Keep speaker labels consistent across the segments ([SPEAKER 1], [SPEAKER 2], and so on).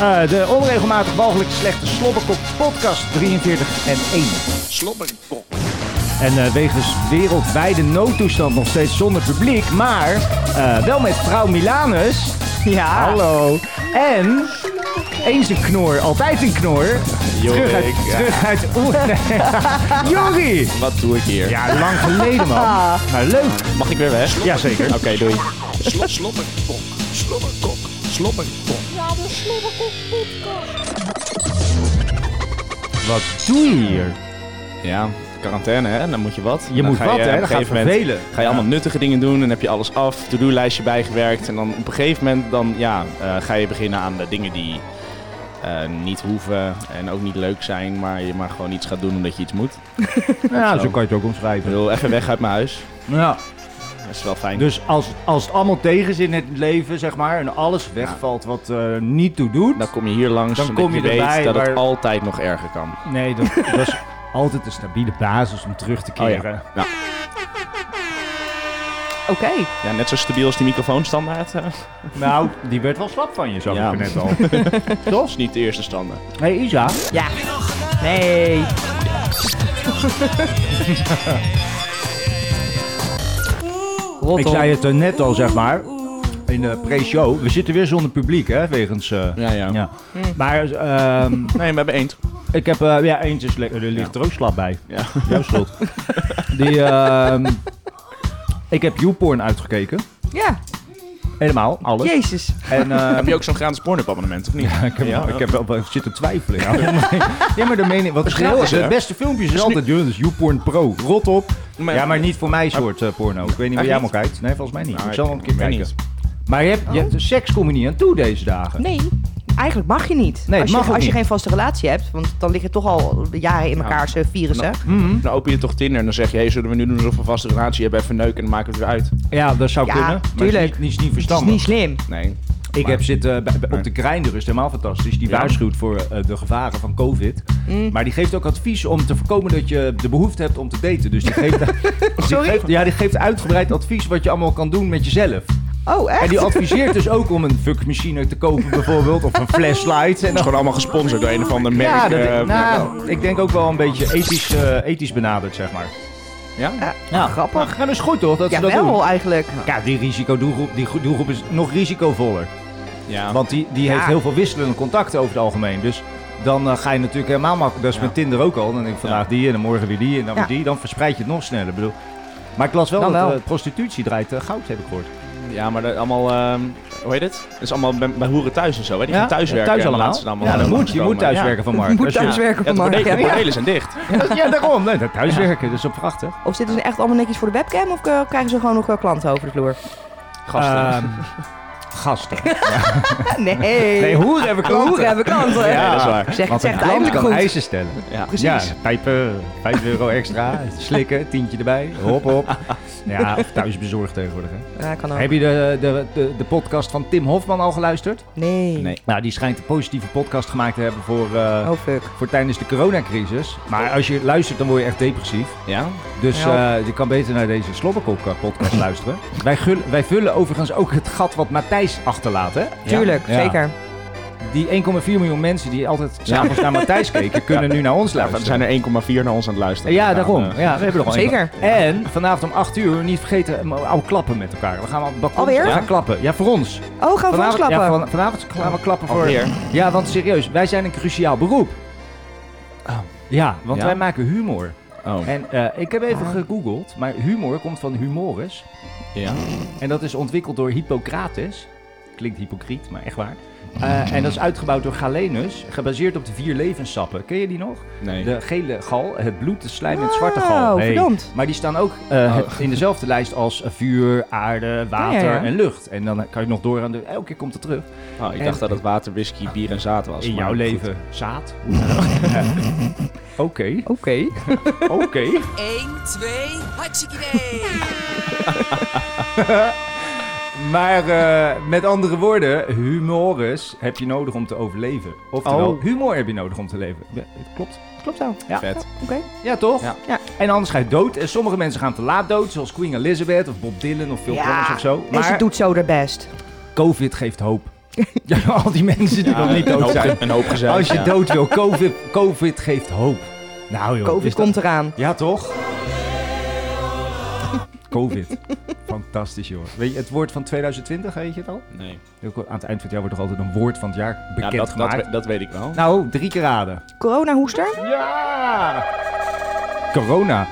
[SPEAKER 1] Eh, de onregelmatig walgelijk slechte Slobberkok podcast 43 en 1.
[SPEAKER 2] Slobberkok.
[SPEAKER 1] En eh, wegens wereldwijde noodtoestand nog steeds zonder publiek, maar eh, wel met vrouw Milanus.
[SPEAKER 3] Ja.
[SPEAKER 1] Hallo. En eens een knor, altijd een knor. terug uit,
[SPEAKER 2] ik-
[SPEAKER 1] terug uit Oer- Jorrie!
[SPEAKER 2] Wat doe ik hier?
[SPEAKER 1] Ja, lang geleden man. Maar leuk.
[SPEAKER 2] Mag ik weer weg?
[SPEAKER 1] Jazeker.
[SPEAKER 2] Oké, doei.
[SPEAKER 4] Slobberkok, slobberkok, slobberkok.
[SPEAKER 1] Wat doe je hier?
[SPEAKER 2] Ja, quarantaine hè, dan moet je wat.
[SPEAKER 1] Je moet wat, hè? Dan gaat het vervelen.
[SPEAKER 2] Ga je allemaal nuttige dingen doen, dan heb je alles af, to-do-lijstje bijgewerkt. En dan op een gegeven moment dan, ja, eh, ga je beginnen aan de dingen die eh, niet hoeven en ook niet leuk zijn. Maar je maar gewoon iets gaat doen omdat je iets moet.
[SPEAKER 1] Ja,
[SPEAKER 2] zo.
[SPEAKER 1] zo kan je het ook
[SPEAKER 2] Ik
[SPEAKER 1] omschrijven.
[SPEAKER 2] wil even weg uit mijn huis.
[SPEAKER 1] Ja.
[SPEAKER 2] Dat is wel fijn.
[SPEAKER 1] Dus als, als het allemaal tegen zit in het leven, zeg maar, en alles wegvalt wat eh, niet toe doet.
[SPEAKER 2] Dan kom je hier langs
[SPEAKER 1] Dan
[SPEAKER 2] omdat
[SPEAKER 1] kom je
[SPEAKER 2] weet
[SPEAKER 1] erbij,
[SPEAKER 2] dat het
[SPEAKER 1] maar-
[SPEAKER 2] altijd nog erger kan.
[SPEAKER 1] Nee, dat, dat is altijd een stabiele basis om terug te
[SPEAKER 2] Oh ja.
[SPEAKER 1] keren.
[SPEAKER 2] Nou,
[SPEAKER 3] Oké.
[SPEAKER 2] ja, net zo stabiel als die microfoon standaard. hè.
[SPEAKER 1] Nou, die werd wel slap van je, zag
[SPEAKER 2] Ja.
[SPEAKER 1] ik net al.
[SPEAKER 2] Dat is niet de eerste standaard.
[SPEAKER 1] Hé hey, Isa,
[SPEAKER 3] Ja. Nee. Rot
[SPEAKER 1] ik
[SPEAKER 3] op.
[SPEAKER 1] zei het eh, net al, zeg maar, in de pre-show. We zitten weer zonder publiek, hè, wegens... eh,
[SPEAKER 2] Ja, ja.
[SPEAKER 1] ja.
[SPEAKER 3] Hm.
[SPEAKER 1] Maar ehm,
[SPEAKER 2] Nee, we hebben eend.
[SPEAKER 1] ik heb... eh, ja, eentje is lekker. Er ligt er ook slap bij.
[SPEAKER 2] Ja.
[SPEAKER 1] Jouw schuld. Die, ehm, ik heb YouPorn uitgekeken.
[SPEAKER 3] Ja.
[SPEAKER 1] Helemaal, alles.
[SPEAKER 3] Jezus.
[SPEAKER 1] En, ehm,
[SPEAKER 2] Heb je ook zo'n gratis porno-abonnement, of niet?
[SPEAKER 1] Ik heb,
[SPEAKER 2] Ja,
[SPEAKER 1] wel-
[SPEAKER 2] ja.
[SPEAKER 1] ik heb wel wel zitten twijfelen. Ja, ja maar de mening... Wat is
[SPEAKER 2] gratis,
[SPEAKER 1] gratis,
[SPEAKER 2] hè?
[SPEAKER 1] Het beste filmpjes is
[SPEAKER 2] nu-
[SPEAKER 1] altijd... joh, Dat is YouPorn Pro. Rot op.
[SPEAKER 2] Maar-
[SPEAKER 1] ja, maar niet voor mijn soort eh, porno. Ik weet niet waar jij
[SPEAKER 2] Echt
[SPEAKER 1] allemaal kijkt. Nee, volgens mij niet.
[SPEAKER 2] Nou,
[SPEAKER 1] ik zal wel een keer
[SPEAKER 2] weet
[SPEAKER 1] kijken.
[SPEAKER 2] niet.
[SPEAKER 1] Maar je hebt, je hebt- seks kom je niet aan toe deze dagen.
[SPEAKER 3] Nee. Eigenlijk mag je niet.
[SPEAKER 1] Nee,
[SPEAKER 3] als
[SPEAKER 1] mag
[SPEAKER 3] je,
[SPEAKER 1] ook
[SPEAKER 3] als je
[SPEAKER 1] niet.
[SPEAKER 3] geen vaste relatie hebt, want dan liggen toch al jaren in elkaars eh,
[SPEAKER 1] Nou,
[SPEAKER 3] virussen.
[SPEAKER 1] Hm?
[SPEAKER 2] Dan open je toch Tinder en dan zeg je, hey, zullen we nu doen alsof we een vaste relatie hebben, even neuken en dan maken we het weer uit.
[SPEAKER 1] Ja, dat zou
[SPEAKER 3] Ja,
[SPEAKER 1] kunnen. Maar
[SPEAKER 3] tuurlijk.
[SPEAKER 1] Het is niet, niet, niet
[SPEAKER 3] Het is
[SPEAKER 1] verstandig.
[SPEAKER 3] niet slim.
[SPEAKER 2] Nee.
[SPEAKER 1] Ik heb zitten eh, bij- bij- op de Grindr, is helemaal fantastisch. Die
[SPEAKER 2] Ja.
[SPEAKER 1] waarschuwt voor eh, de gevaren van COVID. Maar die geeft ook advies om te voorkomen dat je de behoefte hebt om te daten. Dus die geeft, die
[SPEAKER 3] Sorry?
[SPEAKER 1] geeft- ja, die geeft uitgebreid advies wat je allemaal kan doen met jezelf.
[SPEAKER 3] Oh,
[SPEAKER 1] En
[SPEAKER 3] echt?
[SPEAKER 1] die adviseert dus ook om een fuckmachine te kopen bijvoorbeeld, of een flashlight. En
[SPEAKER 2] Het is
[SPEAKER 1] dan...
[SPEAKER 2] gewoon allemaal gesponsord door een of ander merk.
[SPEAKER 1] Ja, dat,
[SPEAKER 2] eh,
[SPEAKER 1] nou, ik denk ook wel een beetje ethisch, eh, ethisch benaderd, zeg maar.
[SPEAKER 2] ja?
[SPEAKER 1] Ja,
[SPEAKER 3] grappig.
[SPEAKER 1] Maar dat is goed toch, dat
[SPEAKER 3] Ja,
[SPEAKER 1] ze dat
[SPEAKER 3] wel
[SPEAKER 1] doen?
[SPEAKER 3] eigenlijk.
[SPEAKER 1] Ja, die risicodoelgroep die gro- doelgroep is nog risicovoller.
[SPEAKER 2] ja.
[SPEAKER 1] Want die, die
[SPEAKER 3] Ja.
[SPEAKER 1] heeft heel veel wisselende contacten over het algemeen. Dus dan eh, ga je natuurlijk helemaal makkelijk. Dat is met Tinder ook al. Dan denk ik vandaag die en dan morgen weer die en dan
[SPEAKER 3] Ja.
[SPEAKER 1] weer die. Dan verspreid je het nog sneller. Ik Bedoel. Maar ik las wel
[SPEAKER 3] Dan
[SPEAKER 1] dat
[SPEAKER 3] wel.
[SPEAKER 1] eh, prostitutie draait eh, goud, heb ik gehoord.
[SPEAKER 2] ja, maar dat allemaal, ehm, hoe heet het? Dat is allemaal bij, bij hoeren thuis en zo, hè? Die gaan thuis werken.
[SPEAKER 1] Thuis
[SPEAKER 2] en
[SPEAKER 1] allemaal.
[SPEAKER 2] laten ze dan allemaal
[SPEAKER 1] ja, dat
[SPEAKER 2] naar
[SPEAKER 1] moet. Je
[SPEAKER 2] komen.
[SPEAKER 1] moet thuiswerken van Mark.
[SPEAKER 3] Moet
[SPEAKER 1] Als je-
[SPEAKER 3] thuiswerken
[SPEAKER 2] Ja, ja de,
[SPEAKER 3] vanmorgen.
[SPEAKER 2] borde- de
[SPEAKER 3] Ja.
[SPEAKER 2] bordelen zijn dicht.
[SPEAKER 1] Ja, daarom. Nee, dat thuiswerken, dat is wel prachtig.
[SPEAKER 3] Of zitten ze echt allemaal netjes voor de webcam of eh, krijgen ze gewoon nog wel klanten over de vloer?
[SPEAKER 2] Gasten.
[SPEAKER 1] Ehm, gasten.
[SPEAKER 3] Nee.
[SPEAKER 1] Nee, hoeren hebben klanten.
[SPEAKER 3] Hoe hebben klanten?
[SPEAKER 1] Ja,
[SPEAKER 2] Nee, dat is waar.
[SPEAKER 3] Zeg
[SPEAKER 1] Want
[SPEAKER 3] het
[SPEAKER 1] een
[SPEAKER 3] echt
[SPEAKER 1] klant
[SPEAKER 3] eindelijk
[SPEAKER 1] kan
[SPEAKER 3] goed.
[SPEAKER 1] eisen stellen.
[SPEAKER 2] Ja.
[SPEAKER 3] Precies.
[SPEAKER 1] Ja, pijpen, 5 euro extra, slikken, tientje erbij, hop hop. Ja, of thuisbezorgd tegenwoordig. Hè.
[SPEAKER 3] Ja, kan ook.
[SPEAKER 1] Oh. Heb je de, de, de, de podcast van Tim Hofman al geluisterd?
[SPEAKER 3] Nee.
[SPEAKER 2] Nee.
[SPEAKER 1] Nou, die schijnt een positieve podcast gemaakt te hebben voor, eh,
[SPEAKER 3] Oh fuck.
[SPEAKER 1] voor tijdens de coronacrisis. Maar als je luistert, dan word je echt depressief.
[SPEAKER 2] Ja?
[SPEAKER 1] Dus
[SPEAKER 3] Ja.
[SPEAKER 1] eh, je kan beter naar deze Slobberkok-podcast luisteren. Wij, gul- wij vullen overigens ook het gat wat Matthijs achterlaat, hè?
[SPEAKER 3] Tuurlijk,
[SPEAKER 1] Ja.
[SPEAKER 3] zeker.
[SPEAKER 1] Die 1,4 miljoen mensen die altijd s'avonds naar Matthijs keken, kunnen nu naar ons
[SPEAKER 2] Ja,
[SPEAKER 1] luisteren.
[SPEAKER 2] er zijn er 1,4 naar ons aan het luisteren.
[SPEAKER 1] Ja,
[SPEAKER 2] Nou,
[SPEAKER 1] daarom.
[SPEAKER 2] eh,
[SPEAKER 1] Ja, we hebben er al
[SPEAKER 3] Zeker.
[SPEAKER 1] één. En vanavond om 8 uur, niet vergeten, eh, oude klappen met elkaar. We gaan op het balkon
[SPEAKER 3] Alweer?
[SPEAKER 1] we gaan klappen. Ja, voor ons.
[SPEAKER 3] Oh, gaan we
[SPEAKER 1] Vanavond,
[SPEAKER 3] klappen?
[SPEAKER 1] ja, van- vanavond gaan we klappen voor...
[SPEAKER 2] Alweer?
[SPEAKER 1] Ja, want serieus, wij zijn een cruciaal beroep. Ja, want
[SPEAKER 2] Oh. Ja.
[SPEAKER 1] wij maken humor.
[SPEAKER 2] Oh,
[SPEAKER 1] En eh, ik heb even gegoogeld, maar humor komt van humoris.
[SPEAKER 2] ja.
[SPEAKER 1] En dat is ontwikkeld door Hippocrates. Klinkt hypocriet, maar echt waar. Eh, en dat is uitgebouwd door Galenus, gebaseerd op de vier levenssappen. Ken je die nog?
[SPEAKER 2] Nee.
[SPEAKER 1] De gele gal, het bloed, de slijm en het zwarte gal.
[SPEAKER 3] Wauw, Oh, verdomd.
[SPEAKER 1] Maar die staan ook eh,
[SPEAKER 2] Oh.
[SPEAKER 1] het- in dezelfde lijst als eh, vuur, aarde, water
[SPEAKER 3] Ja, ja, ja.
[SPEAKER 1] en lucht. En dan kan je nog door aan de... Elke keer komt het terug.
[SPEAKER 2] Oh, ik
[SPEAKER 1] En-
[SPEAKER 2] dacht dat het water, whisky, bier en zaad was.
[SPEAKER 1] In
[SPEAKER 2] maar
[SPEAKER 1] jouw
[SPEAKER 2] goed.
[SPEAKER 1] leven. Zaad. Hoe dan ook. Ja. Oké,
[SPEAKER 3] Oké.
[SPEAKER 1] oké.
[SPEAKER 5] 1, 2, hartstikke idee.
[SPEAKER 1] Maar eh, met andere woorden, humorus heb je nodig om te overleven. Oftewel,
[SPEAKER 2] Oh.
[SPEAKER 1] humor heb je nodig om te leven. Ja, het klopt.
[SPEAKER 3] Klopt wel.
[SPEAKER 1] Ja.
[SPEAKER 2] Vet.
[SPEAKER 3] Oké.
[SPEAKER 1] Ja, toch?
[SPEAKER 2] Ja.
[SPEAKER 3] Ja.
[SPEAKER 1] En anders ga je dood. En sommige mensen gaan te laat dood, zoals Queen Elizabeth of Bob Dylan of Phil Collins of zo.
[SPEAKER 3] En ze
[SPEAKER 1] Maar
[SPEAKER 3] doet zo haar best.
[SPEAKER 1] COVID geeft hoop. ja, al die mensen die nog niet
[SPEAKER 2] een,
[SPEAKER 1] dood
[SPEAKER 2] hoop,
[SPEAKER 1] zijn.
[SPEAKER 2] ge- een hoop gezeik,
[SPEAKER 1] Als je
[SPEAKER 2] ja.
[SPEAKER 1] dood wil, COVID, COVID geeft hoop. Nou joh.
[SPEAKER 3] Covid
[SPEAKER 1] is dat-
[SPEAKER 3] komt eraan.
[SPEAKER 1] Ja, toch? COVID. Fantastisch, joh. Weet je, het woord van 2020, weet je het al?
[SPEAKER 2] Nee.
[SPEAKER 1] Heel kort, Aan het eind van het jaar wordt toch altijd een woord van het jaar
[SPEAKER 2] Ja,
[SPEAKER 1] bekend
[SPEAKER 2] dat, dat,
[SPEAKER 1] gemaakt.
[SPEAKER 2] we- dat weet ik wel.
[SPEAKER 1] nou, drie keer raden.
[SPEAKER 3] Corona-hoester?
[SPEAKER 1] Ja! Corona.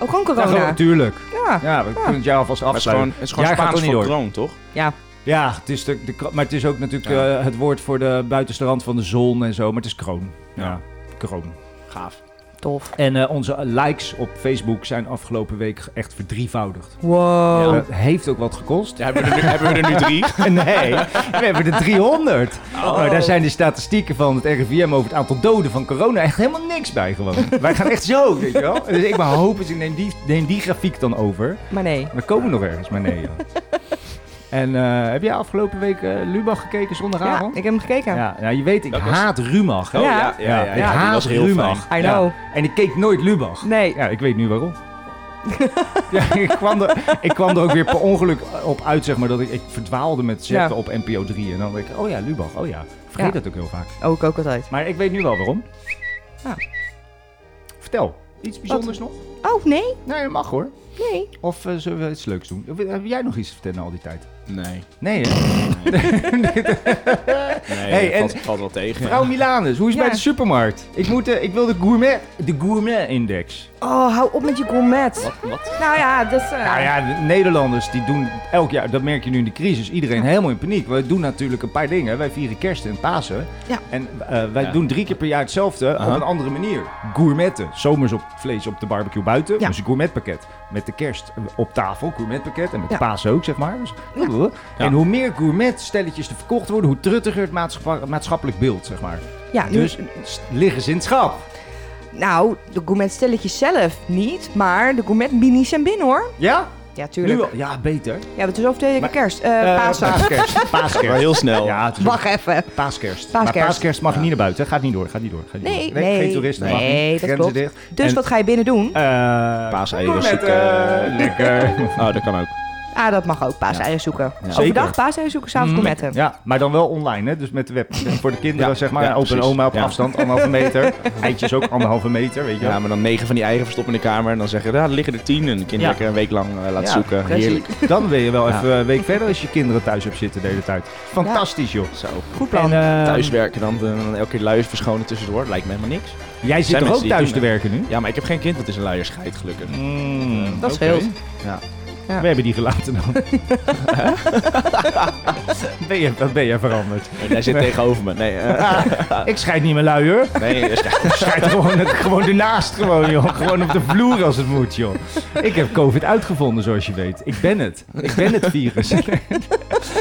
[SPEAKER 3] Oh, gewoon
[SPEAKER 1] Ja, gewoon,
[SPEAKER 3] corona.
[SPEAKER 1] natuurlijk.
[SPEAKER 3] Ja.
[SPEAKER 1] Ja, we kunnen het jaar alvast
[SPEAKER 2] Maar het is gewoon,
[SPEAKER 1] afsluiten.
[SPEAKER 2] het is gewoon
[SPEAKER 1] Jij gaat
[SPEAKER 2] Spaans
[SPEAKER 1] toch niet
[SPEAKER 2] voor
[SPEAKER 1] door?
[SPEAKER 2] droom, toch?
[SPEAKER 3] Ja.
[SPEAKER 1] Ja, het is de, de, kro- maar het is ook natuurlijk
[SPEAKER 2] Ja.
[SPEAKER 1] eh, het woord voor de buitenste rand van de zon en zo. Maar het is kroon. Ja,
[SPEAKER 2] Ja.
[SPEAKER 1] kroon.
[SPEAKER 2] Gaaf.
[SPEAKER 3] Tof.
[SPEAKER 1] En eh, onze likes op Facebook zijn afgelopen week echt verdrievoudigd.
[SPEAKER 3] Wow.
[SPEAKER 1] Het heeft ook wat gekost.
[SPEAKER 2] Ja, hebben, we er nu, hebben we er nu drie?
[SPEAKER 1] Nee, we hebben er 300.
[SPEAKER 2] Oh.
[SPEAKER 1] Maar daar zijn de statistieken van het RIVM over het aantal doden van corona echt helemaal niks bij gewoon. Wij gaan echt zo, weet je wel. Dus ik maar hoop eens, ik neem die, neem die grafiek dan over.
[SPEAKER 3] Maar nee.
[SPEAKER 1] We komen nog ergens, maar nee. joh. En eh, heb jij afgelopen week eh, Lubach gekeken
[SPEAKER 3] Ja,
[SPEAKER 1] zondagavond?
[SPEAKER 3] ik heb hem gekeken.
[SPEAKER 1] ja, ja, je weet, ik
[SPEAKER 2] Dat was-
[SPEAKER 1] haat Rumach.
[SPEAKER 2] Oh, ja, ja, ja, ja,
[SPEAKER 1] ik
[SPEAKER 2] die
[SPEAKER 1] haat
[SPEAKER 2] was heel
[SPEAKER 1] Rumach.
[SPEAKER 2] fijn.
[SPEAKER 3] I
[SPEAKER 1] Ja.
[SPEAKER 3] know.
[SPEAKER 1] En ik keek nooit Lubach.
[SPEAKER 3] Nee.
[SPEAKER 1] Ja, ik weet nu waarom. ja, ik, kwam er, ik kwam er ook weer per ongeluk op uit, zeg maar, dat ik, ik verdwaalde met zetten
[SPEAKER 3] Ja.
[SPEAKER 1] op NPO 3. En dan denk ik, oh ja, Lubach, oh ja. Ik Vergeet
[SPEAKER 3] Ja.
[SPEAKER 1] dat ook heel vaak.
[SPEAKER 3] Oh, ik ook altijd.
[SPEAKER 1] Maar ik weet nu wel waarom.
[SPEAKER 3] Ja.
[SPEAKER 1] Vertel, iets bijzonders nog?
[SPEAKER 3] Oh, nee.
[SPEAKER 1] Nee, dat mag hoor.
[SPEAKER 3] Nee.
[SPEAKER 1] Of eh, zullen we iets leuks doen? Of, eh, Heb jij nog iets te vertellen al die tijd?
[SPEAKER 2] Nee.
[SPEAKER 1] Nee, hè?
[SPEAKER 2] Nee,
[SPEAKER 1] Hey,
[SPEAKER 2] valt,
[SPEAKER 1] en-
[SPEAKER 2] valt wel tegen.
[SPEAKER 1] Vrouw Milanus, hoe is het
[SPEAKER 3] Ja.
[SPEAKER 1] bij de supermarkt? Ik, moet, eh, ik wil de gourmet, de gourmet index.
[SPEAKER 3] Oh, hou op met je gourmet.
[SPEAKER 2] Wat? wat?
[SPEAKER 3] Nou ja, dat is... eh,
[SPEAKER 1] Nou ja, de Nederlanders die doen elk jaar, dat merk je nu in de crisis, iedereen helemaal in paniek. We doen natuurlijk een paar dingen. Wij vieren kerst en Pasen.
[SPEAKER 3] Ja.
[SPEAKER 1] En eh, wij
[SPEAKER 2] Ja.
[SPEAKER 1] doen drie keer per jaar hetzelfde
[SPEAKER 2] Aha.
[SPEAKER 1] op een andere manier. Gourmetten. Zomers op vlees op de barbecue buiten.
[SPEAKER 3] Ja.
[SPEAKER 1] Dus een gourmetpakket. Met de kerst op tafel, gourmetpakket. En met
[SPEAKER 3] Ja.
[SPEAKER 1] Pasen ook, zeg maar. Dus,
[SPEAKER 2] Ja.
[SPEAKER 1] En hoe meer gourmetstelletjes er verkocht worden, hoe truttiger het maatschappa- maatschappelijk beeld, zeg maar.
[SPEAKER 3] ja, nu,
[SPEAKER 1] Dus st- liggen ze in het schap.
[SPEAKER 3] Nou, de gourmetstelletjes zelf niet, maar de gourmetminis zijn binnen hoor.
[SPEAKER 1] Ja?
[SPEAKER 3] Ja,
[SPEAKER 1] Nu
[SPEAKER 3] tuurlijk.
[SPEAKER 1] al. Ja, beter.
[SPEAKER 3] Ja, het is over twee weken
[SPEAKER 1] Maar-
[SPEAKER 3] kerst. Eh
[SPEAKER 1] Eh,
[SPEAKER 3] Pasen.
[SPEAKER 1] Paaskerst.
[SPEAKER 2] Wel
[SPEAKER 1] Paaskerst.
[SPEAKER 2] heel snel.
[SPEAKER 1] Ja, het is
[SPEAKER 3] Wacht even.
[SPEAKER 1] Paaskerst.
[SPEAKER 3] Paaskerst.
[SPEAKER 1] Maar paaskerst mag je niet naar buiten. Gaat niet door. Gaat niet door. Gaat niet
[SPEAKER 3] Nee,
[SPEAKER 1] door.
[SPEAKER 3] nee.
[SPEAKER 1] Geen toeristen. mag
[SPEAKER 3] Nee,
[SPEAKER 1] niet.
[SPEAKER 3] dat
[SPEAKER 1] Grenzen
[SPEAKER 3] klopt.
[SPEAKER 1] dicht.
[SPEAKER 3] Dus
[SPEAKER 1] En,
[SPEAKER 3] wat ga je binnen doen?
[SPEAKER 1] eh,
[SPEAKER 2] Paaseieren
[SPEAKER 1] gourmetten.
[SPEAKER 2] zoeken.
[SPEAKER 1] eh, Lekker.
[SPEAKER 2] Oh, dat kan ook.
[SPEAKER 3] Ah, dat mag ook. Paaseieren zoeken.
[SPEAKER 1] Zeker.
[SPEAKER 3] Overdag paaseieren zoeken, s'avonds
[SPEAKER 1] Mm,
[SPEAKER 3] gourmetten.
[SPEAKER 1] Ja, maar dan wel online, hè? Dus met de web. Voor de kinderen,
[SPEAKER 2] Ja,
[SPEAKER 1] zeg maar.
[SPEAKER 2] ja,
[SPEAKER 1] en opa en
[SPEAKER 2] precies.
[SPEAKER 1] oma op
[SPEAKER 2] Ja.
[SPEAKER 1] afstand, anderhalve meter. Eitjes ook anderhalve meter, weet je wel.
[SPEAKER 2] Ja, maar dan negen van die eieren verstoppen in de kamer. En dan zeggen, ja, er liggen er tien. En de kind
[SPEAKER 1] Ja.
[SPEAKER 2] lekker een week lang eh, laat
[SPEAKER 1] Ja,
[SPEAKER 2] zoeken.
[SPEAKER 3] precies.
[SPEAKER 2] Heerlijk.
[SPEAKER 1] Dan ben je wel
[SPEAKER 2] Ja.
[SPEAKER 1] even een week verder als je kinderen thuis hebt zitten de hele tijd. Fantastisch, joh.
[SPEAKER 2] Zo.
[SPEAKER 3] Goed plan.
[SPEAKER 1] eh,
[SPEAKER 2] Thuiswerken dan, eh, dan elke keer luiers verschonen tussendoor. Lijkt me helemaal niks.
[SPEAKER 1] jij zit
[SPEAKER 2] zijn
[SPEAKER 1] toch ook
[SPEAKER 2] mensen die
[SPEAKER 1] thuis te
[SPEAKER 2] doen,
[SPEAKER 1] werken nu?
[SPEAKER 2] Ja, maar ik heb geen kind, dat is een luierscheid, gelukkig.
[SPEAKER 1] Mm,
[SPEAKER 3] dat
[SPEAKER 1] oké.
[SPEAKER 3] scheelt. Ja.
[SPEAKER 1] We hebben die gelaten dan. ben je, wat ben je veranderd?
[SPEAKER 2] En hij zit tegenover me. Nee,
[SPEAKER 1] Ah.
[SPEAKER 2] eh,
[SPEAKER 1] Ik scheid niet meer lui hoor.
[SPEAKER 2] nee eh,
[SPEAKER 1] Ik scheid gewoon, gewoon ernaast gewoon joh. Gewoon op de vloer als het moet joh. Ik heb covid uitgevonden zoals je weet. Ik ben het. Ik ben het virus.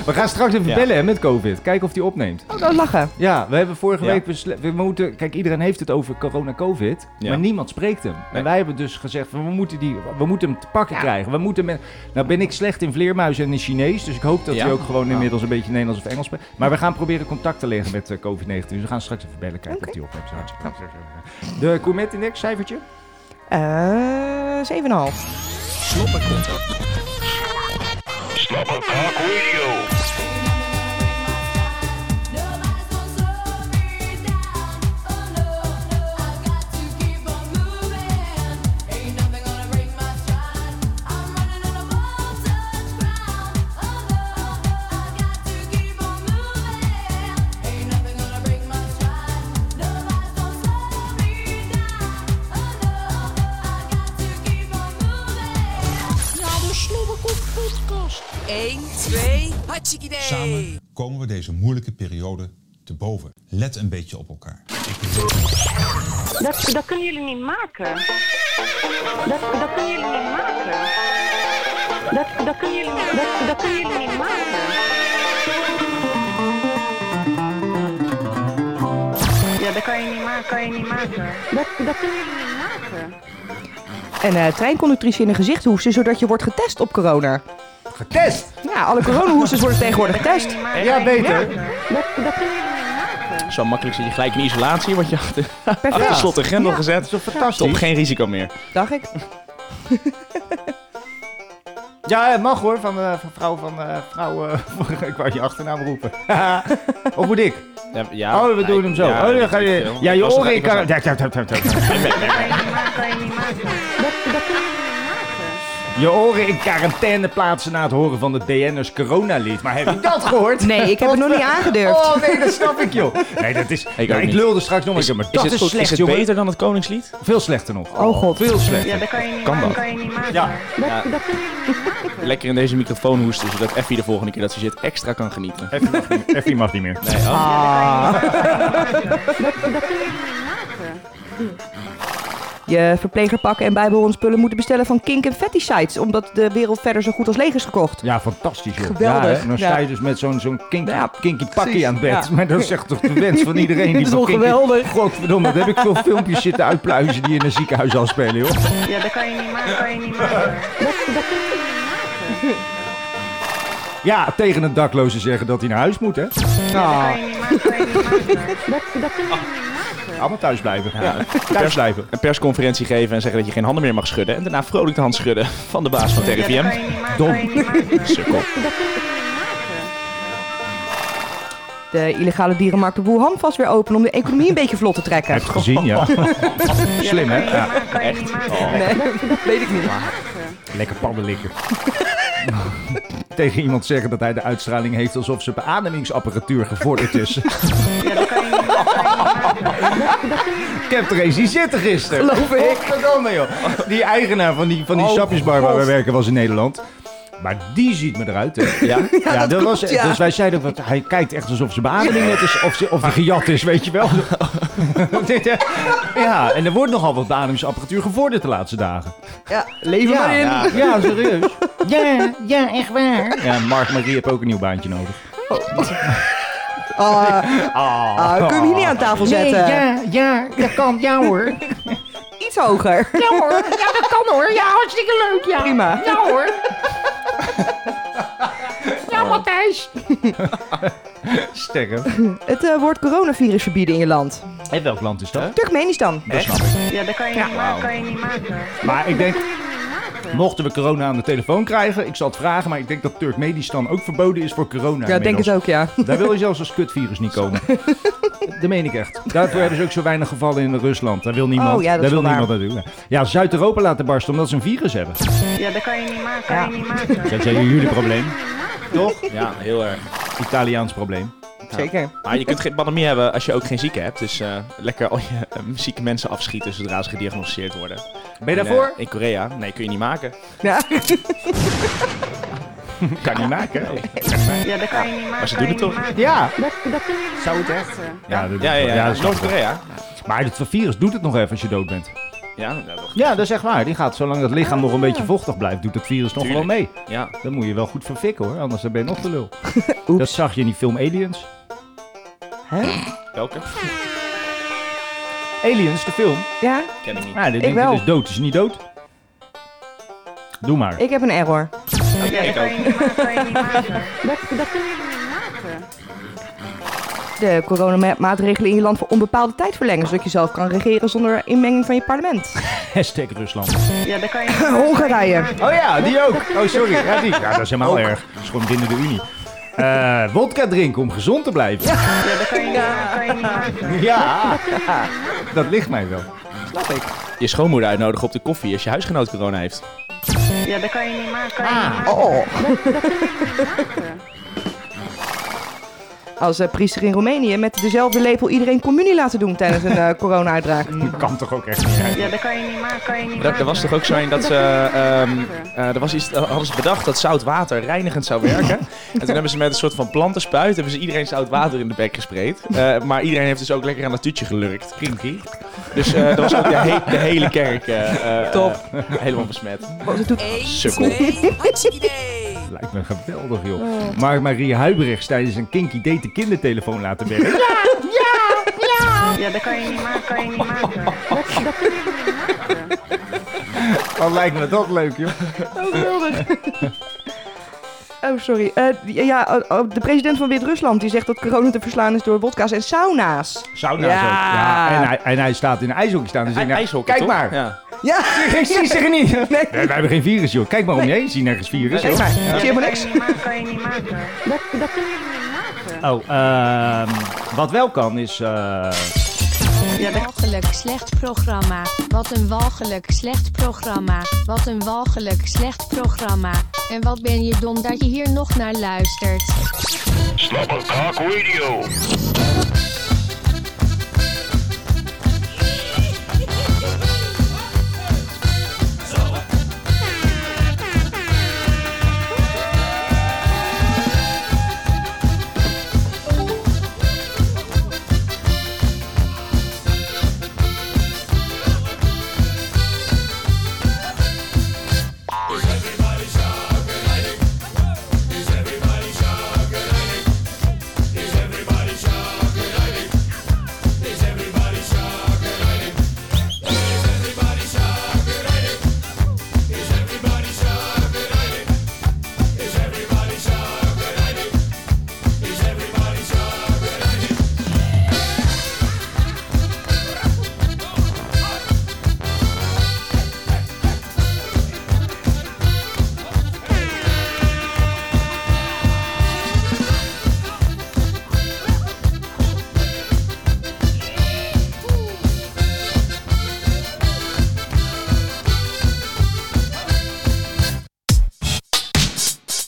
[SPEAKER 1] We gaan straks even
[SPEAKER 2] Ja.
[SPEAKER 1] bellen hè, met covid. Kijken of die opneemt.
[SPEAKER 3] Ook oh, lachen.
[SPEAKER 1] Ja, we hebben vorige
[SPEAKER 2] Ja.
[SPEAKER 1] week besloten. We moeten, kijk, iedereen heeft het over corona-covid.
[SPEAKER 2] Ja.
[SPEAKER 1] Maar niemand spreekt hem. En
[SPEAKER 2] Nee.
[SPEAKER 1] wij hebben dus gezegd: van, we, moeten die, we moeten hem te pakken
[SPEAKER 3] Ja.
[SPEAKER 1] krijgen. We moeten met, nou, ben ik slecht in vleermuizen en in Chinees. Dus ik hoop dat
[SPEAKER 2] Ja.
[SPEAKER 1] hij ook gewoon
[SPEAKER 2] Ja.
[SPEAKER 1] inmiddels een beetje Nederlands of Engels spreekt. Maar we gaan proberen contact te leggen met eh, COVID-19. Dus we gaan straks even bellen kijken
[SPEAKER 3] Oké.
[SPEAKER 1] of die opneemt. eh. De Comet Index, cijfertje?
[SPEAKER 3] Eh 7,5.
[SPEAKER 4] Slobberkok.
[SPEAKER 6] Nobody's gonna slow me down. Oh no, no, I got to keep on moving. Ain't nothing gonna break my stride. I'm running on a false ground. Oh no, I got to keep on moving. Ain't nothing gonna break my stride. Nobody's gonna slow me down. Oh no, I got to keep on moving.
[SPEAKER 5] Ja, de Slobberkok podcast. 1, 2, hartstikke idee.
[SPEAKER 7] Samen komen we deze moeilijke periode te boven. Let een beetje op elkaar.
[SPEAKER 8] Dat, dat kunnen jullie niet maken. Dat, dat kunnen jullie niet maken. Dat, dat, kunnen jullie, dat, dat kunnen jullie niet maken. Ja, dat kan je niet maken, kan je niet maken. Dat, dat kunnen jullie niet maken.
[SPEAKER 3] En eh treinconductrice in een gezicht hoesten, zodat je wordt getest op corona.
[SPEAKER 1] Getest!
[SPEAKER 3] Ja, alle coronahoesters worden tegenwoordig getest.
[SPEAKER 8] Kan je niet maken,
[SPEAKER 1] Ja,
[SPEAKER 8] kan je niet
[SPEAKER 1] beter.
[SPEAKER 8] maken. Dat, dat kunnen jullie niet maken. maken.
[SPEAKER 2] Zo makkelijk zit je gelijk in isolatie, word je achter, achter slot en grendel gezet.
[SPEAKER 1] Zo
[SPEAKER 2] Top,
[SPEAKER 1] fantastisch.
[SPEAKER 2] geen risico meer.
[SPEAKER 3] Dacht ik.
[SPEAKER 1] Ja, het mag hoor, van, eh, van vrouw van... eh, vrouw, eh, ik wou je achternaam roepen. of moet ik?
[SPEAKER 2] Ja,
[SPEAKER 1] oh, we doen hem zo.
[SPEAKER 2] Ja,
[SPEAKER 1] oh,
[SPEAKER 2] weet
[SPEAKER 1] dan ga
[SPEAKER 2] ik
[SPEAKER 1] je...
[SPEAKER 2] veel.
[SPEAKER 1] Ja,
[SPEAKER 2] Ik
[SPEAKER 1] je
[SPEAKER 2] was nog-
[SPEAKER 1] oren in
[SPEAKER 2] ik was
[SPEAKER 1] kan...
[SPEAKER 2] nog-
[SPEAKER 1] Ja, ja, ja, ja, ja.
[SPEAKER 8] Maar kan je niet maken. Dat, dat kun je niet maken.
[SPEAKER 1] Je oren in quarantaine plaatsen na het horen van het BN'ers coronalied. Maar heb je dat gehoord?
[SPEAKER 3] Nee, ik heb het nog niet aangedurfd.
[SPEAKER 1] Oh nee, dat snap ik joh. Nee, dat is... Ik,
[SPEAKER 2] ook
[SPEAKER 1] ik
[SPEAKER 2] niet.
[SPEAKER 1] lulde straks nog een
[SPEAKER 2] Is,
[SPEAKER 1] keer,
[SPEAKER 2] is,
[SPEAKER 1] Oh, maar dat
[SPEAKER 2] het,
[SPEAKER 1] is,
[SPEAKER 2] goed- is
[SPEAKER 1] slecht
[SPEAKER 2] het
[SPEAKER 1] jongen.
[SPEAKER 2] beter dan het Koningslied?
[SPEAKER 1] Veel slechter nog.
[SPEAKER 3] Oh, god.
[SPEAKER 1] Veel slechter.
[SPEAKER 8] Ja, dat kan je niet
[SPEAKER 2] Kan
[SPEAKER 8] maken.
[SPEAKER 2] dat?
[SPEAKER 8] kan je niet maken.
[SPEAKER 1] Ja.
[SPEAKER 8] Dat,
[SPEAKER 2] Ja.
[SPEAKER 8] dat kun je niet maken.
[SPEAKER 2] Lekker in deze microfoon hoesten, zodat Effie de volgende keer dat ze zit extra kan genieten.
[SPEAKER 1] Effie mag niet meer. Effie mag niet meer.
[SPEAKER 8] Dat kun je niet maken.
[SPEAKER 3] Je verplegerpakken en bijbehorende moeten bestellen van kink en fatty sites. Omdat de wereld verder zo goed als leeg is gekocht.
[SPEAKER 1] Ja, fantastisch joh.
[SPEAKER 3] Geweldig.
[SPEAKER 1] Ja, hè? En dan sta je
[SPEAKER 3] Ja.
[SPEAKER 1] dus met zo'n zo'n kinky,
[SPEAKER 3] Ja,
[SPEAKER 1] kinky
[SPEAKER 3] precies.
[SPEAKER 1] pakkie aan het bed.
[SPEAKER 3] Ja.
[SPEAKER 1] Maar dat is echt toch de wens van iedereen.
[SPEAKER 3] Dit
[SPEAKER 1] die
[SPEAKER 3] is
[SPEAKER 1] van
[SPEAKER 3] wel
[SPEAKER 1] kinky-
[SPEAKER 3] geweldig.
[SPEAKER 1] Godverdomme, dat heb ik veel filmpjes zitten uitpluizen die in een ziekenhuis al spelen joh.
[SPEAKER 8] Ja, dat kan je niet maken. kan je niet maken. Dat, dat kun je niet maken.
[SPEAKER 1] Ja, tegen een dakloze zeggen dat hij naar huis moet hè.
[SPEAKER 8] Kan je niet maken. kan je niet maken. Dat, dat kun je niet maken.
[SPEAKER 1] Allemaal thuis blijven. Thuis blijven.
[SPEAKER 2] Een persconferentie geven en zeggen dat je geen handen meer mag schudden. En daarna vrolijk de hand schudden van de baas van het
[SPEAKER 8] Ja, dat
[SPEAKER 2] RIVM.
[SPEAKER 8] kan je niet maken.
[SPEAKER 1] Dom.
[SPEAKER 8] kan je niet maken.
[SPEAKER 2] Sukkel.
[SPEAKER 8] Dat kun je niet maken.
[SPEAKER 3] De illegale dierenmarkt op Wuhan vast weer open om de economie een beetje vlot te trekken.
[SPEAKER 1] Heb je gezien, ja. Slim, hè? Ja.
[SPEAKER 8] Kan je niet maken.
[SPEAKER 3] Nee, dat weet ik niet.
[SPEAKER 1] Lekker pannenlikken. Tegen iemand zeggen dat hij de uitstraling heeft alsof zijn beademingsapparatuur gevorderd is. Ik heb er eens zien zitten gisteren. Geloof ik. Oh, joh. Die eigenaar van die, van die sapjesbar waar we werken was in Nederland. Maar die ziet me eruit. Hè. Ja, dat was,
[SPEAKER 3] ja.
[SPEAKER 1] Dus wij zeiden, wat, hij kijkt echt alsof zijn beademing net is, of, ze, of die gejat is, weet je wel. Dit, hè. ja, en er wordt nogal wat beademingsapparatuur gevorderd de laatste dagen.
[SPEAKER 3] Ja, leven
[SPEAKER 1] Ja,
[SPEAKER 3] maar in.
[SPEAKER 1] ja. ja, serieus. Ja, ja, echt waar. Ja, Mark Marie heeft ook een nieuw baantje nodig.
[SPEAKER 3] Ah, ah, we kunnen hem hier niet aan tafel zetten.
[SPEAKER 1] ja, dat kan. Ja hoor.
[SPEAKER 3] Iets hoger. Ja hoor, ja dat kan hoor. Ja, hartstikke leuk. Ja. Prima. Ja hoor.
[SPEAKER 1] Sterren.
[SPEAKER 3] Het eh, woord coronavirus verbieden in je land.
[SPEAKER 1] En welk land is dat?
[SPEAKER 3] Turkmenistan.
[SPEAKER 8] Ja, dat kan je niet maken. kan je niet maken.
[SPEAKER 1] Maar ik denk, mochten we corona aan de telefoon krijgen, ik zal het vragen, maar ik denk dat Turkmenistan ook verboden is voor corona
[SPEAKER 3] Ja, ik denk het ook, ja.
[SPEAKER 1] Daar wil je zelfs als kutvirus niet komen. dat meen ik echt. Daarvoor hebben ze ook zo weinig gevallen in Rusland. Daar wil niemand,
[SPEAKER 3] Oh, ja, dat
[SPEAKER 1] daar
[SPEAKER 3] is
[SPEAKER 1] wil
[SPEAKER 3] wel waar.
[SPEAKER 1] niemand naartoe. Ja, Zuid-Europa laten barsten omdat ze een virus hebben.
[SPEAKER 8] Ja, dat kan je niet maken. kan je niet maken.
[SPEAKER 1] Dat zijn jullie probleem. Toch?
[SPEAKER 2] Ja, heel erg.
[SPEAKER 1] Italiaans probleem.
[SPEAKER 3] Zeker.
[SPEAKER 2] Maar je kunt geen pandemie hebben als je ook geen zieken hebt. Dus eh, lekker al je eh, zieke mensen afschieten zodra ze gediagnosticeerd worden.
[SPEAKER 1] Ben je
[SPEAKER 2] En, eh,
[SPEAKER 1] daarvoor?
[SPEAKER 2] in Korea? Nee, kun je niet maken.
[SPEAKER 3] Ja.
[SPEAKER 2] Kan niet maken.
[SPEAKER 8] Ja, dat kan je niet maken.
[SPEAKER 2] Maar ze doen het
[SPEAKER 8] kan je
[SPEAKER 2] toch?
[SPEAKER 8] niet maken.
[SPEAKER 1] Ja.
[SPEAKER 8] Dat, dat kun je niet
[SPEAKER 1] Zou het
[SPEAKER 8] maken.
[SPEAKER 1] echt? Ja, dat-
[SPEAKER 2] Ja, ja, ja.
[SPEAKER 1] dat is-
[SPEAKER 2] Noord-Korea.
[SPEAKER 1] Maar het virus doet het nog even als je dood bent.
[SPEAKER 2] Ja, nou, dat-
[SPEAKER 1] Ja, dat is echt waar. Die gaat, zolang het lichaam
[SPEAKER 8] Ah.
[SPEAKER 1] nog een beetje vochtig blijft, doet het virus nog wel
[SPEAKER 2] Tuurlijk.
[SPEAKER 1] mee.
[SPEAKER 2] ja.
[SPEAKER 1] Dan moet je wel goed verfikken hoor, anders dan ben je nog te lul. Dat zag je in die film Aliens.
[SPEAKER 2] Welke?
[SPEAKER 1] Aliens, de film.
[SPEAKER 3] Ja,
[SPEAKER 2] Ken ik niet.
[SPEAKER 1] Nou, dit
[SPEAKER 3] Ik wel.
[SPEAKER 1] is dood, is niet dood. Doe maar.
[SPEAKER 3] ik heb een error.
[SPEAKER 8] Ja, dat
[SPEAKER 2] Ik
[SPEAKER 8] kan je
[SPEAKER 2] ook.
[SPEAKER 8] niet maken. kan je niet maken. Dat, dat kun je niet maken.
[SPEAKER 3] De coronamaatregelen in je land voor onbepaalde tijd verlengen, zodat je zelf kan regeren zonder inmenging van je parlement.
[SPEAKER 1] Hashtag Rusland.
[SPEAKER 8] Ja, dat kan je niet maken.
[SPEAKER 3] Hongarije.
[SPEAKER 1] Oh ja, die ook. Oh sorry, ja, die. Ja, dat is helemaal erg. Dat is gewoon binnen de Unie. Eh wodka drinken om gezond te blijven. Ja.
[SPEAKER 8] Ja, dat kan je niet maken. kan je niet maken.
[SPEAKER 1] dat ligt mij wel.
[SPEAKER 2] Je schoonmoeder uitnodigen op de koffie als je huisgenoot corona heeft.
[SPEAKER 8] Ja, dat kan je niet maken. kan je niet maken.
[SPEAKER 3] Oh. Als eh, priester in Roemenië met dezelfde lepel iedereen communie laten doen tijdens een eh, corona-uitbraak.
[SPEAKER 1] Dat kan toch ook echt niet zijn.
[SPEAKER 8] Ja, dat kan je niet maken. kan je niet
[SPEAKER 2] Er, er
[SPEAKER 8] maken.
[SPEAKER 2] was toch ook zo in dat ze. ehm, eh, er was iets, hadden ze bedacht dat zout water reinigend zou werken. en toen hebben ze met een soort van plantenspuit. hebben ze iedereen zout water in de bek gespreid. Eh, maar iedereen heeft dus ook lekker aan dat tuutje gelurkt. Krinkie. Dus eh dat was ook de, he- de hele kerk. eh, eh,
[SPEAKER 3] Top.
[SPEAKER 2] eh, helemaal besmet.
[SPEAKER 3] Oh,
[SPEAKER 5] 1,
[SPEAKER 2] Sukkel.
[SPEAKER 5] 2, actie-idee.
[SPEAKER 1] Lijkt me geweldig, joh.
[SPEAKER 3] Oh.
[SPEAKER 1] Maar Marie Huibrechts tijdens een kinky date de kindertelefoon laten werken.
[SPEAKER 8] Ja, dat kan je niet maken. kan je niet maken. Dat, dat kun je niet maken.
[SPEAKER 1] Wat lijkt me dat leuk, joh.
[SPEAKER 3] Oh, sorry. Eh, die- ja, oh, oh, de president van Wit-Rusland die zegt dat corona te verslaan is door wodka's en sauna's.
[SPEAKER 1] Sauna
[SPEAKER 3] Ja.
[SPEAKER 1] Nou, zo.
[SPEAKER 3] Ah.
[SPEAKER 1] Ja, en, hij, en hij staat in een ijshockey staan. Dus ik denk, nou,
[SPEAKER 2] IJshockey,
[SPEAKER 1] kijk
[SPEAKER 2] toch?
[SPEAKER 1] maar.
[SPEAKER 2] Ja.
[SPEAKER 3] Ja,
[SPEAKER 1] Geen zie zeggen niet. Nee. wij hebben geen virus, joh. Kijk maar om je heen. Zie nergens virus.
[SPEAKER 3] kijk maar. Zie helemaal
[SPEAKER 8] Dat kan
[SPEAKER 3] niks.
[SPEAKER 8] je niet maken, kan je niet maken. Dat, dat kun je niet maken.
[SPEAKER 1] Oh, ehm, wat wel kan is... eh,
[SPEAKER 9] walgelijk slecht programma. Wat een walgelijk slecht programma. Wat een walgelijk slecht programma. En wat ben je dom dat je hier nog naar luistert.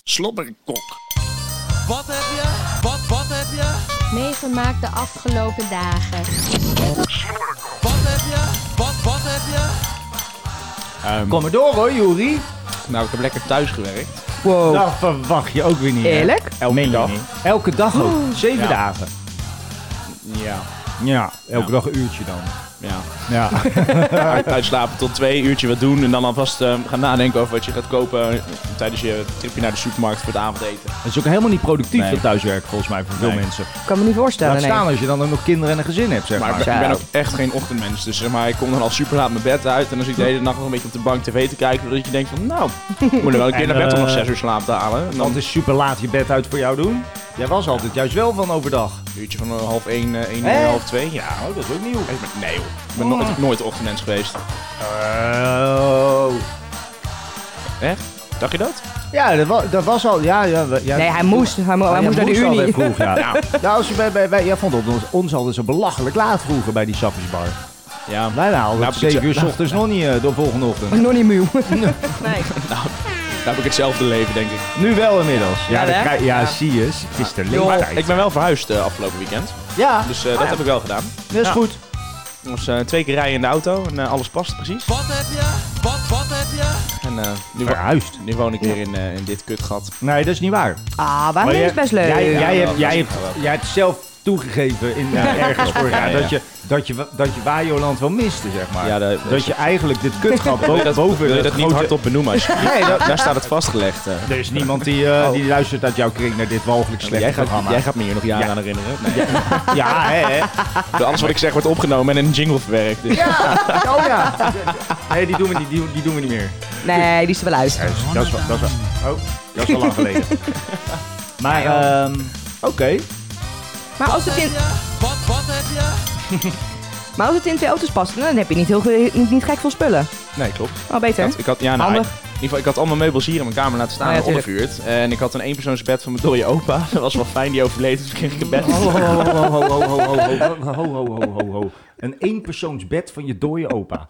[SPEAKER 4] Slobberkok.
[SPEAKER 10] Wat heb je? Wat, wat heb je?
[SPEAKER 9] Meegemaakt de afgelopen dagen.
[SPEAKER 10] Wat heb je? Wat, wat heb je?
[SPEAKER 1] kom maar door hoor, Juri.
[SPEAKER 2] Nou, ik heb lekker thuis gewerkt.
[SPEAKER 1] eh,
[SPEAKER 3] Wow.
[SPEAKER 1] Dat verwacht je ook weer niet. hè?
[SPEAKER 3] Eerlijk?
[SPEAKER 1] Elke dag. Elke dag ook. Zeven
[SPEAKER 2] Ja.
[SPEAKER 1] dagen.
[SPEAKER 2] Ja.
[SPEAKER 1] Ja, elke
[SPEAKER 2] Ja.
[SPEAKER 1] dag een uurtje dan.
[SPEAKER 2] Ja.
[SPEAKER 1] Ja.
[SPEAKER 2] Uit- Uitslapen tot twee uurtje wat doen en dan alvast eh, gaan nadenken over wat je gaat kopen eh, tijdens je tripje naar de supermarkt voor het avondeten.
[SPEAKER 1] Dat is ook helemaal niet productief,
[SPEAKER 2] Nee.
[SPEAKER 1] dat thuiswerken, volgens mij, voor veel
[SPEAKER 2] Nee.
[SPEAKER 1] mensen.
[SPEAKER 3] kan me niet voorstellen.
[SPEAKER 1] Laat
[SPEAKER 3] nee.
[SPEAKER 1] staan als je dan ook nog kinderen en een gezin hebt, zeg
[SPEAKER 2] Maar
[SPEAKER 1] maar.
[SPEAKER 2] ik ben, ik ben ook echt geen ochtendmens, dus zeg maar, ik kom dan al super laat mijn bed uit en dan zit ik de hele nacht nog een beetje op de bank tv te kijken, zodat je denkt van nou, ik moet er wel een keer
[SPEAKER 1] En,
[SPEAKER 2] naar bed om nog
[SPEAKER 1] eh,
[SPEAKER 2] zes uur slaap te halen. En dan
[SPEAKER 1] Want
[SPEAKER 2] een
[SPEAKER 1] het is super laat je bed uit voor jou doen. Jij was altijd juist wel van overdag.
[SPEAKER 2] uurtje van eh, half één, eh, één uur,
[SPEAKER 1] Hè?
[SPEAKER 2] half twee. Ja.
[SPEAKER 1] Nou, dat is ook nieuw.
[SPEAKER 2] Ik ben- Nee joh, ik ben nooit, nooit ochtendmens geweest.
[SPEAKER 1] Oh.
[SPEAKER 2] Echt? Dacht je dat?
[SPEAKER 1] Ja, dat, wa- dat was al. Ja, ja, we- ja,
[SPEAKER 3] Nee, hij moest. Hij, mo-
[SPEAKER 1] Oh,
[SPEAKER 3] hij
[SPEAKER 1] jij
[SPEAKER 3] moest naar de
[SPEAKER 1] moest
[SPEAKER 3] Unie.
[SPEAKER 1] altijd vroeg, ja.
[SPEAKER 2] Ja.
[SPEAKER 1] Nou, als je bij, bij, bij, jij vond ons, ons altijd zo belachelijk laat vroeger bij die sappersbar.
[SPEAKER 2] Ja.
[SPEAKER 1] Wij waren altijd
[SPEAKER 2] Nou,
[SPEAKER 1] 7 uur
[SPEAKER 2] precies.
[SPEAKER 1] s ochtends nog niet eh, de volgende ochtend.
[SPEAKER 3] Nog niet muw.
[SPEAKER 2] Daar heb ik hetzelfde leven denk ik.
[SPEAKER 1] Nu wel inmiddels. Ja,
[SPEAKER 3] Ja,
[SPEAKER 1] dat
[SPEAKER 3] hè?
[SPEAKER 1] krijg- ja,
[SPEAKER 3] Ja.
[SPEAKER 1] zie je. Het is de
[SPEAKER 2] Maar
[SPEAKER 1] leeftijd.
[SPEAKER 2] Ah, ik ben wel verhuisd eh, afgelopen weekend,
[SPEAKER 1] Ah, Ja,
[SPEAKER 2] dus eh, dat heb ik wel gedaan.
[SPEAKER 1] dat is
[SPEAKER 2] Ja.
[SPEAKER 1] goed.
[SPEAKER 2] Dus eh, twee keer rijden in de auto en eh, alles past precies.
[SPEAKER 10] Wat heb je? Wat, wat heb je?
[SPEAKER 2] En eh, nu, wo-
[SPEAKER 1] Verhuisd.
[SPEAKER 2] nu woon ik weer in, eh, in dit kutgat.
[SPEAKER 1] Nee, dat is niet waar.
[SPEAKER 3] Ah,
[SPEAKER 1] Maar
[SPEAKER 3] waarom
[SPEAKER 1] jij-
[SPEAKER 3] is best leuk?
[SPEAKER 1] Jij, jij,
[SPEAKER 2] Ja,
[SPEAKER 1] hebt,
[SPEAKER 2] wel,
[SPEAKER 1] jij,
[SPEAKER 2] dat
[SPEAKER 1] hebt,
[SPEAKER 2] is wel.
[SPEAKER 1] jij hebt zelf toegegeven in, eh, ergens vorig jaar
[SPEAKER 2] Ja, ja.
[SPEAKER 1] dat je, dat je, dat je Wajoland wel miste, zeg maar.
[SPEAKER 2] Ja, dat-
[SPEAKER 1] dat,
[SPEAKER 2] dat is-
[SPEAKER 1] je eigenlijk dit kutgat bo-
[SPEAKER 2] Wil je dat,
[SPEAKER 1] boven
[SPEAKER 2] wil je
[SPEAKER 1] het
[SPEAKER 2] dat niet
[SPEAKER 1] grote-
[SPEAKER 2] hardop benoemen? alsjeblieft?
[SPEAKER 1] Nee, dat-
[SPEAKER 2] Daar staat het vastgelegd. eh.
[SPEAKER 1] Er is niemand die, eh, die luistert uit jouw kring naar dit walgelijk slechte
[SPEAKER 2] Oh. Jij gaat,
[SPEAKER 1] programma.
[SPEAKER 2] jij gaat me hier nog jaren
[SPEAKER 1] Ja.
[SPEAKER 2] aan herinneren. Nee.
[SPEAKER 1] Ja, hè, hè?
[SPEAKER 2] Alles wat ik zeg wordt opgenomen en in een jingle verwerkt. Dus.
[SPEAKER 1] Oh ja. Nee, die doen we niet, die, die doen we niet meer.
[SPEAKER 3] Nee, die is er wel uit.
[SPEAKER 1] Dat is, dat is, wel- dat is, wel- oh, dat is al lang geleden. Maar, ehm, oké.
[SPEAKER 3] Maar als, het in,
[SPEAKER 10] Wat, wat heb je?
[SPEAKER 3] maar als het in twee auto's past, dan heb je niet, heel, ge- niet, niet gek veel spullen.
[SPEAKER 2] Nee, klopt.
[SPEAKER 3] Oh, beter.
[SPEAKER 2] Ik had, ja, nou, in
[SPEAKER 3] Handig.
[SPEAKER 2] ieder geval, ik had al mijn meubels hier in mijn kamer laten staan
[SPEAKER 3] Ah, ja,
[SPEAKER 2] en opgevuurd. En ik had een eenpersoonsbed van mijn dode opa. Dat was wel fijn, die overleed. Dus kreeg ik een bed.
[SPEAKER 3] Oh.
[SPEAKER 1] Ho, ho, ho, ho, ho, ho, ho, ho, ho, ho, ho, ho, ho. Een eenpersoonsbed van je dode opa.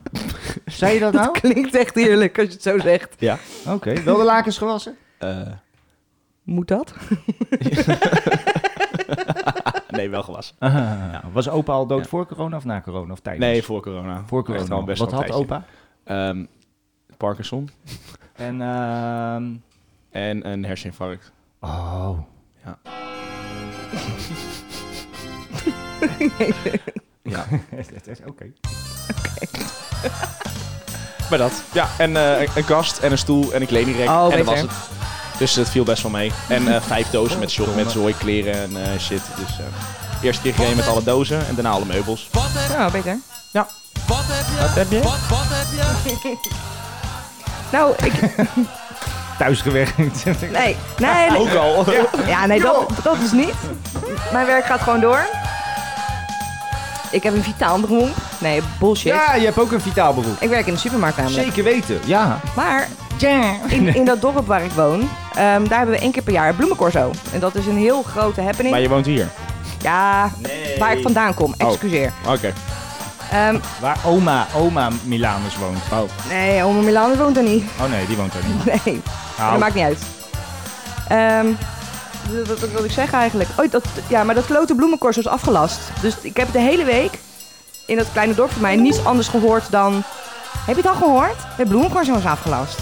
[SPEAKER 1] Zei je dat nou?
[SPEAKER 3] Klinkt echt eerlijk als je het zo zegt.
[SPEAKER 2] Ja.
[SPEAKER 1] Oké, wel de lakens gewassen?
[SPEAKER 2] Eh,
[SPEAKER 3] Moet dat?
[SPEAKER 2] nee, wel gewassen.
[SPEAKER 1] Ja, was opa al dood voor corona of na corona of tijdens?
[SPEAKER 2] Nee, dus. voor corona.
[SPEAKER 1] voor
[SPEAKER 2] Echt
[SPEAKER 1] corona.
[SPEAKER 2] al best
[SPEAKER 1] Wat
[SPEAKER 2] wel
[SPEAKER 1] had
[SPEAKER 2] een tijdje.
[SPEAKER 1] opa?
[SPEAKER 2] Ehm, Parkinson
[SPEAKER 1] En, ehm
[SPEAKER 2] en een herseninfarct.
[SPEAKER 1] Oh.
[SPEAKER 2] Ja.
[SPEAKER 1] Dat is- Oké.
[SPEAKER 2] Maar dat. Ja, en eh, een- een kast en een stoel en een kledingrek.
[SPEAKER 3] Oh,
[SPEAKER 2] en
[SPEAKER 3] beter.
[SPEAKER 2] dat was het. Dus dat viel best wel mee. En eh, vijf dozen met shop, met zooi, kleren en eh, shit. Dus eh eerste keer gereden met alle dozen en daarna alle meubels.
[SPEAKER 10] Wat heb
[SPEAKER 3] Nou, beter.
[SPEAKER 10] Wat heb je?
[SPEAKER 2] Wat heb je?
[SPEAKER 10] Wat, wat heb je?
[SPEAKER 3] Nou, ik,
[SPEAKER 1] thuis gewerkt.
[SPEAKER 3] Nee, nee. nee.
[SPEAKER 1] Ook al.
[SPEAKER 3] Ja, ja, nee, dat, dat is niet. Mijn werk gaat gewoon door. Ik heb een vitaal beroep. Nee, bullshit.
[SPEAKER 1] Ja, je hebt ook een vitaal beroep.
[SPEAKER 3] Ik werk in de supermarkt namelijk.
[SPEAKER 1] Zeker weten, ja.
[SPEAKER 3] Maar in, in dat dorp waar ik woon, ehm, daar hebben we één keer per jaar een bloemencorso. En dat is een heel grote happening.
[SPEAKER 2] Maar je woont hier?
[SPEAKER 3] Ja, waar ik vandaan kom.
[SPEAKER 2] Oh,
[SPEAKER 3] Excuseer.
[SPEAKER 2] Oké.
[SPEAKER 3] Ehm,
[SPEAKER 1] Waar oma, oma Milanus woont. Oh.
[SPEAKER 3] nee, oma Milan woont er niet.
[SPEAKER 1] oh nee, die woont er niet.
[SPEAKER 3] Nee,
[SPEAKER 1] Nou.
[SPEAKER 3] dat maakt niet uit. Ehm, wat- wat, wat wil ik zeggen eigenlijk? Oh, dat, ja, maar dat klote bloemenkorst was afgelast. Dus ik heb de hele week in dat kleine dorp van mij niets anders gehoord dan... Heb je het al gehoord? De bloemenkorst was afgelast.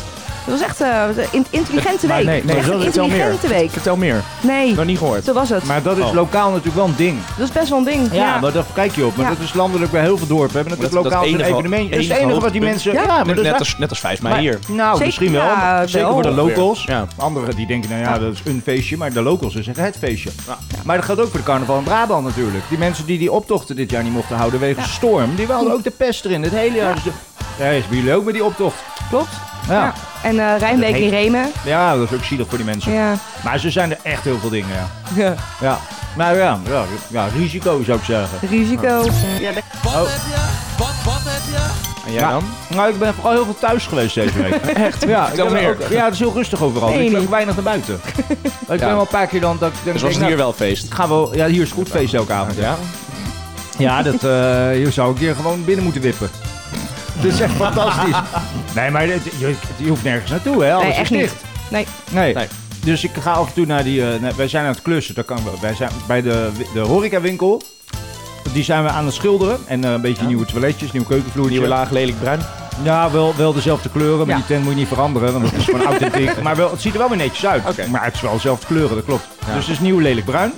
[SPEAKER 3] Dat was echt eh, een intelligente
[SPEAKER 1] Maar
[SPEAKER 3] week.
[SPEAKER 1] nee, nee,
[SPEAKER 3] echt een
[SPEAKER 1] dat- vertel meer.
[SPEAKER 3] intelligente week.
[SPEAKER 2] Vertel meer.
[SPEAKER 3] Nee,
[SPEAKER 2] Nog niet gehoord.
[SPEAKER 3] zo was het.
[SPEAKER 1] Maar dat is
[SPEAKER 2] Oh.
[SPEAKER 1] lokaal natuurlijk wel een ding.
[SPEAKER 3] Dat is best wel een ding.
[SPEAKER 1] Ja, maar daar kijk je op. Maar
[SPEAKER 3] Ja.
[SPEAKER 1] dat is landelijk bij heel veel dorpen. Hebben
[SPEAKER 2] Dat-
[SPEAKER 1] natuurlijk lokaal
[SPEAKER 2] dat
[SPEAKER 1] een
[SPEAKER 2] enige-
[SPEAKER 1] evenement. Dat is het
[SPEAKER 2] enige
[SPEAKER 1] enige wat die mensen...
[SPEAKER 2] hoogtepunt.
[SPEAKER 1] Ja, maar dat is
[SPEAKER 2] net,
[SPEAKER 1] waar.
[SPEAKER 2] als, net als vijf mei
[SPEAKER 1] Maar-
[SPEAKER 2] hier.
[SPEAKER 1] Nou,
[SPEAKER 3] Zeker-
[SPEAKER 1] misschien wel.
[SPEAKER 3] ja,
[SPEAKER 1] maar Zeker
[SPEAKER 3] wel.
[SPEAKER 1] voor de locals.
[SPEAKER 2] Ja.
[SPEAKER 1] Anderen die denken, nou ja, dat is een feestje. Maar de locals is het, het feestje. Maar dat geldt ook voor de carnaval in Brabant natuurlijk. Die mensen die die optochten dit jaar niet mochten houden wegens storm. Die wilden ook de pest erin. Het hele jaar. Dus de- Ja, is bij jullie ook met die optocht.
[SPEAKER 3] Klopt.
[SPEAKER 1] Ja.
[SPEAKER 3] Ja.
[SPEAKER 1] ja.
[SPEAKER 3] En eh, Rijnbeek
[SPEAKER 1] Dat
[SPEAKER 3] in
[SPEAKER 1] heet-
[SPEAKER 3] Remen.
[SPEAKER 1] dat is ook zielig voor die mensen.
[SPEAKER 3] Ja.
[SPEAKER 1] Maar ze zijn er echt heel veel dingen, ja.
[SPEAKER 3] Ja.
[SPEAKER 1] Ja. Nou ja, ja, ja, risico zou ik zeggen. Oh,
[SPEAKER 3] Risico.
[SPEAKER 8] Ja, dat
[SPEAKER 10] Wat heb je? Wat, wat heb je?
[SPEAKER 2] En jij
[SPEAKER 1] Ja.
[SPEAKER 2] dan?
[SPEAKER 1] Nou, ik ben vooral heel veel thuis geweest deze week. Echt? Ja, ik
[SPEAKER 2] Vertel
[SPEAKER 1] ben
[SPEAKER 2] meer.
[SPEAKER 1] ook- ja, het is heel rustig overal.
[SPEAKER 3] Nee,
[SPEAKER 1] ik ben
[SPEAKER 3] niet.
[SPEAKER 1] ook weinig naar buiten. ik ben wel een paar keer dan... Dat, ik denk,
[SPEAKER 2] Dus was het
[SPEAKER 1] nou,
[SPEAKER 2] hier wel feest?
[SPEAKER 1] Gaan we, ja, hier is goed feest elke avond. Ja,
[SPEAKER 2] Ja?
[SPEAKER 1] ja dat, eh, hier zou ik hier gewoon binnen moeten wippen. Het is echt fantastisch. Nee, maar dit- je, je hoeft nergens naartoe, hè? Alles
[SPEAKER 3] Nee,
[SPEAKER 1] is
[SPEAKER 3] echt
[SPEAKER 1] dicht.
[SPEAKER 3] niet. Nee.
[SPEAKER 1] Nee.
[SPEAKER 2] Nee.
[SPEAKER 1] Dus ik ga af en toe naar die... eh, nee, wij zijn aan het klussen. Dat kan, wel. wij zijn bij de, wi- de horecawinkel. Die zijn we aan het schilderen. En eh, een beetje nieuwe toiletjes, nieuw keukenvloertje.
[SPEAKER 2] Nieuwe laag, lelijk bruin.
[SPEAKER 1] Ja, wel, wel dezelfde kleuren, maar
[SPEAKER 3] Ja.
[SPEAKER 1] die tent moet je niet veranderen, want dat is gewoon authentiek. Maar wel, het ziet er wel weer netjes uit.
[SPEAKER 2] Oké.
[SPEAKER 1] Maar het is wel dezelfde kleuren, dat klopt. Dus het is nieuw lelijk bruin.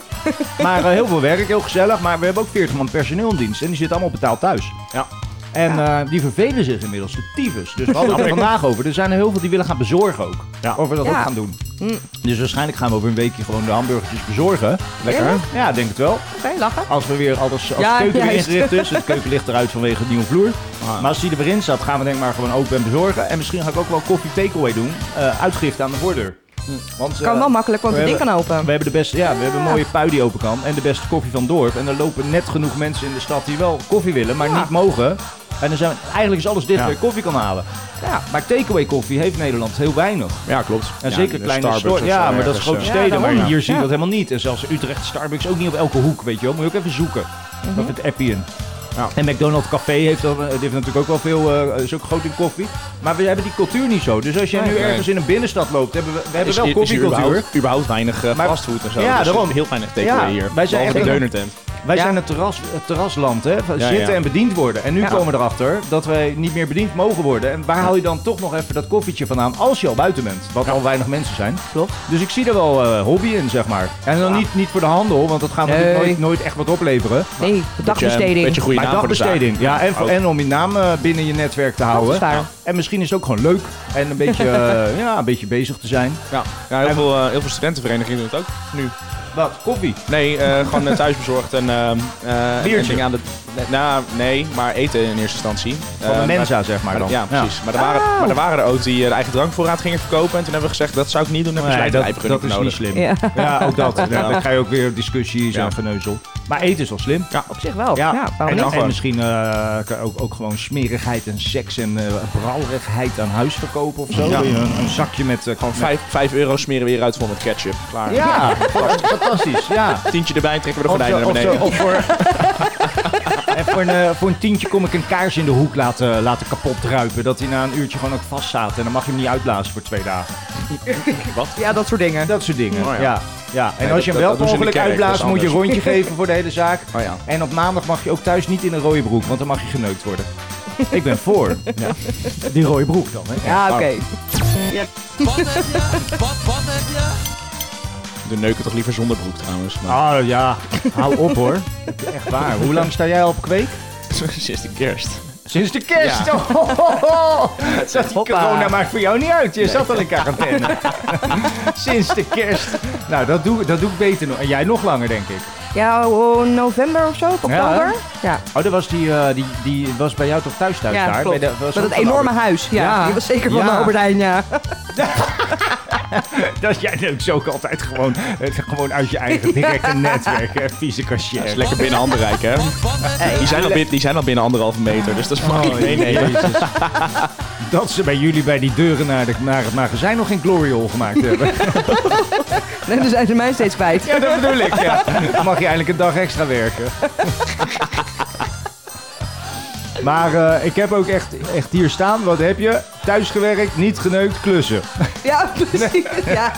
[SPEAKER 1] maar eh, heel veel werk, heel gezellig. Maar we hebben ook 40 man personeel in dienst en die zitten allemaal betaald thuis.
[SPEAKER 2] Ja.
[SPEAKER 1] En eh, die vervelen zich inmiddels, de tyfus. Dus we hadden het er vandaag over. Er zijn er heel veel die willen gaan bezorgen ook. Of we dat
[SPEAKER 3] Ja.
[SPEAKER 1] ook gaan doen.
[SPEAKER 3] Mm.
[SPEAKER 1] Dus waarschijnlijk gaan we over een weekje gewoon de hamburgertjes bezorgen.
[SPEAKER 3] Lekker. Ja?
[SPEAKER 1] Ja, denk het wel.
[SPEAKER 3] Oké, lachen.
[SPEAKER 1] Als we weer alles als
[SPEAKER 3] Ja,
[SPEAKER 1] de keuken weer
[SPEAKER 3] juist.
[SPEAKER 1] ingericht is. De keuken ligt eruit vanwege het nieuwe vloer. Maar als die er weer in staat, gaan we denk ik maar gewoon open en bezorgen. En misschien ga ik ook wel koffie takeaway doen. eh uitgericht aan de voordeur. Want, eh,
[SPEAKER 3] Hm. Kan wel makkelijk, want
[SPEAKER 1] we
[SPEAKER 3] het ding kan open.
[SPEAKER 1] Eh, we hebben de beste, ja, we hebben een mooie pui die open kan en de beste koffie van het dorp. En er lopen net genoeg mensen in de stad die wel koffie willen, maar niet mogen. En dan zijn we- eigenlijk is alles dicht
[SPEAKER 2] Ja.
[SPEAKER 1] waar je koffie kan halen. Ja, maar takeaway koffie heeft Nederland heel weinig.
[SPEAKER 2] Ja, klopt.
[SPEAKER 1] En
[SPEAKER 2] Ja,
[SPEAKER 1] zeker
[SPEAKER 2] de
[SPEAKER 1] kleine
[SPEAKER 2] Starbucks
[SPEAKER 1] stores.
[SPEAKER 2] of
[SPEAKER 1] Ja,
[SPEAKER 2] zo
[SPEAKER 1] maar dat is
[SPEAKER 2] ergens,
[SPEAKER 1] grote
[SPEAKER 2] eh.
[SPEAKER 1] steden.
[SPEAKER 3] daarom.
[SPEAKER 1] maar hier zie je
[SPEAKER 3] Ja.
[SPEAKER 1] dat helemaal niet. En zelfs Utrecht Starbucks ook niet op elke hoek, weet je wel. Moet je ook even zoeken. Of het Appian.
[SPEAKER 2] Mhm. Ja.
[SPEAKER 1] En McDonald's Café heeft, dan, eh, die heeft natuurlijk ook wel veel, eh is ook groot in koffie. Maar we hebben die cultuur niet zo. Dus als je nu
[SPEAKER 2] nee.
[SPEAKER 1] ergens in een binnenstad loopt, hebben we, we hebben
[SPEAKER 2] Is-
[SPEAKER 1] wel
[SPEAKER 2] is hier
[SPEAKER 1] koffiecultuur.
[SPEAKER 2] überhaupt, überhaupt weinig eh,
[SPEAKER 1] Maar-
[SPEAKER 2] fastfood en zo.
[SPEAKER 1] Ja,
[SPEAKER 2] Dus
[SPEAKER 1] daarom.
[SPEAKER 2] Heel weinig takeaway
[SPEAKER 1] Ja,
[SPEAKER 2] hier.
[SPEAKER 1] wij zijn
[SPEAKER 2] Behalve
[SPEAKER 1] echt-
[SPEAKER 2] de deunertent.
[SPEAKER 1] Wij
[SPEAKER 3] Ja.
[SPEAKER 1] zijn het, terras, het terrasland, hè? Van
[SPEAKER 2] Ja,
[SPEAKER 1] zitten
[SPEAKER 2] ja.
[SPEAKER 1] en bediend worden. En nu
[SPEAKER 3] Ja.
[SPEAKER 1] komen we erachter dat wij niet meer bediend mogen worden. En waar haal je dan toch nog even dat koffietje vandaan als je al buiten bent? Wat al weinig mensen zijn.
[SPEAKER 3] Klopt.
[SPEAKER 1] Dus ik zie er wel eh, hobby in, zeg maar. En dan niet, niet voor de handel, want dat gaat
[SPEAKER 3] Nee.
[SPEAKER 1] natuurlijk nooit, nooit echt wat opleveren.
[SPEAKER 3] Nee,
[SPEAKER 2] Beetje,
[SPEAKER 3] dagbesteding.
[SPEAKER 2] beetje goede
[SPEAKER 1] maar
[SPEAKER 2] naam voor de zaak.
[SPEAKER 1] dagbesteding. Ja, en, voor-
[SPEAKER 2] Ook.
[SPEAKER 1] en om je naam eh, binnen je netwerk te
[SPEAKER 3] dat is
[SPEAKER 1] houden.
[SPEAKER 3] waar.
[SPEAKER 1] En misschien is het ook gewoon leuk en een beetje, eh, ja, een beetje bezig te zijn.
[SPEAKER 2] Ja, ja heel,
[SPEAKER 1] En-
[SPEAKER 2] veel, eh, heel veel studentenverenigingen doen het ook nu.
[SPEAKER 1] Wat? Koffie?
[SPEAKER 2] Nee, eh, gewoon eh, thuisbezorgd en, ehm eh,
[SPEAKER 1] Biertje.
[SPEAKER 2] en dingen aan de... Nou, nee, maar eten in eerste instantie.
[SPEAKER 1] Van
[SPEAKER 2] Eh,
[SPEAKER 1] de
[SPEAKER 2] maar-
[SPEAKER 1] Mensa, zeg maar dan. Oh.
[SPEAKER 2] Ja, precies. Maar, er waren, maar er waren er ook die eh, de eigen drankvoorraad gingen verkopen. En toen hebben we gezegd, dat zou ik niet doen. Dan hebben
[SPEAKER 1] Nee,
[SPEAKER 2] we
[SPEAKER 1] dat,
[SPEAKER 2] slijtrijper
[SPEAKER 1] dat is
[SPEAKER 2] nodig.
[SPEAKER 1] niet slim.
[SPEAKER 3] Ja.
[SPEAKER 1] Ja, ook dat. Ja, dan ga je ook weer discussies
[SPEAKER 2] Ja.
[SPEAKER 1] en geneuzel. Maar eten is wel slim.
[SPEAKER 2] Ja.
[SPEAKER 3] Op zich wel. Ja,
[SPEAKER 1] en,
[SPEAKER 3] waarom
[SPEAKER 1] dan-
[SPEAKER 3] niet?
[SPEAKER 1] en misschien eh, kan ook, ook gewoon smerigheid en seks en eh brouwerigheid aan huis verkopen of zo.
[SPEAKER 2] Ja.
[SPEAKER 1] Wil je Een, een zakje met... eh,
[SPEAKER 2] Gewoon
[SPEAKER 1] met-
[SPEAKER 2] vijf, vijf euro smeren we hieruit vol met ketchup. Klaar.
[SPEAKER 1] Ja, fantastisch. Ja.
[SPEAKER 2] Tientje erbij, trekken we de
[SPEAKER 1] Of, zo-
[SPEAKER 2] gordijnen naar
[SPEAKER 1] of, zo-
[SPEAKER 2] beneden.
[SPEAKER 1] of voor, en voor, een, eh, voor een tientje kom ik een kaars in de hoek laten, laten kapot druipen. Dat hij na een uurtje gewoon ook vast staat. En dan mag je hem niet uitblazen voor twee dagen.
[SPEAKER 3] Ja, dat soort dingen.
[SPEAKER 1] Dat soort dingen.
[SPEAKER 2] Oh
[SPEAKER 1] ja.
[SPEAKER 2] ja.
[SPEAKER 1] Ja. En
[SPEAKER 2] Nee,
[SPEAKER 1] als je
[SPEAKER 2] dat-
[SPEAKER 1] hem wel
[SPEAKER 2] dat doen ze in de
[SPEAKER 1] mogelijk
[SPEAKER 2] kerk, dat
[SPEAKER 1] uitblaast,
[SPEAKER 2] is
[SPEAKER 1] moet je een
[SPEAKER 2] anders.
[SPEAKER 1] rondje geven voor de hele zaak.
[SPEAKER 2] Oh ja.
[SPEAKER 1] En op maandag mag je ook thuis niet in een rode broek, want dan mag je geneukt worden. Ik ben voor. Die rode broek dan, hè?
[SPEAKER 3] Ja, oké.
[SPEAKER 10] Wat heb je? Wat, wat heb je?
[SPEAKER 2] De neuken toch liever zonder broek trouwens. Maar
[SPEAKER 1] Ah ja, hou op hoor. Echt waar. Hoe lang sta jij al op kweek?
[SPEAKER 2] sinds de kerst.
[SPEAKER 1] Sinds de kerst.
[SPEAKER 2] Ja.
[SPEAKER 1] Oh, ho, ho, ho. Dat
[SPEAKER 3] Hoppa.
[SPEAKER 1] corona maakt voor jou niet uit. Je zat al in quarantaine. Sinds de kerst. Nou, dat doe, dat doe ik beter nog. En jij nog langer, denk ik.
[SPEAKER 3] Ja, oh, november of zo, of
[SPEAKER 1] Ja, hè?
[SPEAKER 3] oktober. Ja,
[SPEAKER 1] Oh, dat was, die, eh, die, die was bij jou toch thuis thuis
[SPEAKER 3] Ja,
[SPEAKER 1] daar?
[SPEAKER 3] klopt.
[SPEAKER 1] Bij de- was
[SPEAKER 3] Met
[SPEAKER 1] ook
[SPEAKER 3] het
[SPEAKER 1] van
[SPEAKER 3] enorme
[SPEAKER 1] Albert-
[SPEAKER 3] huis. Ja, die was zeker van de Albert Heijn, ja.
[SPEAKER 1] dat jij ook zo ook altijd gewoon, eh, gewoon uit je eigen directe
[SPEAKER 2] Ja.
[SPEAKER 1] netwerk, eh, vieze cashier.
[SPEAKER 2] Dat is lekker binnen handbereik, hè? Die zijn, al binnen, die zijn al binnen anderhalve meter, dus dat is
[SPEAKER 1] Oh,
[SPEAKER 2] mag ik meenemen.
[SPEAKER 1] Jezus. Dat ze bij jullie bij die deuren naar, de, naar het magazijn nog geen glory hole gemaakt hebben.
[SPEAKER 3] Nee, dan zijn ze mij steeds kwijt.
[SPEAKER 1] Ja, dat bedoel ik, ja. Dan mag je eigenlijk een dag extra werken. Maar eh, ik heb ook echt, echt hier staan, wat heb je? Thuis gewerkt, niet geneukt, klussen.
[SPEAKER 3] Ja, precies. Ja.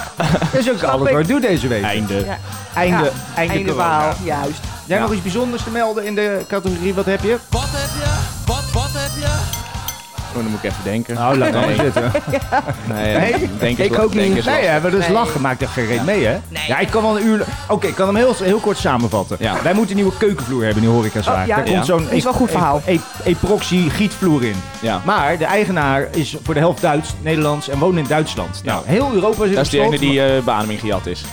[SPEAKER 1] Dat is ook alles
[SPEAKER 3] ik.
[SPEAKER 1] wat ik doe deze week. Einde.
[SPEAKER 3] Ja.
[SPEAKER 1] Einde,
[SPEAKER 3] Ja,
[SPEAKER 1] einde,
[SPEAKER 3] einde
[SPEAKER 1] corona.
[SPEAKER 3] verhaal, juist.
[SPEAKER 1] Jij nog iets bijzonders te melden in de categorie, wat heb je?
[SPEAKER 10] Wat heb je? Wat, wat heb je?
[SPEAKER 2] Oh, dan moet ik even denken.
[SPEAKER 1] Nou, laat maar zitten.
[SPEAKER 2] Nee, denk eens
[SPEAKER 1] ik
[SPEAKER 2] la-
[SPEAKER 1] ook
[SPEAKER 2] denk
[SPEAKER 1] niet.
[SPEAKER 2] eens
[SPEAKER 1] Nee,
[SPEAKER 2] lastig.
[SPEAKER 1] hè, maar dus
[SPEAKER 2] Nee.
[SPEAKER 1] lachen maakt er geen reet mee, hè? Ja, ik kan wel een uur... lang- Oké, ik kan hem heel, heel kort samenvatten. Wij moeten een nieuwe keukenvloer hebben, die horecazaak.
[SPEAKER 2] Oh, ja.
[SPEAKER 1] Daar
[SPEAKER 2] Ja.
[SPEAKER 1] komt zo'n...
[SPEAKER 2] Die is wel een goed verhaal.
[SPEAKER 1] e- e- epoxy gietvloer in. Maar de eigenaar is voor de helft Duits, Nederlands en woont in Duitsland. Nou, heel Europa zit op
[SPEAKER 2] Dat is die
[SPEAKER 1] slot,
[SPEAKER 2] ene die eh beademing gejat
[SPEAKER 1] Ah,
[SPEAKER 2] is.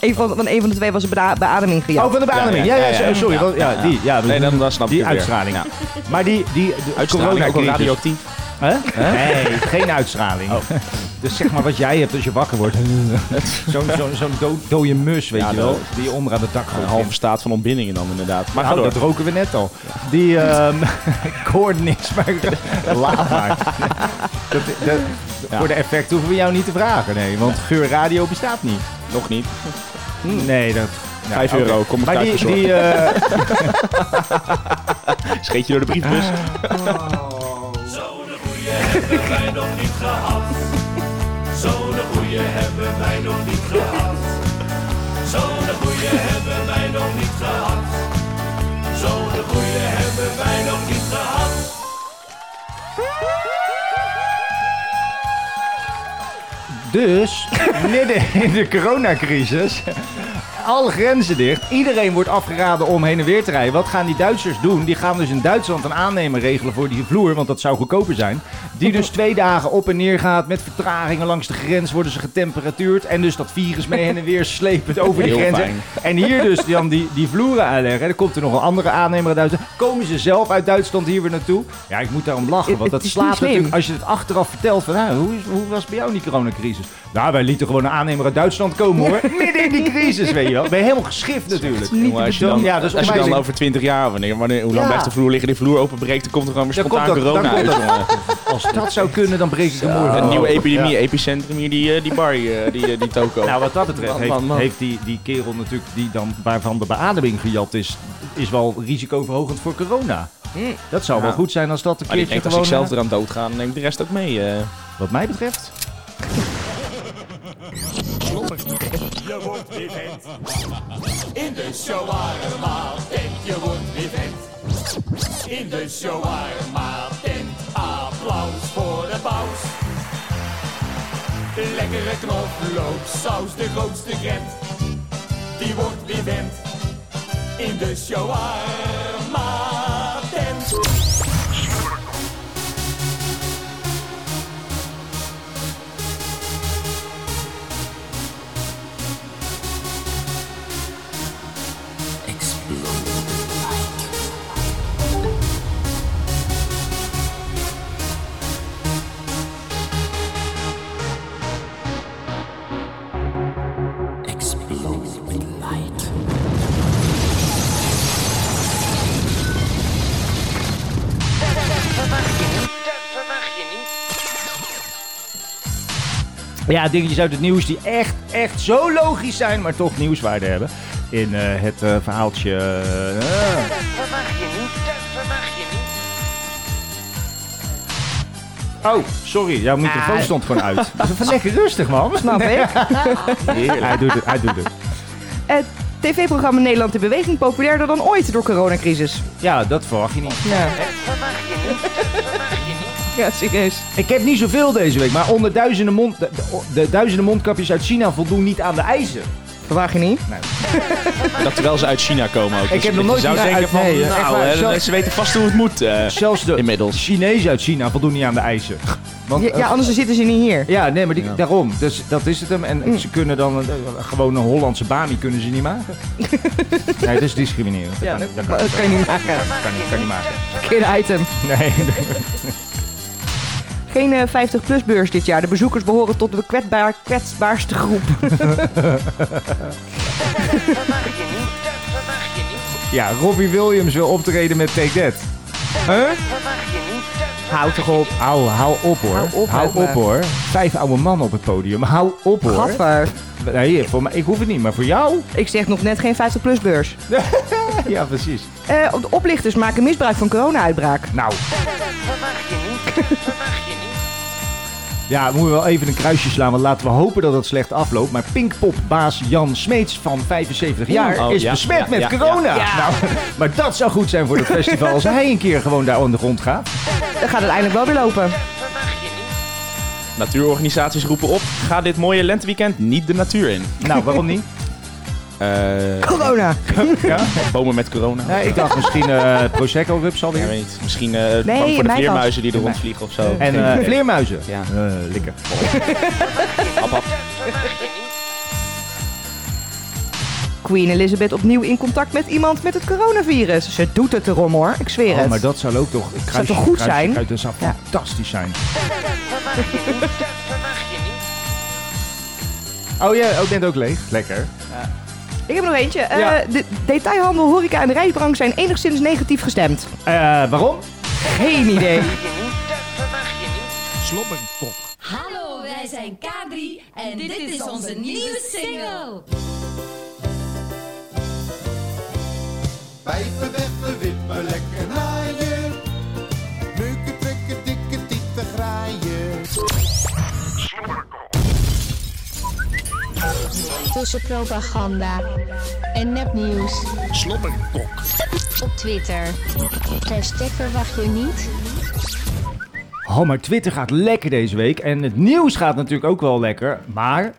[SPEAKER 3] Een van, van een van de twee was een beda- beademing gejat.
[SPEAKER 1] Oh, van de beademing. Ja, ja, ja, sorry. dat- Ja, die. Ja,
[SPEAKER 2] Nee, dan, dan snap
[SPEAKER 1] die
[SPEAKER 2] ik het weer.
[SPEAKER 1] uitstraling.
[SPEAKER 2] Ja.
[SPEAKER 1] Maar die, die de
[SPEAKER 2] Uitstraling, ook wel
[SPEAKER 1] coronacrisis-
[SPEAKER 2] radioactief?
[SPEAKER 1] Hè?
[SPEAKER 2] Hè? Oh.
[SPEAKER 1] Nee, geen uitstraling. Dus zeg maar wat jij hebt als je wakker wordt. Zo'n zo, zo'n do- dode mus, weet
[SPEAKER 2] Ja,
[SPEAKER 1] je wel.
[SPEAKER 2] dat-
[SPEAKER 1] Die je onder aan het dak gooit.
[SPEAKER 2] Een halve staat van ontbindingen dan inderdaad. Maar
[SPEAKER 1] Maar
[SPEAKER 2] ga door.
[SPEAKER 1] dat roken we net al. Die, ehm ik hoorde niks, maar ik dacht, laat maar. Dat, dat- Voor de effect hoeven we jou niet te vragen, nee. Want geurradio bestaat niet.
[SPEAKER 2] Nog niet.
[SPEAKER 1] Nee, dat...
[SPEAKER 2] Hmm. Vijf
[SPEAKER 1] oké.
[SPEAKER 2] euro, kom ik
[SPEAKER 1] Maar
[SPEAKER 2] thuis
[SPEAKER 1] die,
[SPEAKER 2] bezorgen.
[SPEAKER 1] die, eh,
[SPEAKER 2] Scheet je door
[SPEAKER 1] Ah,
[SPEAKER 2] de briefbus.
[SPEAKER 10] Zo'n goeie hebben wij nog niet gehad. Zo'n goeie hebben wij nog niet gehad. Zo'n goeie hebben wij nog niet gehad. Zo'n goeie hebben wij nog niet gehad.
[SPEAKER 1] Dus, midden in de coronacrisis, alle grenzen dicht. Iedereen wordt afgeraden om heen en weer te rijden. Wat gaan die Duitsers doen? Die gaan dus in Duitsland een aannemer regelen voor die vloer, want dat zou goedkoper zijn. Die dus twee dagen op en neer gaat met vertragingen langs de grens, worden ze getemperatuurd. En dus dat virus mee heen en weer slepend over die
[SPEAKER 2] Heel
[SPEAKER 1] grenzen.
[SPEAKER 2] fijn.
[SPEAKER 1] En hier dus dan die, die vloeren aanleggen. En dan komt er nog een andere aannemer uit Duitsland. Komen ze zelf uit Duitsland hier weer naartoe? Ja, ik moet daarom lachen, want
[SPEAKER 2] Het-
[SPEAKER 1] dat
[SPEAKER 2] het is niet
[SPEAKER 1] slaat
[SPEAKER 2] slim.
[SPEAKER 1] natuurlijk als je het achteraf vertelt van, nou, hoe, is, hoe was het bij jou in die coronacrisis? Nou, wij lieten gewoon een aannemer uit Duitsland komen hoor. Midden in die crisis, weet je wel. Ben je helemaal geschift natuurlijk.
[SPEAKER 2] Jongen, als je dan,
[SPEAKER 1] ja, dat is
[SPEAKER 2] als je dan
[SPEAKER 1] onwijs-
[SPEAKER 2] over 20 jaar, wanneer, wanneer, hoe lang
[SPEAKER 1] Ja.
[SPEAKER 2] blijft de vloer liggen, die vloer openbreekt, dan komt er gewoon weer
[SPEAKER 1] Dan
[SPEAKER 2] spontaan
[SPEAKER 1] komt dat- dan
[SPEAKER 2] corona uit.
[SPEAKER 1] komt dat.
[SPEAKER 2] jongen.
[SPEAKER 1] Als dat zou kunnen, dan breek ik hem morgen.
[SPEAKER 2] Een nieuwe
[SPEAKER 1] open.
[SPEAKER 2] epidemie,
[SPEAKER 1] Ja.
[SPEAKER 2] epicentrum hier, die, eh, die bar, eh, die, eh, die toko.
[SPEAKER 1] Nou, wat dat betreft
[SPEAKER 2] Man,
[SPEAKER 1] heeft,
[SPEAKER 2] man, man.
[SPEAKER 1] heeft die, die kerel natuurlijk, die dan, waarvan de beademing gejat is, is wel risicoverhogend voor corona.
[SPEAKER 3] Hm,
[SPEAKER 1] Dat zou wel
[SPEAKER 2] Ja.
[SPEAKER 1] goed zijn als dat een
[SPEAKER 2] Maar die
[SPEAKER 1] keertje
[SPEAKER 2] denkt, als
[SPEAKER 1] gewoon...
[SPEAKER 2] ik zelf
[SPEAKER 1] eh,
[SPEAKER 2] eraan dood ga, dan neem ik de rest ook mee. eh.
[SPEAKER 1] Wat mij betreft.
[SPEAKER 10] Je wordt weer vet. In de shawarma tent, je wordt weer vet. In de shawarma tent, applaus voor de paus. Lekkere knoflooksaus, de grootste gent. Die wordt weer wend. In de shawarma tent.
[SPEAKER 5] Explode with light.
[SPEAKER 1] Ja, dingetjes uit het nieuws die echt, echt zo logisch zijn, maar toch nieuwswaarde hebben. In eh, het eh, verhaaltje. eh,
[SPEAKER 5] Verwacht je niet, dat verwacht je niet.
[SPEAKER 1] Oh, sorry, jouw microfoon
[SPEAKER 5] Ah.
[SPEAKER 1] stond gewoon uit. Even lekker rustig, man.
[SPEAKER 3] Snap
[SPEAKER 1] Nee.
[SPEAKER 3] ik.
[SPEAKER 1] Heerlijk. Hij doet het, hij doet het.
[SPEAKER 3] Het tv-programma Nederland in Beweging populairder dan ooit door coronacrisis.
[SPEAKER 1] Ja, dat verwacht je niet.
[SPEAKER 3] Ja, ja serieus.
[SPEAKER 1] Ik heb niet zoveel deze week, maar onder duizenden, mond, de, de- de duizenden mondkapjes uit China voldoen niet aan de eisen.
[SPEAKER 3] Verwaag je niet?
[SPEAKER 2] Dat terwijl ze uit China komen ook. Dus
[SPEAKER 1] Ik heb nog nooit
[SPEAKER 2] Je zou
[SPEAKER 1] een-
[SPEAKER 2] denken
[SPEAKER 1] uit-
[SPEAKER 2] van,
[SPEAKER 1] nee, echt
[SPEAKER 2] nou,
[SPEAKER 1] waar,
[SPEAKER 2] hè,
[SPEAKER 1] zelfs-
[SPEAKER 2] ze weten vast hoe het moet eh, inmiddels.
[SPEAKER 1] Chinezen uit China voldoen niet aan de eisen. Want, eh,
[SPEAKER 3] Ja, ja, anders zitten ze niet hier.
[SPEAKER 1] Ja, nee, maar die, daarom. Dus dat is het hem. En ze kunnen dan eh, gewoon een Hollandse Bami kunnen ze niet maken. nee, dat is discriminerend. Dat
[SPEAKER 3] Ja,
[SPEAKER 1] kan,
[SPEAKER 3] dat-
[SPEAKER 1] dat
[SPEAKER 3] dat kan je niet maken.
[SPEAKER 1] Dat kan, niet- kan niet maken.
[SPEAKER 3] Verkeerde item.
[SPEAKER 1] Nee.
[SPEAKER 3] Geen 50-plus beurs dit jaar. De bezoekers behoren tot de kwetsbaar, kwetsbaarste groep.
[SPEAKER 1] ja, Robbie Williams wil optreden met Take That. Huh?
[SPEAKER 3] Hou toch op.
[SPEAKER 1] Hou, hou op hoor.
[SPEAKER 3] Hou op,
[SPEAKER 1] hou
[SPEAKER 3] Edwin.
[SPEAKER 1] op hoor. Vijf oude mannen op het podium. Hou op hoor.
[SPEAKER 3] Gadver.
[SPEAKER 1] Nee, voor mij, ik hoef het niet, maar voor jou?
[SPEAKER 3] Ik zeg nog net geen 50-plus beurs.
[SPEAKER 1] Ja, precies.
[SPEAKER 3] Eh, de oplichters maken misbruik van corona-uitbraak.
[SPEAKER 1] Nou. Ja, we moeten wel even een kruisje slaan, want laten we hopen dat het slecht afloopt. Maar Pinkpopbaas Jan Smeets van 75 jaar
[SPEAKER 2] Oh,
[SPEAKER 1] is
[SPEAKER 2] ja,
[SPEAKER 1] besmet
[SPEAKER 2] ja,
[SPEAKER 1] met
[SPEAKER 2] ja,
[SPEAKER 1] corona.
[SPEAKER 2] ja. Ja.
[SPEAKER 1] Nou, maar dat zou goed zijn voor het festival als hij een keer gewoon daar aan de grond gaat.
[SPEAKER 3] Dan gaat het eindelijk wel weer lopen.
[SPEAKER 2] Natuurorganisaties roepen op, ga dit mooie lenteweekend niet de natuur in.
[SPEAKER 1] Nou, waarom niet?
[SPEAKER 2] Eh,
[SPEAKER 3] Corona.
[SPEAKER 1] Ja?
[SPEAKER 2] bomen met corona.
[SPEAKER 1] Nee, ik dacht misschien eh Prosecco-rups alweer.
[SPEAKER 2] Ja, weet niet. Misschien eh bang
[SPEAKER 3] in
[SPEAKER 2] voor de
[SPEAKER 3] mijn
[SPEAKER 2] vleermuizen
[SPEAKER 3] tas.
[SPEAKER 2] die er rondvliegen of zo.
[SPEAKER 1] En eh, vleermuizen.
[SPEAKER 2] Ja.
[SPEAKER 1] Eh, likker.
[SPEAKER 2] Hap, hap.
[SPEAKER 3] Queen Elizabeth opnieuw in contact met iemand met het coronavirus. Ze doet het erom hoor, ik zweer
[SPEAKER 1] Oh,
[SPEAKER 3] het.
[SPEAKER 1] maar dat zou ook toch... Kruisje,
[SPEAKER 3] Zou toch goed
[SPEAKER 1] kruisje,
[SPEAKER 3] zijn?
[SPEAKER 1] kruisje, dat zou
[SPEAKER 3] Ja.
[SPEAKER 1] fantastisch zijn. Oh ja, ook bent ook leeg. Lekker.
[SPEAKER 3] Ik heb er nog eentje. Eh,
[SPEAKER 1] Ja.
[SPEAKER 3] de detailhandel, horeca en de reisbranche zijn enigszins negatief gestemd.
[SPEAKER 1] Eh, waarom?
[SPEAKER 3] Geen idee.
[SPEAKER 4] Slobberkok.
[SPEAKER 6] Hallo, wij zijn K3 en dit is onze nieuwe single.
[SPEAKER 10] Pijpen weg, we wippen lekker naaien. Neuken, trekken, dikke tieten graaien.
[SPEAKER 9] Tussen propaganda en nepnieuws.
[SPEAKER 4] Slobberkok.
[SPEAKER 9] Op Twitter. Hashtag verwacht je niet.
[SPEAKER 1] Oh, maar Twitter gaat lekker deze week. En het nieuws gaat natuurlijk ook wel lekker. Maar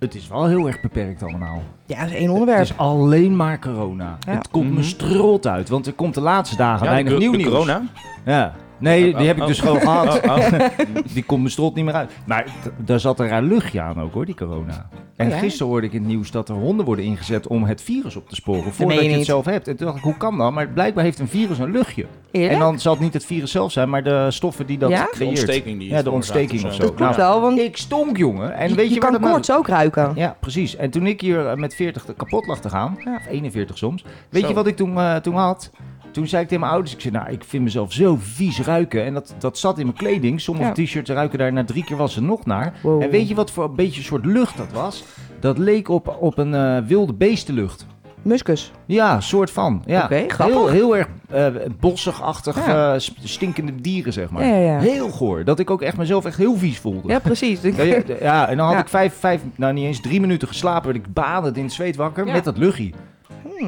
[SPEAKER 1] het is wel heel erg beperkt allemaal.
[SPEAKER 3] Ja, dat is één
[SPEAKER 1] Het
[SPEAKER 3] onderwerp.
[SPEAKER 1] is alleen maar corona.
[SPEAKER 3] Ja. Mhm.
[SPEAKER 1] Het komt me strot uit. Want er komt de laatste dagen
[SPEAKER 2] Ja,
[SPEAKER 1] weinig
[SPEAKER 2] de-
[SPEAKER 1] nieuw
[SPEAKER 2] de
[SPEAKER 1] nieuws.
[SPEAKER 2] corona.
[SPEAKER 1] Ja. Nee, die heb ik dus
[SPEAKER 2] Oh.
[SPEAKER 1] gewoon gehad.
[SPEAKER 2] Oh, oh.
[SPEAKER 1] Die komt mijn strot niet meer uit. Maar t- daar zat een raar luchtje aan ook hoor, die corona. En
[SPEAKER 3] Oh ja?
[SPEAKER 1] gisteren hoorde ik in het nieuws dat er honden worden ingezet om het virus op te sporen.
[SPEAKER 3] meen
[SPEAKER 1] Voordat
[SPEAKER 3] je
[SPEAKER 1] je het
[SPEAKER 3] niet.
[SPEAKER 1] zelf hebt. En toen dacht ik, hoe kan dat? Maar blijkbaar heeft een virus een luchtje.
[SPEAKER 3] Eerlijk?
[SPEAKER 1] En dan zal het niet het virus zelf zijn, maar de stoffen die dat
[SPEAKER 3] Ja? De
[SPEAKER 1] creëert.
[SPEAKER 2] ontsteking die het
[SPEAKER 1] Ja, de
[SPEAKER 2] veroorzaakt
[SPEAKER 1] ontsteking
[SPEAKER 2] of
[SPEAKER 1] of
[SPEAKER 2] zo.
[SPEAKER 1] zo.
[SPEAKER 2] Dat
[SPEAKER 3] Klopt
[SPEAKER 1] Nou,
[SPEAKER 3] wel, want
[SPEAKER 1] Ik stonk, jongen. En
[SPEAKER 3] je,
[SPEAKER 1] weet je,
[SPEAKER 3] je
[SPEAKER 1] waar
[SPEAKER 3] kan
[SPEAKER 1] dat nou-
[SPEAKER 3] koorts ook ruiken.
[SPEAKER 1] Ja, precies. En toen ik hier eh, met 40 er kapot lag te gaan,
[SPEAKER 3] Ja.
[SPEAKER 1] of 41 soms, weet
[SPEAKER 2] Zo.
[SPEAKER 1] je wat ik toen, eh, toen had? Toen zei ik tegen mijn ouders, ik zei, nou, ik vind mezelf zo vies ruiken. En dat, dat zat in mijn kleding. Sommige
[SPEAKER 3] Ja.
[SPEAKER 1] t-shirts ruiken daar na drie keer was ze nog naar.
[SPEAKER 3] Wow.
[SPEAKER 1] En weet je wat voor een beetje soort lucht dat was? Dat leek op, op een eh, wilde beestenlucht.
[SPEAKER 3] Muskus.
[SPEAKER 1] Ja, soort van. Ja.
[SPEAKER 3] Oké, grappig.
[SPEAKER 1] heel, heel erg eh bossig-achtig,
[SPEAKER 3] Ja.
[SPEAKER 1] eh, sp- stinkende dieren, zeg maar.
[SPEAKER 3] Ja, ja, ja.
[SPEAKER 1] Heel goor. Dat ik ook echt mezelf echt heel vies voelde.
[SPEAKER 3] Ja, precies.
[SPEAKER 1] Ja, ja, d- ja, en dan had
[SPEAKER 3] Ja.
[SPEAKER 1] ik vijf, vijf, nou niet eens drie minuten geslapen. werd ik badend in het zweet wakker
[SPEAKER 3] Ja. Hmm.
[SPEAKER 1] met dat luchie.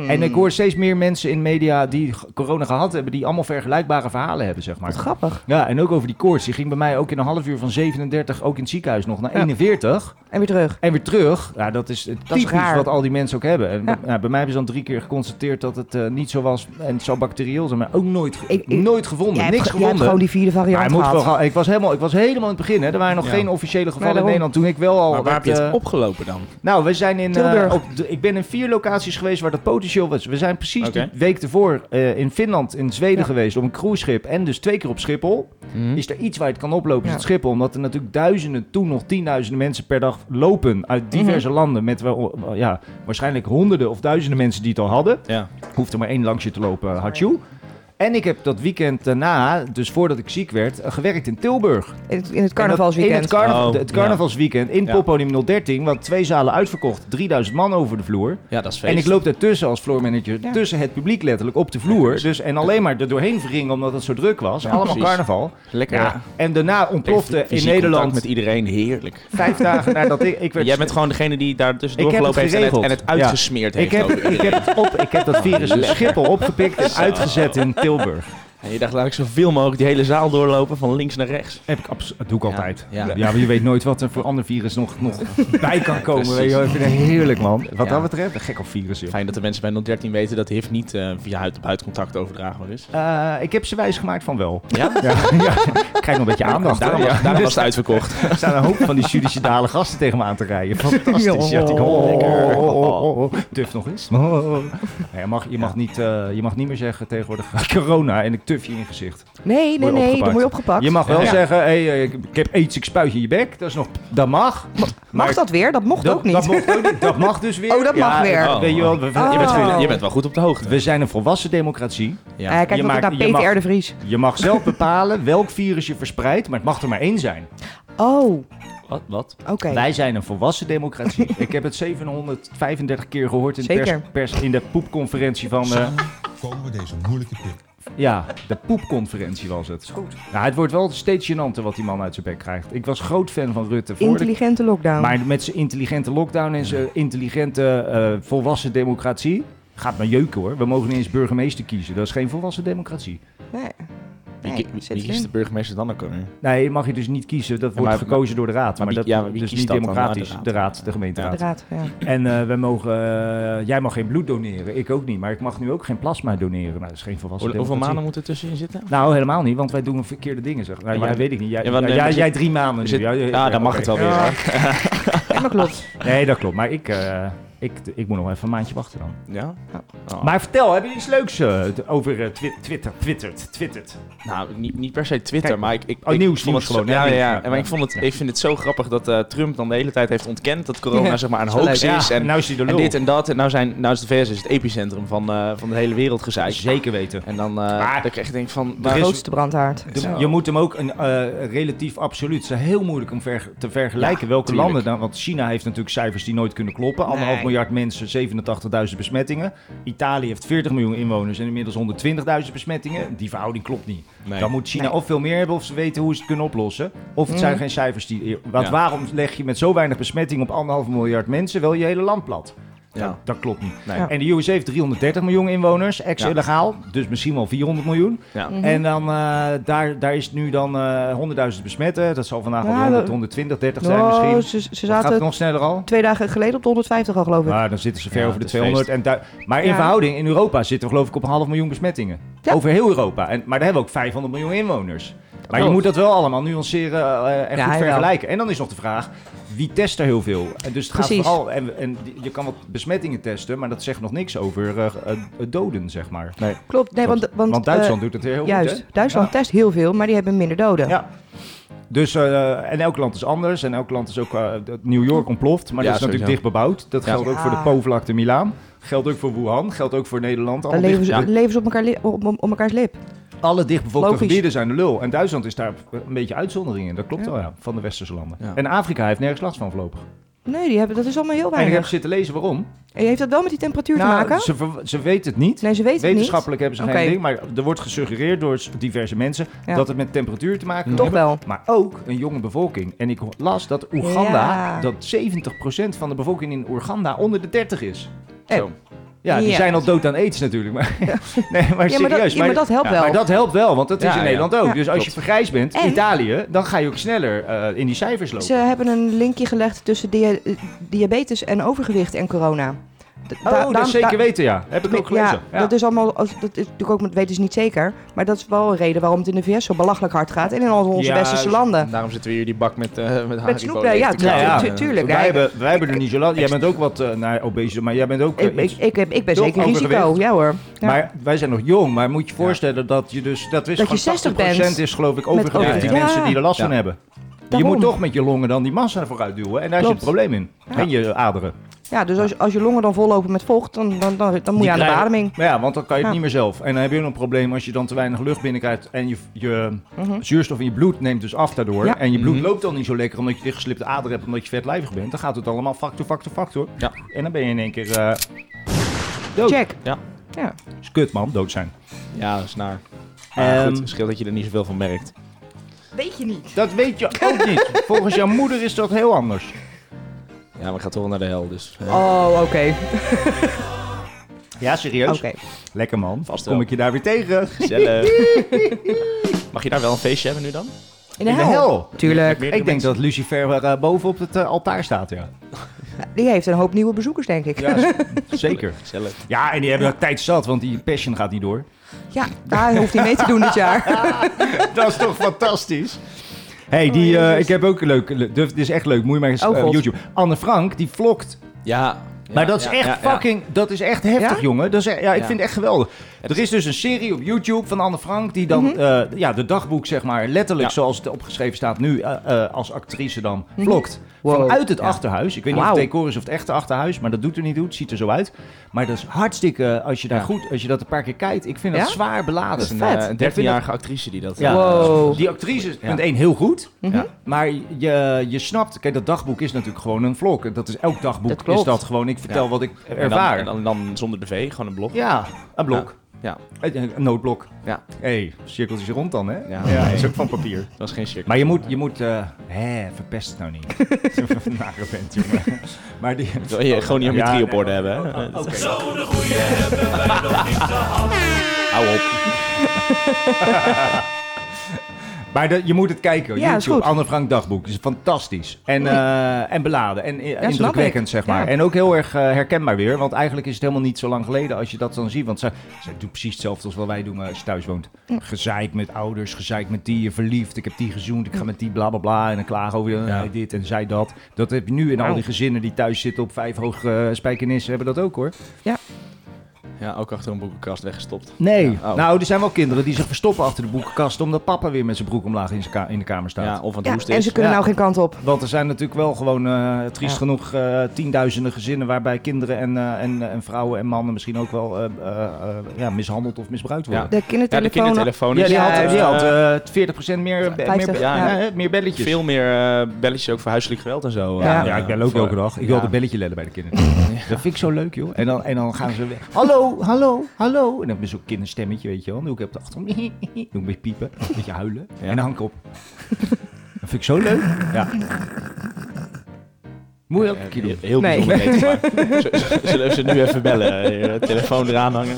[SPEAKER 1] En ik hoor steeds meer mensen in media die g- corona gehad hebben, die allemaal vergelijkbare verhalen hebben, zeg maar.
[SPEAKER 3] Wat grappig.
[SPEAKER 1] Ja, en ook over die koorts. Die ging bij mij ook in een half uur van 37, ook in het ziekenhuis nog, naar 41.
[SPEAKER 3] En weer terug.
[SPEAKER 1] En weer terug. Ja, dat is het
[SPEAKER 3] Dat is
[SPEAKER 1] typisch
[SPEAKER 3] raar.
[SPEAKER 1] wat al die mensen ook hebben. En
[SPEAKER 3] Ja.
[SPEAKER 1] ja, bij mij hebben ze dan drie keer geconstateerd dat het eh, niet zo was en het zou bacterieel zijn. Maar ook nooit, ge-
[SPEAKER 3] Ik- ik-
[SPEAKER 1] nooit gevonden.
[SPEAKER 3] Jij hebt,
[SPEAKER 1] Niks
[SPEAKER 3] ge- jij hebt
[SPEAKER 1] gevonden.
[SPEAKER 3] gewoon die vierde
[SPEAKER 1] Maar
[SPEAKER 3] variant
[SPEAKER 1] hij moet
[SPEAKER 3] gehad.
[SPEAKER 1] wel gaan. Ik was helemaal, ik was helemaal in het begin. Hè. Er waren nog
[SPEAKER 2] Ja.
[SPEAKER 1] geen officiële gevallen
[SPEAKER 3] daarom.
[SPEAKER 1] in Nederland. Toen ik wel al.
[SPEAKER 2] Maar waar heb
[SPEAKER 1] dat,
[SPEAKER 2] je het
[SPEAKER 1] eh,
[SPEAKER 2] opgelopen dan?
[SPEAKER 1] Nou, we zijn in. eh,
[SPEAKER 3] Tilburg.
[SPEAKER 1] op de- ik ben in vier locaties geweest waar dat potentieel was. We zijn precies
[SPEAKER 2] Oké.
[SPEAKER 1] de week ervoor eh, in Finland, in Zweden geweest op een cruiseschip en dus twee keer op Schiphol. Is er iets waar het kan oplopen? Is
[SPEAKER 3] Mhm. Ja.
[SPEAKER 1] het Schiphol, omdat er natuurlijk duizenden, toen nog tienduizenden mensen per dag lopen
[SPEAKER 3] Mhm.
[SPEAKER 1] uit diverse landen met wel, wel, ja, waarschijnlijk honderden of duizenden mensen die het al hadden
[SPEAKER 2] Ja.
[SPEAKER 1] hoeft er maar één langs je te lopen, Hachu. En ik heb dat weekend daarna, dus voordat ik ziek werd, eh, gewerkt in Tilburg.
[SPEAKER 3] In het, in het
[SPEAKER 1] In het,
[SPEAKER 3] carnavalsweekend.
[SPEAKER 1] carna-
[SPEAKER 2] Oh,
[SPEAKER 1] het
[SPEAKER 2] ja.
[SPEAKER 1] carnavalsweekend in
[SPEAKER 2] Ja.
[SPEAKER 1] Poppodium 013, want twee zalen uitverkocht, 3000 man over de vloer.
[SPEAKER 2] ja, dat is feest.
[SPEAKER 1] En ik loop daartussen als floormanager,
[SPEAKER 3] Ja.
[SPEAKER 1] tussen het publiek letterlijk, op de vloer. Dus, en alleen maar er doorheen wringen omdat het zo druk was.
[SPEAKER 2] Ja,
[SPEAKER 1] Allemaal
[SPEAKER 2] precies.
[SPEAKER 1] carnaval.
[SPEAKER 2] Lekker.
[SPEAKER 1] Ja. En daarna ontplofte
[SPEAKER 2] Fysiek
[SPEAKER 1] in
[SPEAKER 2] contact
[SPEAKER 1] Nederland,
[SPEAKER 2] met iedereen, heerlijk.
[SPEAKER 1] vijf dagen nadat ik... ik
[SPEAKER 2] En
[SPEAKER 1] werd
[SPEAKER 2] jij bent gewoon degene die daar tussendoor
[SPEAKER 1] Ik heb
[SPEAKER 2] gelopen
[SPEAKER 1] het
[SPEAKER 2] heeft en het, en
[SPEAKER 1] geregeld.
[SPEAKER 2] het uitgesmeerd
[SPEAKER 1] ik
[SPEAKER 2] heeft.
[SPEAKER 1] heb,
[SPEAKER 2] over
[SPEAKER 1] ik,
[SPEAKER 2] iedereen.
[SPEAKER 1] heb het op, ik heb dat virus in Schiphol opgepikt en uitgezet in Tilburg.
[SPEAKER 2] En je dacht, laat ik zoveel mogelijk die hele zaal doorlopen, van links naar rechts.
[SPEAKER 1] Heb ik absoluut. Dat doe ik altijd. Ja,
[SPEAKER 2] Ja.
[SPEAKER 1] maar je weet nooit wat er voor ander virus nog, nog bij kan komen. Weet je, wel. ik vind het heerlijk, man. Wat dat betreft, een gek op virus, joh.
[SPEAKER 2] Fijn dat de mensen bij 013 weten dat HIV niet eh, via huid-op-huid contact overdraagbaar is.
[SPEAKER 1] Eh, ik heb ze wijs gemaakt van wel.
[SPEAKER 2] Ja?
[SPEAKER 1] ja, ja. Ik krijg nog een beetje aandacht.
[SPEAKER 2] Daarom
[SPEAKER 1] hoor.
[SPEAKER 2] was-
[SPEAKER 1] Ja. Er
[SPEAKER 2] daarom was het
[SPEAKER 1] staan-
[SPEAKER 2] uitverkocht.
[SPEAKER 1] Er staan een hoop van die suicidale gasten tegen me aan te rijden. Fantastisch. Ja, ik, oh, oh, oh, oh, oh. Tuf nog eens. Oh, oh, oh. Nee, je, mag, je, mag niet, eh, je mag niet meer zeggen tegenwoordig corona en ik tuf je in je gezicht.
[SPEAKER 3] Nee, nee,
[SPEAKER 1] Word
[SPEAKER 3] nee, dan word je opgepakt.
[SPEAKER 1] Je mag wel
[SPEAKER 3] Ja.
[SPEAKER 1] zeggen, hey, eh, ik, ik heb aids, ik spuit je in je bek. Dat, is nog, dat mag.
[SPEAKER 3] Mag dat weer? Dat mocht ook niet.
[SPEAKER 1] Dat mocht ook niet. Dat mag dus weer.
[SPEAKER 3] Oh, dat mag weer.
[SPEAKER 1] ik- Weet je, wel, we-
[SPEAKER 3] Oh. Je bent goed- je bent
[SPEAKER 2] wel goed op de hoogte.
[SPEAKER 1] We zijn een volwassen democratie.
[SPEAKER 2] Ja.
[SPEAKER 3] Eh, kijk nog
[SPEAKER 1] maakt-
[SPEAKER 3] naar
[SPEAKER 1] je
[SPEAKER 3] Peter
[SPEAKER 1] mag-
[SPEAKER 3] R. de Vries.
[SPEAKER 1] Je mag zelf bepalen welk virus je verspreidt, maar het mag er maar één zijn.
[SPEAKER 3] Oh,
[SPEAKER 2] Wat? Wat?
[SPEAKER 3] oké.
[SPEAKER 1] Wij zijn een volwassen democratie. Ik heb het 735 keer gehoord in, de
[SPEAKER 3] Zeker.
[SPEAKER 1] pers, pers- in de poepconferentie van... eh,
[SPEAKER 7] Samen komen we deze moeilijke prik.
[SPEAKER 1] ja, de poepconferentie was het.
[SPEAKER 3] goed.
[SPEAKER 1] Nou, het wordt wel steeds gênanter wat die man uit zijn bek krijgt. Ik was groot fan van Rutte. voor de-
[SPEAKER 3] Intelligente lockdown.
[SPEAKER 1] Maar met zijn intelligente lockdown en zijn intelligente eh, volwassen democratie... Gaat maar jeuken hoor. We mogen niet eens burgemeester kiezen. Dat is geen volwassen democratie.
[SPEAKER 3] Nee.
[SPEAKER 2] Wie,
[SPEAKER 3] Nee,
[SPEAKER 2] ki- wie-
[SPEAKER 3] zit
[SPEAKER 2] wie kiest de
[SPEAKER 3] erin.
[SPEAKER 2] burgemeester dan ook alweer?
[SPEAKER 1] Nee, je mag je dus niet kiezen. Dat wordt
[SPEAKER 2] maar-
[SPEAKER 1] gekozen door de raad. Maar,
[SPEAKER 2] maar wie-
[SPEAKER 1] dat
[SPEAKER 2] ja, maar wie
[SPEAKER 1] is dus
[SPEAKER 2] kiest
[SPEAKER 1] niet
[SPEAKER 2] dat dan?
[SPEAKER 1] democratisch.
[SPEAKER 2] Ah,
[SPEAKER 1] de,
[SPEAKER 2] de
[SPEAKER 1] raad.
[SPEAKER 2] raad.
[SPEAKER 1] de gemeenteraad.
[SPEAKER 3] Inderdaad, ja.
[SPEAKER 1] En eh, wij mogen, eh, jij mag geen bloed doneren, ik ook niet. Maar ik mag nu ook geen plasma doneren. Nou, dat is geen volwassen
[SPEAKER 2] Hoe- hoeveel
[SPEAKER 1] democratie.
[SPEAKER 2] maanden moeten er tussenin zitten?
[SPEAKER 1] Nou, helemaal niet, want wij doen verkeerde dingen. Zeg. Nou,
[SPEAKER 2] Ja, maar-
[SPEAKER 1] jij weet ik niet. Jij,
[SPEAKER 2] Ja, want,
[SPEAKER 1] ja,
[SPEAKER 2] eh,
[SPEAKER 1] jij,
[SPEAKER 2] er zit-
[SPEAKER 1] jij drie maanden
[SPEAKER 2] er
[SPEAKER 1] nu.
[SPEAKER 2] zit-
[SPEAKER 1] Ja, ja,
[SPEAKER 2] Ah, dan
[SPEAKER 1] ja,
[SPEAKER 2] mag
[SPEAKER 1] oké.
[SPEAKER 2] het wel weer,
[SPEAKER 1] Ja.
[SPEAKER 3] Ja, maar klopt.
[SPEAKER 1] Nee, dat klopt. Maar ik, eh, ik, ik moet nog even een maandje wachten dan.
[SPEAKER 2] Ja? Oh.
[SPEAKER 1] Maar vertel, hebben jullie iets leuks eh, t- over eh, twi- Twitter? Twittert, twittert.
[SPEAKER 2] Nou, niet, niet per se Twitter,
[SPEAKER 1] Kijk,
[SPEAKER 2] maar ik, ik,
[SPEAKER 1] oh,
[SPEAKER 2] ik
[SPEAKER 1] nieuws,
[SPEAKER 2] vond
[SPEAKER 1] nieuws
[SPEAKER 2] het
[SPEAKER 1] gewoon,
[SPEAKER 2] Zo,
[SPEAKER 1] hè,
[SPEAKER 2] ja, ja,
[SPEAKER 1] nieuws,
[SPEAKER 2] ja.
[SPEAKER 1] ja.
[SPEAKER 2] En Maar ik, vond het, ik vind het zo grappig dat eh, Trump dan de hele tijd heeft ontkend dat corona zeg maar een
[SPEAKER 1] is wel
[SPEAKER 2] hoax
[SPEAKER 1] leuk.
[SPEAKER 2] is.
[SPEAKER 1] Ja,
[SPEAKER 2] En,
[SPEAKER 1] nou is hij de
[SPEAKER 2] en
[SPEAKER 1] lul.
[SPEAKER 2] dit en dat. En nou, zijn, nou is de VS is het epicentrum van, eh, van de hele wereld gezeik.
[SPEAKER 1] Zeker weten.
[SPEAKER 2] En dan, eh
[SPEAKER 1] Maar-
[SPEAKER 2] dan krijg je denk ik van...
[SPEAKER 3] De
[SPEAKER 2] waar-
[SPEAKER 3] grootste brandhaard.
[SPEAKER 1] De- je moet hem ook een, eh, relatief absoluut. Het is heel moeilijk om ver- te vergelijken
[SPEAKER 2] Ja,
[SPEAKER 1] welke
[SPEAKER 2] tuurlijk.
[SPEAKER 1] landen dan. Want China heeft natuurlijk cijfers die nooit kunnen kloppen. Anderhalf miljard mensen, 87.000 besmettingen. Italië heeft 40 miljoen inwoners en inmiddels 120.000 besmettingen. Die verhouding klopt niet.
[SPEAKER 2] Nee.
[SPEAKER 1] Dan moet China
[SPEAKER 3] Nee.
[SPEAKER 1] of veel meer hebben of ze weten hoe ze het kunnen oplossen. Of het zijn geen cijfers die. Want
[SPEAKER 2] Ja.
[SPEAKER 1] waarom leg je met zo weinig besmetting op anderhalf miljard mensen wel je hele land plat?
[SPEAKER 2] Ja.
[SPEAKER 1] Dat, dat klopt niet.
[SPEAKER 2] Nee.
[SPEAKER 1] En de USA heeft 330 miljoen inwoners, ex-illegaal. Dus misschien wel 400 miljoen.
[SPEAKER 2] Ja.
[SPEAKER 3] Mhm.
[SPEAKER 1] En dan, eh, daar, daar is nu dan eh 100.000 besmetten. Dat zal vandaag
[SPEAKER 3] Ja,
[SPEAKER 1] al
[SPEAKER 3] dat-
[SPEAKER 1] 100, 120, 30 zijn
[SPEAKER 3] Oh,
[SPEAKER 1] misschien.
[SPEAKER 3] ze, ze
[SPEAKER 1] Of gaat het
[SPEAKER 3] zaten
[SPEAKER 1] nog sneller al?
[SPEAKER 3] twee dagen geleden op de 150 al, geloof ik.
[SPEAKER 1] Maar dan zitten ze ver
[SPEAKER 2] Ja,
[SPEAKER 1] over de
[SPEAKER 2] het is
[SPEAKER 1] 200. En du- maar in
[SPEAKER 3] Ja.
[SPEAKER 1] verhouding, in Europa zitten we geloof ik op een half miljoen besmettingen.
[SPEAKER 3] Ja.
[SPEAKER 1] Over heel Europa. En, maar daar hebben we ook 500 miljoen inwoners. Maar je
[SPEAKER 2] klopt.
[SPEAKER 1] moet dat wel allemaal nuanceren eh, en
[SPEAKER 3] Ja,
[SPEAKER 1] goed
[SPEAKER 3] jawel.
[SPEAKER 1] vergelijken. En dan is nog de vraag, wie test er heel veel? En dus het gaat
[SPEAKER 3] Precies.
[SPEAKER 1] vooral, en, en die- je kan wat besmettingen testen, maar dat zegt nog niks over eh, eh, doden, zeg maar.
[SPEAKER 3] Klopt. Nee, want, want, eh,
[SPEAKER 1] Duitsland doet het heel goed,
[SPEAKER 3] Juist.
[SPEAKER 1] hè?
[SPEAKER 3] Duitsland test heel veel, maar die hebben minder doden.
[SPEAKER 1] Ja. Dus, eh, en elk land is anders. En elk land is ook... eh, dat- New York ontploft, maar
[SPEAKER 2] Ja,
[SPEAKER 1] dat is natuurlijk dicht
[SPEAKER 2] sowieso.
[SPEAKER 1] bebouwd. Dat
[SPEAKER 2] Ja.
[SPEAKER 1] geldt ook voor de
[SPEAKER 3] Ja.
[SPEAKER 1] Po-vlakte Milaan. Geldt ook voor Wuhan. Geldt ook voor Nederland.
[SPEAKER 3] Dan
[SPEAKER 1] Allemaal
[SPEAKER 3] leven
[SPEAKER 1] dicht,
[SPEAKER 3] ze,
[SPEAKER 2] ja.
[SPEAKER 3] leven ze op, elkaar li- op, op- op elkaars lip.
[SPEAKER 1] alle dichtbevolkte
[SPEAKER 3] Logisch.
[SPEAKER 1] gebieden zijn de lul. En Duitsland is daar een beetje uitzondering in. Dat klopt wel, ja. Van de westerse landen.
[SPEAKER 2] Ja.
[SPEAKER 1] En Afrika heeft nergens last van voorlopig.
[SPEAKER 3] Nee, die hebben, dat is allemaal heel
[SPEAKER 1] En ik heb
[SPEAKER 3] weinig.
[SPEAKER 1] zitten lezen waarom. Nou,
[SPEAKER 3] En heeft dat wel met die temperatuur te maken?
[SPEAKER 1] ze, ver- ze weten het niet.
[SPEAKER 3] Nee, ze weten het niet.
[SPEAKER 1] Wetenschappelijk hebben ze geen
[SPEAKER 3] Oké.
[SPEAKER 1] ding. Maar er wordt gesuggereerd door s- diverse mensen...
[SPEAKER 3] Ja.
[SPEAKER 1] dat het met temperatuur te maken kan
[SPEAKER 3] Toch wel.
[SPEAKER 1] Maar ook een jonge bevolking. En ik las dat Oeganda,
[SPEAKER 3] Ja.
[SPEAKER 1] dat 70% van de bevolking in Oeganda onder de 30 is.
[SPEAKER 3] Eh,
[SPEAKER 2] Zo.
[SPEAKER 1] Ja, die
[SPEAKER 3] Ja.
[SPEAKER 1] zijn al dood aan aids natuurlijk. Maar, nee, maar
[SPEAKER 3] Ja, maar dat,
[SPEAKER 1] serieus.
[SPEAKER 3] ja, maar dat helpt
[SPEAKER 1] ja,
[SPEAKER 3] wel.
[SPEAKER 1] maar dat helpt wel, want dat is
[SPEAKER 2] Ja,
[SPEAKER 1] in
[SPEAKER 2] ja.
[SPEAKER 1] Nederland ook.
[SPEAKER 3] Ja.
[SPEAKER 1] dus als je
[SPEAKER 2] Klopt.
[SPEAKER 1] vergrijsd bent,
[SPEAKER 3] En-
[SPEAKER 1] Italië, dan ga je ook sneller eh, in die cijfers lopen.
[SPEAKER 3] Ze hebben een linkje gelegd tussen dia- eh, diabetes en overgewicht en corona. D- da-
[SPEAKER 1] oh, dat
[SPEAKER 3] daarom-
[SPEAKER 1] is zeker
[SPEAKER 3] da-
[SPEAKER 1] weten, ja. Heb ik ook gelezen.
[SPEAKER 3] Ja, dat is allemaal, als- dat is natuurlijk ook, dat weten ze niet zeker. Maar dat is wel een reden waarom het in de VS zo belachelijk hard gaat. En in al onze
[SPEAKER 1] Ja, dus
[SPEAKER 3] westerse landen.
[SPEAKER 1] Nou,
[SPEAKER 2] Daarom zitten we hier die bak met, eh met Haribo
[SPEAKER 3] snoep,
[SPEAKER 2] leeg
[SPEAKER 3] ja,
[SPEAKER 2] te
[SPEAKER 3] tu-
[SPEAKER 2] kraaien.
[SPEAKER 1] tu-
[SPEAKER 3] tu- tuurlijk.
[SPEAKER 1] Wij,
[SPEAKER 3] Ja, ik-
[SPEAKER 1] hebben, wij hebben er niet zo lang. Jij bent ook wat eh nou, obese, maar jij bent ook. eh,
[SPEAKER 3] Ik, ik,
[SPEAKER 1] iets-
[SPEAKER 3] ik, heb- ik ben
[SPEAKER 1] Toch
[SPEAKER 3] zeker risico,
[SPEAKER 1] overgewicht.
[SPEAKER 3] ja hoor. Ja.
[SPEAKER 1] Maar wij zijn nog jong, maar moet je voorstellen dat je dus. Dat, is
[SPEAKER 3] je
[SPEAKER 1] gewoon
[SPEAKER 3] 60 bent.
[SPEAKER 1] is, geloof ik, overgewicht.
[SPEAKER 2] overgewicht.
[SPEAKER 1] Die
[SPEAKER 3] Ja.
[SPEAKER 1] mensen die er last van
[SPEAKER 2] Ja.
[SPEAKER 1] hebben. Je
[SPEAKER 3] Daarom.
[SPEAKER 1] moet toch met je longen dan die massa vooruit duwen. En daar
[SPEAKER 3] Klopt.
[SPEAKER 1] zit het probleem in. En je aderen.
[SPEAKER 3] ja, dus als, als je longen dan vollopen met vocht, dan, dan, dan, dan moet je aan de
[SPEAKER 1] krijgen-
[SPEAKER 3] beademing.
[SPEAKER 1] Maar ja, want dan kan je het
[SPEAKER 3] Ja.
[SPEAKER 1] niet meer zelf. En dan heb je ook nog een probleem als je dan te weinig lucht binnenkrijgt. En je, je zuurstof in je bloed neemt dus af daardoor.
[SPEAKER 3] Mhm. Ja.
[SPEAKER 1] En je bloed loopt dan niet zo lekker omdat je dichtgeslipte aderen hebt. Omdat je vetlijvig bent. Dan gaat het allemaal factor, factor, factor.
[SPEAKER 2] Ja.
[SPEAKER 1] En dan ben je in één keer. eh dood.
[SPEAKER 3] Check.
[SPEAKER 2] Ja.
[SPEAKER 3] Ja.
[SPEAKER 1] Is kut, man. Dood zijn.
[SPEAKER 2] Ja, dat is naar. Maar
[SPEAKER 1] Ehm,
[SPEAKER 2] goed, het scheelt dat je er niet zoveel van merkt.
[SPEAKER 3] Weet je niet.
[SPEAKER 1] Dat weet je ook niet. Volgens jouw moeder is dat heel anders. Oh,
[SPEAKER 2] Ja, maar ik ga toch wel naar de hel, dus... eh.
[SPEAKER 3] Oh, oké.
[SPEAKER 1] Ja, serieus?
[SPEAKER 3] Oké.
[SPEAKER 1] Lekker man.
[SPEAKER 2] Vast
[SPEAKER 1] Kom
[SPEAKER 2] wel.
[SPEAKER 1] ik je daar weer tegen.
[SPEAKER 2] Gezellig. Mag je daar wel een feestje hebben nu dan?
[SPEAKER 3] In de hel.
[SPEAKER 1] Tuurlijk.
[SPEAKER 2] Meerdere
[SPEAKER 1] Ik denk dat Lucifer eh, boven op het eh, altaar staat, ja.
[SPEAKER 3] Eh, Die heeft een hoop nieuwe bezoekers, denk ik.
[SPEAKER 1] Ja, Zeker.
[SPEAKER 2] Gezellig.
[SPEAKER 1] Ja, en die hebben ook tijd zat, want die Passion gaat niet door.
[SPEAKER 3] Ja, daar hoeft hij mee te doen dit jaar.
[SPEAKER 1] Dat is toch fantastisch? hey, die, eh, ik heb ook een leuk... le- Dit is echt leuk. Moet je maar eens
[SPEAKER 3] Oh,
[SPEAKER 1] eh,
[SPEAKER 3] God.
[SPEAKER 1] YouTube. Anne Frank, die vlogt.
[SPEAKER 2] Ja.
[SPEAKER 1] maar dat is
[SPEAKER 2] ja,
[SPEAKER 1] echt
[SPEAKER 2] ja, ja.
[SPEAKER 1] fucking... Dat is echt heftig,
[SPEAKER 3] Ja?
[SPEAKER 1] jongen. Dat is, e- ja, ik
[SPEAKER 2] Ja.
[SPEAKER 1] vind het echt geweldig. Er is dus een serie op YouTube van Anne Frank... die dan
[SPEAKER 3] Mhm.
[SPEAKER 1] eh, ja, de dagboek, zeg maar, letterlijk
[SPEAKER 2] Ja.
[SPEAKER 1] zoals het opgeschreven staat nu... eh, eh, als actrice dan vlogt.
[SPEAKER 3] Mhm. Wow.
[SPEAKER 1] Vanuit het achterhuis. Ik weet niet of het
[SPEAKER 3] Wauw.
[SPEAKER 1] decor is of het echte achterhuis... maar dat doet er niet toe. Het ziet er zo uit. Maar dat is hartstikke... eh, Als je daar goed... Als je dat een paar keer kijkt... Ik vind dat
[SPEAKER 3] Ja?
[SPEAKER 1] zwaar beladen.
[SPEAKER 2] Dat is een
[SPEAKER 3] Vet.
[SPEAKER 2] eh, een 13-jarige actrice die dat... eh,
[SPEAKER 1] Ja.
[SPEAKER 3] Wow.
[SPEAKER 1] Die actrice is
[SPEAKER 2] Ja.
[SPEAKER 1] punt één heel goed.
[SPEAKER 3] Mhm.
[SPEAKER 2] Ja.
[SPEAKER 1] Maar je, je snapt, kijk, dat dagboek is natuurlijk gewoon een vlog. Dat is elk
[SPEAKER 3] Dat
[SPEAKER 1] dagboek
[SPEAKER 3] klopt.
[SPEAKER 1] is dat gewoon. Ik vertel
[SPEAKER 2] Ja.
[SPEAKER 1] wat ik
[SPEAKER 2] En dan,
[SPEAKER 1] ervaar.
[SPEAKER 2] en dan, dan zonder de V, gewoon een blog.
[SPEAKER 1] ja, een blok.
[SPEAKER 2] Ja.
[SPEAKER 1] Een- Een noodblok.
[SPEAKER 2] Ja.
[SPEAKER 1] hey, cirkeltjes rond dan, hè?
[SPEAKER 2] Ja.
[SPEAKER 1] is ook van papier.
[SPEAKER 2] Dat is geen cirkel.
[SPEAKER 1] Maar je moet, je moet eh, hè, verpest het nou niet. Zo'n nare vent, jongen. Maar die...
[SPEAKER 2] Wil je gewoon niet
[SPEAKER 1] Oh, Ja,
[SPEAKER 2] met drie op
[SPEAKER 1] nee.
[SPEAKER 2] orde hebben, hè?
[SPEAKER 1] Oké.
[SPEAKER 2] Hou op.
[SPEAKER 1] Maar dat- je moet het kijken.
[SPEAKER 3] Ja, is
[SPEAKER 1] YouTube,
[SPEAKER 3] goed.
[SPEAKER 1] Anne Frank dagboek. Dat is fantastisch. En, eh, en beladen. En eh,
[SPEAKER 3] snap
[SPEAKER 1] indrukwekkend,
[SPEAKER 3] ik.
[SPEAKER 1] zeg maar.
[SPEAKER 3] Ja.
[SPEAKER 1] En ook heel erg eh, herkenbaar weer. Want eigenlijk is het helemaal niet zo lang geleden als je dat dan ziet. Want zij, zij doet precies hetzelfde als wat wij doen eh, als je thuis woont. Gezeik met ouders, gezeik met die, je verliefd. Ik heb die gezoend, ik ga met die bla bla bla. En dan klagen over eh,
[SPEAKER 2] Ja.
[SPEAKER 1] dit en zij dat. Dat heb je nu in al die gezinnen die thuis zitten op vijf hoog eh, spijkenissen. Hebben dat ook hoor.
[SPEAKER 2] Ja, ook achter een boekenkast weggestopt.
[SPEAKER 1] Nee.
[SPEAKER 2] Ja, oh.
[SPEAKER 1] Nou, er zijn wel kinderen die zich verstoppen achter de boekenkast. Omdat papa weer met zijn broek omlaag in, zijn ka- in de kamer staat.
[SPEAKER 2] Ja, of aan het
[SPEAKER 3] Ja,
[SPEAKER 2] hoesten
[SPEAKER 3] en
[SPEAKER 2] is.
[SPEAKER 3] ze kunnen
[SPEAKER 1] Ja.
[SPEAKER 3] nou geen kant op.
[SPEAKER 1] Want er zijn natuurlijk wel gewoon, eh, triest
[SPEAKER 3] Ja.
[SPEAKER 1] genoeg, eh, tienduizenden gezinnen waarbij kinderen en, eh, en, en vrouwen en mannen misschien ook wel eh, eh, eh, ja, mishandeld of misbruikt worden.
[SPEAKER 3] De
[SPEAKER 2] Ja, de
[SPEAKER 3] kindertelefoon.
[SPEAKER 2] kindertelefoon
[SPEAKER 1] Ja,
[SPEAKER 2] is
[SPEAKER 1] die
[SPEAKER 3] Ja,
[SPEAKER 1] had, die
[SPEAKER 2] eh,
[SPEAKER 1] had eh 40% meer, be- meer,
[SPEAKER 3] 50,
[SPEAKER 1] be-
[SPEAKER 2] ja.
[SPEAKER 1] ja, hè, meer belletjes.
[SPEAKER 2] veel meer eh, belletjes ook voor huiselijk geweld en zo.
[SPEAKER 1] Ja,
[SPEAKER 2] eh,
[SPEAKER 1] ja, ik bel ook
[SPEAKER 2] voor-
[SPEAKER 1] elke dag. Ik wil
[SPEAKER 2] Ja.
[SPEAKER 1] altijd belletje lellen bij de kinderen. Dat vind ik zo leuk, joh. En dan, en dan gaan ze weg. Hallo, hallo, hallo. En dan heb je zo'n kinderstemmetje, weet je wel. Dan doe ik op de achtergrond. Doe ik een beetje piepen, een beetje huilen.
[SPEAKER 2] Ja.
[SPEAKER 1] En dan hang ik op. Dat vind ik zo leuk. Ja. Moet je ook een keer doen.
[SPEAKER 2] Heel, heel
[SPEAKER 3] Nee.
[SPEAKER 2] bijzonder nee. maar z- z- zullen we ze nu even bellen? Eh, telefoon eraan hangen?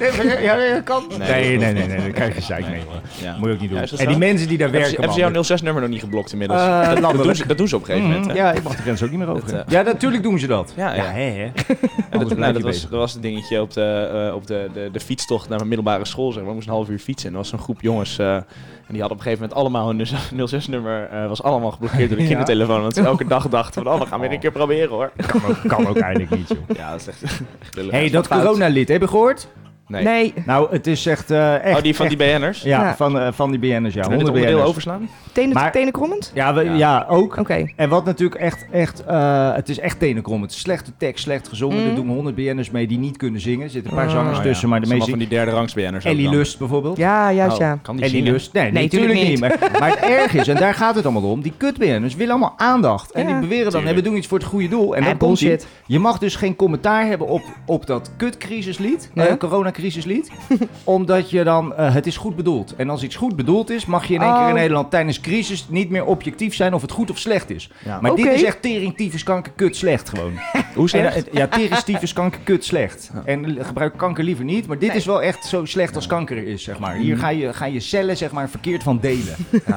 [SPEAKER 1] Nee, ja, dat kan.
[SPEAKER 2] Nee,
[SPEAKER 1] Nee,
[SPEAKER 2] dat
[SPEAKER 1] nee,
[SPEAKER 2] hoeft
[SPEAKER 1] nee,
[SPEAKER 2] niet.
[SPEAKER 1] nee, daar krijg je gezeik mee. hoor.
[SPEAKER 2] Ja.
[SPEAKER 1] Moet je ook niet doen.
[SPEAKER 2] Ja, is dat
[SPEAKER 1] en
[SPEAKER 2] zo?
[SPEAKER 1] die mensen die daar
[SPEAKER 2] Hebben ze,
[SPEAKER 1] werken,
[SPEAKER 2] hebben ze
[SPEAKER 1] man.
[SPEAKER 2] jouw 06-nummer nog niet geblokt inmiddels?
[SPEAKER 1] Eh,
[SPEAKER 2] dat, dat doen
[SPEAKER 1] landelijk.
[SPEAKER 2] ze, dat doen ze op een gegeven moment,
[SPEAKER 1] Mhm,
[SPEAKER 2] hè?
[SPEAKER 1] Ja, ik mag de grens ook niet meer over.
[SPEAKER 2] Dat, eh,
[SPEAKER 1] ja, natuurlijk doen ze dat.
[SPEAKER 2] Ja, ja.
[SPEAKER 1] hè, hè.
[SPEAKER 2] En dat,
[SPEAKER 1] Anders blijf
[SPEAKER 2] nou, dat,
[SPEAKER 1] je
[SPEAKER 2] was,
[SPEAKER 1] bezig.
[SPEAKER 2] dat was het dingetje op de, eh, op de, de, de fietstocht naar mijn middelbare school. Zeg maar. We moesten een half uur fietsen. En er was een groep jongens. eh, en die hadden op een gegeven moment allemaal hun 06-nummer. eh, was allemaal geblokkeerd door de
[SPEAKER 1] Ja.
[SPEAKER 2] kindertelefoon. Want ze elke dag dachten van, oh, we gaan weer een keer proberen hoor.
[SPEAKER 1] Kan ook- Kan ook eigenlijk niet, joh.
[SPEAKER 2] Ja, dat is echt... echt lullig.
[SPEAKER 1] Hé, hey, dat
[SPEAKER 2] Fout.
[SPEAKER 1] coronalid, heb je gehoord?
[SPEAKER 2] Nee.
[SPEAKER 3] Nee.
[SPEAKER 1] Nou, het is echt... eh, echt
[SPEAKER 2] Oh, die van die BN'ers?
[SPEAKER 1] Ja,
[SPEAKER 3] Ja.
[SPEAKER 1] Van, eh, van die BN'ers, ja.
[SPEAKER 2] Kunnen
[SPEAKER 1] 100
[SPEAKER 2] we dit onderdeel
[SPEAKER 1] BN'ers.
[SPEAKER 2] overslaan?
[SPEAKER 3] Tenen,
[SPEAKER 1] Maar- Oh,
[SPEAKER 3] tenen krommend?
[SPEAKER 1] Ja, we-
[SPEAKER 2] Ja.
[SPEAKER 1] ja. ook.
[SPEAKER 3] Oké.
[SPEAKER 1] En wat natuurlijk echt, echt, eh, het is echt tenenkrom. Het is slechte tekst, slecht gezongen.
[SPEAKER 3] Mm.
[SPEAKER 1] Er doen 100 BN'ers mee die niet kunnen zingen. Er zitten een paar
[SPEAKER 3] Ah.
[SPEAKER 1] zangers
[SPEAKER 2] Oh, ja.
[SPEAKER 1] tussen, dus, maar de
[SPEAKER 2] Allemaal
[SPEAKER 1] meeste...
[SPEAKER 2] van die derde rangs BN'ers ook
[SPEAKER 1] Ellie
[SPEAKER 2] dan.
[SPEAKER 1] Lust bijvoorbeeld.
[SPEAKER 3] Ja, juist ja.
[SPEAKER 2] Oh, Kan
[SPEAKER 1] en die
[SPEAKER 2] zingen?
[SPEAKER 1] lust? Nee,
[SPEAKER 3] Nee,
[SPEAKER 1] natuurlijk niet.
[SPEAKER 3] tuurlijk
[SPEAKER 1] Maar, maar het erg is, en daar gaat het allemaal om, die kutbanners willen allemaal aandacht. En
[SPEAKER 3] Ja.
[SPEAKER 1] die beweren dan,
[SPEAKER 2] Tuurlijk.
[SPEAKER 1] hey, we doen iets voor het goede doel. En
[SPEAKER 3] Ja,
[SPEAKER 1] dan komt die.
[SPEAKER 3] bullshit.
[SPEAKER 1] Je mag dus geen commentaar hebben op, op dat kutcrisislied,
[SPEAKER 3] Ja.
[SPEAKER 1] eh, coronacrisislied. omdat je dan, eh, het is goed bedoeld. En als iets goed bedoeld is, mag je in één keer in
[SPEAKER 3] Oh.
[SPEAKER 1] Nederland tijdens crisis niet meer objectief zijn of het goed of slecht is.
[SPEAKER 2] Ja.
[SPEAKER 1] Maar
[SPEAKER 3] Oké.
[SPEAKER 1] dit is echt tering, tyfus, kanker, kut, slecht gewoon.
[SPEAKER 2] Hoe
[SPEAKER 1] En,
[SPEAKER 2] slecht?
[SPEAKER 1] eh, ja, tering, tyfus, kanker, kut, slecht. En l- gebruik kanker liever niet, maar dit is wel echt zo slecht als kanker is, zeg maar. Hier ga je, ga je cellen, zeg maar, verkeerd van delen.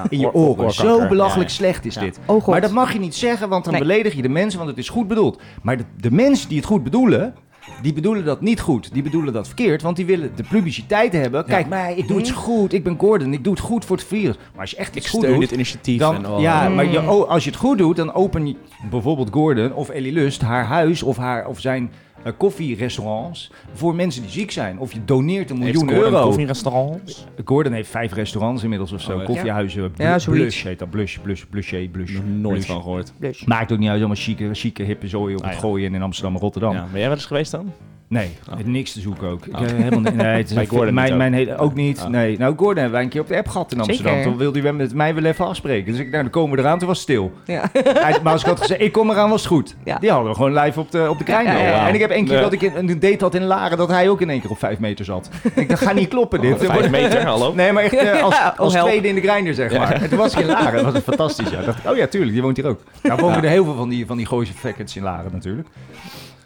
[SPEAKER 1] In je
[SPEAKER 2] Mm. oor-
[SPEAKER 1] oren.
[SPEAKER 2] oorkanker.
[SPEAKER 1] Zo belachelijk
[SPEAKER 2] Ja,
[SPEAKER 1] slecht is dit.
[SPEAKER 3] Oh, God.
[SPEAKER 1] Maar dat mag je niet zeggen, want dan
[SPEAKER 3] Nee.
[SPEAKER 1] beledig je de mensen, want het is goed bedoeld. Maar de, de mensen die het goed bedoelen, die bedoelen dat niet goed. Die bedoelen dat verkeerd, want die willen de publiciteit hebben. Kijk mij, ik doe het goed, ik ben Gordon, ik doe het goed voor het virus. Maar als je echt
[SPEAKER 2] Hm? Ik
[SPEAKER 1] iets goed
[SPEAKER 2] steun
[SPEAKER 1] doet...
[SPEAKER 2] dit initiatief.
[SPEAKER 1] Dan,
[SPEAKER 2] en, oh.
[SPEAKER 1] Ja, maar je, oh, als je het goed doet, dan open je bijvoorbeeld Gordon of Ellie Lust haar huis of, haar, of zijn eh, koffierestaurants voor mensen die ziek zijn. Of je doneert een miljoen
[SPEAKER 2] Heeft Gordon
[SPEAKER 1] euro.
[SPEAKER 2] Koffierestaurants?
[SPEAKER 1] Gordon heeft vijf restaurants inmiddels of zo.
[SPEAKER 2] Oh, echt?
[SPEAKER 1] Koffiehuizen. Bl-
[SPEAKER 3] Ja, zoiets.
[SPEAKER 1] Blush heet dat. Blush, blush, blush, blush.
[SPEAKER 2] Nog nooit
[SPEAKER 1] blush.
[SPEAKER 2] van gehoord.
[SPEAKER 3] Dus.
[SPEAKER 1] Maakt ook niet uit, allemaal chique, chique hippe zooi op
[SPEAKER 2] Ah,
[SPEAKER 1] het
[SPEAKER 2] ja.
[SPEAKER 1] gooien in Amsterdam en Rotterdam.
[SPEAKER 2] Ja, ben jij wel eens geweest dan?
[SPEAKER 1] Nee,
[SPEAKER 2] Oh.
[SPEAKER 1] niks te zoeken ook. Ik,
[SPEAKER 2] Oh.
[SPEAKER 1] eh, helemaal niet. Nee, het is
[SPEAKER 2] Bij
[SPEAKER 1] een-
[SPEAKER 2] Gordon niet
[SPEAKER 1] mijn,
[SPEAKER 2] ook?
[SPEAKER 1] mijn hele, ook niet.
[SPEAKER 2] Oh.
[SPEAKER 1] Nee. Nou, Gordon hebben wij een keer op de app gehad in Amsterdam.
[SPEAKER 3] Zeker.
[SPEAKER 1] Toen wilde hij met mij wel even afspreken. Dus ik, nou, dan komen we eraan. Toen was het stil.
[SPEAKER 3] Ja.
[SPEAKER 1] Hij- maar als ik had gezegd, ik kom eraan, was het goed.
[SPEAKER 3] Ja.
[SPEAKER 1] Die hadden we gewoon live op de, op de kraan.
[SPEAKER 3] Ja, ja, ja.
[SPEAKER 1] En ik heb één keer
[SPEAKER 2] Ja.
[SPEAKER 1] dat ik in- een date had in Laren, dat hij ook in één keer op vijf meter zat. ik dacht, ga niet kloppen dit.
[SPEAKER 2] Oh, Vijf meter, hallo?
[SPEAKER 1] Nee, maar echt eh, als,
[SPEAKER 3] Ja, oh,
[SPEAKER 1] als
[SPEAKER 3] help.
[SPEAKER 1] tweede in de grinder, zeg maar. En toen was ik in Laren. Dat was het fantastisch, ja. Dacht ik, oh ja, tuurlijk, die woont hier ook. Nou wonen er heel veel van die, van die gooise faggots in Laren natuurlijk.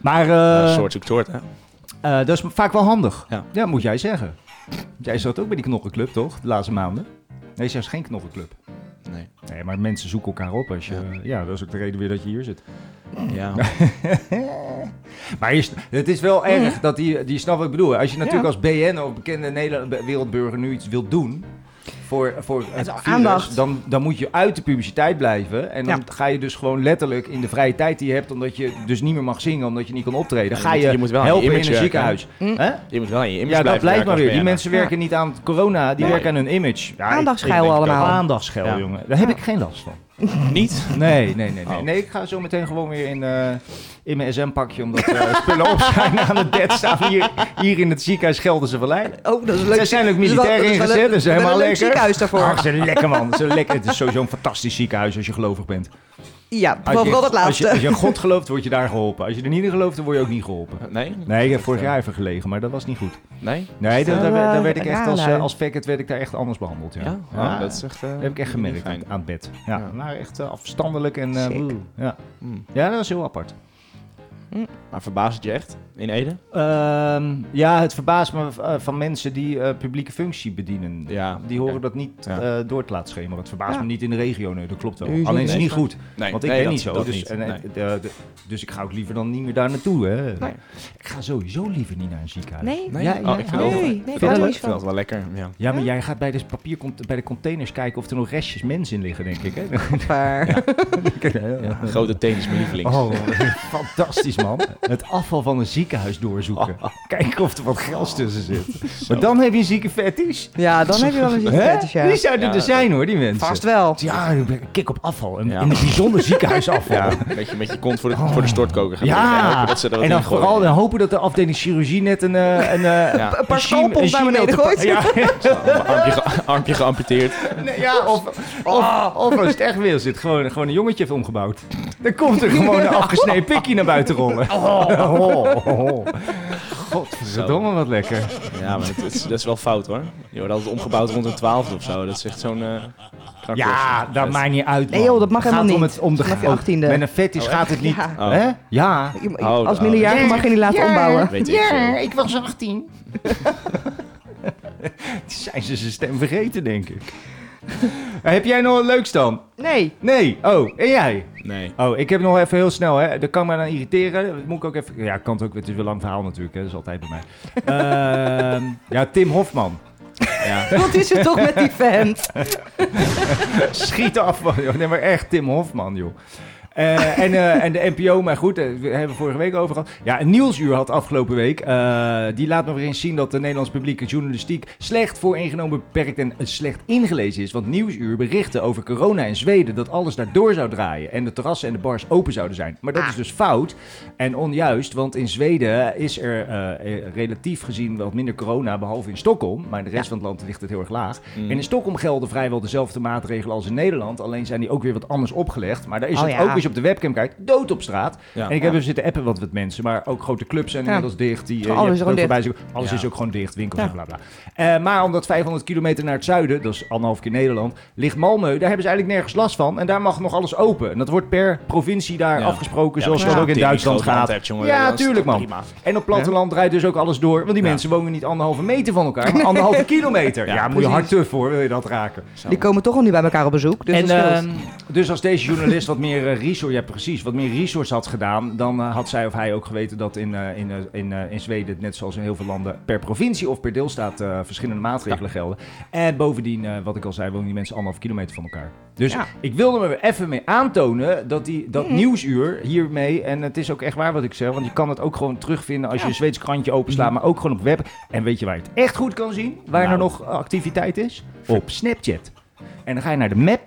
[SPEAKER 1] Maar, eh,
[SPEAKER 2] Een soort zoekt soort, hè?
[SPEAKER 1] Eh, dat is vaak wel handig. Ja. moet jij zeggen. Jij zat ook bij die knokkenclub, toch? De laatste maanden. Nee, zelfs geen knokkenclub.
[SPEAKER 2] Nee.
[SPEAKER 1] Nee, maar mensen zoeken elkaar op. Als je, ja. dat is ook de reden weer dat je hier zit.
[SPEAKER 2] Ja.
[SPEAKER 1] maar je sn- het is wel erg dat die, die snap wat ik bedoel. Als je natuurlijk
[SPEAKER 3] Ja.
[SPEAKER 1] als BN of bekende Nederland, wereldburger nu iets wilt doen voor, voor het virus,
[SPEAKER 3] aandacht.
[SPEAKER 1] Dan, dan moet je uit de publiciteit blijven. En dan ga je dus gewoon letterlijk in de vrije tijd die je hebt, omdat je dus niet meer mag zingen, omdat je niet kan optreden,
[SPEAKER 2] Ja,
[SPEAKER 1] ga
[SPEAKER 2] je
[SPEAKER 1] je,
[SPEAKER 2] moet- je moet wel aan je
[SPEAKER 1] helpen in
[SPEAKER 2] image
[SPEAKER 1] een
[SPEAKER 2] werken, hè?
[SPEAKER 1] ziekenhuis.
[SPEAKER 3] Mm.
[SPEAKER 1] Hè?
[SPEAKER 2] Je moet wel aan je image
[SPEAKER 1] ja, dat
[SPEAKER 2] blijven
[SPEAKER 1] blijft
[SPEAKER 2] werken
[SPEAKER 1] maar
[SPEAKER 2] als
[SPEAKER 1] weer. Die
[SPEAKER 2] BN'er.
[SPEAKER 1] mensen werken niet aan corona, die
[SPEAKER 2] Nee.
[SPEAKER 1] werken aan hun image. Ja, ik-
[SPEAKER 3] Aandachtsgeil
[SPEAKER 1] ik denk het
[SPEAKER 3] allemaal.
[SPEAKER 1] ook. Aandachtsgeil,
[SPEAKER 2] Ja.
[SPEAKER 1] jongen. Daar heb ik geen last van.
[SPEAKER 2] Niet?
[SPEAKER 1] Nee, nee, nee. Nee,
[SPEAKER 2] Oh.
[SPEAKER 1] nee ik ga zo meteen gewoon weer in, eh, in mijn SM-pakje, omdat eh spullen op zijn aan het bed staan. Hier, hier in het ziekenhuis Gelderse Vallei.
[SPEAKER 3] Oh, dat is leuk.
[SPEAKER 1] Er zijn ook
[SPEAKER 3] Dat is wel-
[SPEAKER 1] militairen
[SPEAKER 3] dat is wel
[SPEAKER 1] ingezet,
[SPEAKER 3] een-
[SPEAKER 1] dus
[SPEAKER 3] wel een
[SPEAKER 1] helemaal
[SPEAKER 3] leuk
[SPEAKER 1] lekker. Ah.
[SPEAKER 3] ziekenhuis daarvoor.
[SPEAKER 1] Ach, ze lekker man, ze lekker. Het is sowieso een fantastisch ziekenhuis als je gelovig bent.
[SPEAKER 3] Ja,
[SPEAKER 1] Als je,
[SPEAKER 3] vooral
[SPEAKER 1] als
[SPEAKER 3] dat
[SPEAKER 1] je,
[SPEAKER 3] laatste.
[SPEAKER 1] als je in God gelooft, word je daar geholpen. Als je er niet in gelooft, dan word je ook niet geholpen.
[SPEAKER 2] Nee?
[SPEAKER 1] Nee, ik heb vorig jaar even gelegen, maar dat was niet goed.
[SPEAKER 2] Nee?
[SPEAKER 1] Nee, daar, daar, werd- daar werd ik echt als, eh,
[SPEAKER 3] Rare.
[SPEAKER 1] als faggot werd ik daar echt anders behandeld. Ja,
[SPEAKER 2] Ja? Oh, dat is echt, eh,
[SPEAKER 1] heb ik echt
[SPEAKER 2] niet
[SPEAKER 1] gemerkt aan,
[SPEAKER 2] fijn.
[SPEAKER 1] aan het bed. Ja,
[SPEAKER 2] Ja.
[SPEAKER 1] maar echt eh, afstandelijk en... eh,
[SPEAKER 3] Sick.
[SPEAKER 1] woe, ja.
[SPEAKER 2] Hmm.
[SPEAKER 1] ja, dat was heel apart.
[SPEAKER 2] Maar verbaast het je echt? In Ede?
[SPEAKER 1] Ehm, ja, het verbaast me eh, van mensen die eh, publieke functie bedienen.
[SPEAKER 2] Ja.
[SPEAKER 1] Die horen
[SPEAKER 2] Ja.
[SPEAKER 1] dat niet
[SPEAKER 2] Ja.
[SPEAKER 1] eh, door het laatschema. Het verbaast
[SPEAKER 3] Ja.
[SPEAKER 1] me niet in de regio, nee, dat klopt wel.
[SPEAKER 3] Nee, zeker.
[SPEAKER 1] Alleen is het niet
[SPEAKER 2] Nee.
[SPEAKER 1] goed,
[SPEAKER 2] Nee,
[SPEAKER 1] want ik
[SPEAKER 2] nee,
[SPEAKER 1] ben
[SPEAKER 2] dat-
[SPEAKER 1] niet zo.
[SPEAKER 2] dat
[SPEAKER 1] Dus,
[SPEAKER 2] niet.
[SPEAKER 1] en, eh,
[SPEAKER 2] Nee.
[SPEAKER 1] de- de- dus ik ga ook liever dan niet meer daar naartoe. Hè.
[SPEAKER 2] Nee.
[SPEAKER 1] Ik ga sowieso liever niet naar een ziekenhuis.
[SPEAKER 3] Nee,
[SPEAKER 2] Nee?
[SPEAKER 1] Ja,
[SPEAKER 2] Oh,
[SPEAKER 1] ja.
[SPEAKER 2] ik vind
[SPEAKER 3] nee,
[SPEAKER 2] het wel-
[SPEAKER 3] nee,
[SPEAKER 2] ik vind
[SPEAKER 3] ik hou
[SPEAKER 2] het
[SPEAKER 3] er
[SPEAKER 2] wel-
[SPEAKER 3] niet
[SPEAKER 2] ik vind het
[SPEAKER 3] van.
[SPEAKER 2] wel lekker. Ja.
[SPEAKER 1] Ja, maar jij gaat bij de, papier, bij de containers kijken of er nog restjes mens in liggen, denk ik. Hè?
[SPEAKER 3] Maar-
[SPEAKER 2] Grote teens, mijn lievelings.
[SPEAKER 1] Oh, fantastisch man. Het afval van een ziekenhuis doorzoeken.
[SPEAKER 2] Oh.
[SPEAKER 1] Kijken of er wat gras tussen zit. Maar dan heb je een zieke fetish.
[SPEAKER 3] Ja, dan heb je wel een
[SPEAKER 1] Hè?
[SPEAKER 3] ziekenhuis,
[SPEAKER 1] Die
[SPEAKER 3] ja.
[SPEAKER 1] zouden
[SPEAKER 2] Ja,
[SPEAKER 1] er zijn hoor, die mensen.
[SPEAKER 3] Vast wel.
[SPEAKER 1] Ja, ik ben- kik op afval. En
[SPEAKER 2] Ja.
[SPEAKER 1] In het bijzonder ziekenhuisafval.
[SPEAKER 2] Ja,
[SPEAKER 1] Ja.
[SPEAKER 2] een beetje met je kont voor de, voor de stortkoker gaan liggen.
[SPEAKER 1] Oh. Ja,
[SPEAKER 2] Hopen dat ze er wat
[SPEAKER 1] en dan
[SPEAKER 2] in gooien.
[SPEAKER 1] vooral dan hopen dat de afdeling chirurgie net een, eh, een, eh,
[SPEAKER 2] Ja.
[SPEAKER 1] een chim-
[SPEAKER 3] paar scalpels
[SPEAKER 1] een chimo
[SPEAKER 3] naar beneden
[SPEAKER 1] te pa-
[SPEAKER 3] gooit.
[SPEAKER 1] Ja,
[SPEAKER 2] Armpje, ge- armpje geamputeerd.
[SPEAKER 1] Nee, ja, of, of, of als het echt wil, zit gewoon, gewoon een jongetje heeft omgebouwd. Dan komt er gewoon een afgesneden pikkie naar buiten rollen. Oh, oh. Godverdomme, wat lekker.
[SPEAKER 2] Ja, maar het, het is, dat is wel fout hoor. Je wordt altijd omgebouwd rond een twaalfde of zo. Dat is echt zo'n... eh, krakkers.
[SPEAKER 1] Ja, dat maakt niet uit.
[SPEAKER 3] Nee,
[SPEAKER 1] man.
[SPEAKER 3] joh, dat mag
[SPEAKER 1] Het gaat om
[SPEAKER 3] helemaal niet.
[SPEAKER 1] het, om de
[SPEAKER 3] Vanaf je
[SPEAKER 1] oh,
[SPEAKER 3] 18e.
[SPEAKER 1] Met een fetish gaat het niet.
[SPEAKER 3] Ja.
[SPEAKER 2] Oh.
[SPEAKER 1] Hè? Ja.
[SPEAKER 3] Je- je-
[SPEAKER 2] Oh,
[SPEAKER 3] Als
[SPEAKER 2] oh.
[SPEAKER 3] minderjarige mag je niet laten ombouwen.
[SPEAKER 2] Weet ik veel.
[SPEAKER 1] ik was 18. Zijn ze zijn stem vergeten, denk ik. Heb jij nog een leuks dan?
[SPEAKER 3] Nee.
[SPEAKER 1] Nee. Oh, en jij?
[SPEAKER 2] Nee.
[SPEAKER 1] Oh, ik heb nog even heel snel, hè. Dat kan me dan irriteren. Dat moet ik ook even... Ja, kan het ook. Het is wel een lang verhaal natuurlijk, hè. Dat is altijd bij mij. Ehm, ja, Tim Hofman.
[SPEAKER 3] Wat is er toch met die vent?
[SPEAKER 1] Schiet af, man. joh. Nee, maar echt Tim Hofman, joh. Eh, en, eh, en de NPO, maar goed, eh, we hebben we vorige week over gehad. Ja, een Nieuwsuur had afgelopen week. eh, die laat nog weer eens zien dat de Nederlands publieke journalistiek slecht vooringenomen, beperkt en slecht ingelezen is. Want Nieuwsuur berichten over corona in Zweden dat alles daar door zou draaien. En de terrassen en de bars open zouden zijn. Maar dat
[SPEAKER 3] Ah.
[SPEAKER 1] is dus fout en onjuist, want in Zweden is er eh, eh, relatief gezien wat minder corona, behalve in Stockholm. Maar in de rest van het land ligt het heel erg laag.
[SPEAKER 3] Mm.
[SPEAKER 1] En in Stockholm gelden vrijwel dezelfde maatregelen als in Nederland. Alleen zijn die ook weer wat anders opgelegd. Maar daar is
[SPEAKER 3] Oh
[SPEAKER 1] het
[SPEAKER 3] ja.
[SPEAKER 1] ook, als je op de webcam kijkt, dood op straat.
[SPEAKER 2] Ja.
[SPEAKER 1] En ik heb even zitten appen wat met mensen. Maar ook grote clubs zijn
[SPEAKER 3] Ja.
[SPEAKER 1] inmiddels dicht. Die, eh, je
[SPEAKER 3] Alles
[SPEAKER 1] hebt
[SPEAKER 3] is gewoon
[SPEAKER 1] het ook
[SPEAKER 3] dicht.
[SPEAKER 1] voorbij zien. Alles
[SPEAKER 2] Ja.
[SPEAKER 1] is ook gewoon dicht, winkels en bla bla. Eh, maar omdat 500 kilometer naar het zuiden, dat is anderhalf keer Nederland, ligt Malmö. Daar hebben ze eigenlijk nergens last van. En daar mag nog alles open. En dat wordt per provincie daar
[SPEAKER 2] Ja.
[SPEAKER 1] afgesproken,
[SPEAKER 2] Ja,
[SPEAKER 1] zoals
[SPEAKER 2] maar
[SPEAKER 1] dat
[SPEAKER 2] ja,
[SPEAKER 1] ook in
[SPEAKER 2] Tim, die
[SPEAKER 1] Duitsland
[SPEAKER 2] grote hand
[SPEAKER 1] gaat.
[SPEAKER 2] hebt, jongen, dat
[SPEAKER 1] ja,
[SPEAKER 2] is
[SPEAKER 1] tuurlijk man.
[SPEAKER 2] prima.
[SPEAKER 1] En op platteland draait dus ook alles door. Want die
[SPEAKER 2] Ja.
[SPEAKER 1] mensen wonen niet anderhalve meter van elkaar, maar anderhalve kilometer. Ja,
[SPEAKER 2] Ja,
[SPEAKER 1] moet je hard
[SPEAKER 3] precies.
[SPEAKER 1] tuf voor, wil je dat raken.
[SPEAKER 3] Die komen toch al niet bij elkaar op bezoek, dus
[SPEAKER 1] en,
[SPEAKER 3] dat scheelt.
[SPEAKER 1] ehm, dus als deze journalist wat meer eh, resource, ja precies, wat meer resource had gedaan, dan eh, had zij of hij ook geweten dat in, eh, in, eh, in, eh, in Zweden, net zoals in heel veel landen, per provincie of per deelstaat eh, verschillende maatregelen gelden. En bovendien, eh, wat ik al zei, wonen die mensen anderhalf kilometer van elkaar. Dus
[SPEAKER 3] Ja.
[SPEAKER 1] ik wilde me even mee aantonen dat die, dat nieuwsuur hiermee, en het is ook echt waar wat ik zeg, want je kan het ook gewoon terugvinden als je een Zweeds krantje openslaat, maar ook gewoon op web. En weet je waar je het echt goed kan zien, waar er
[SPEAKER 2] Nou.
[SPEAKER 1] nog activiteit is? Op Snapchat. En dan ga je naar de map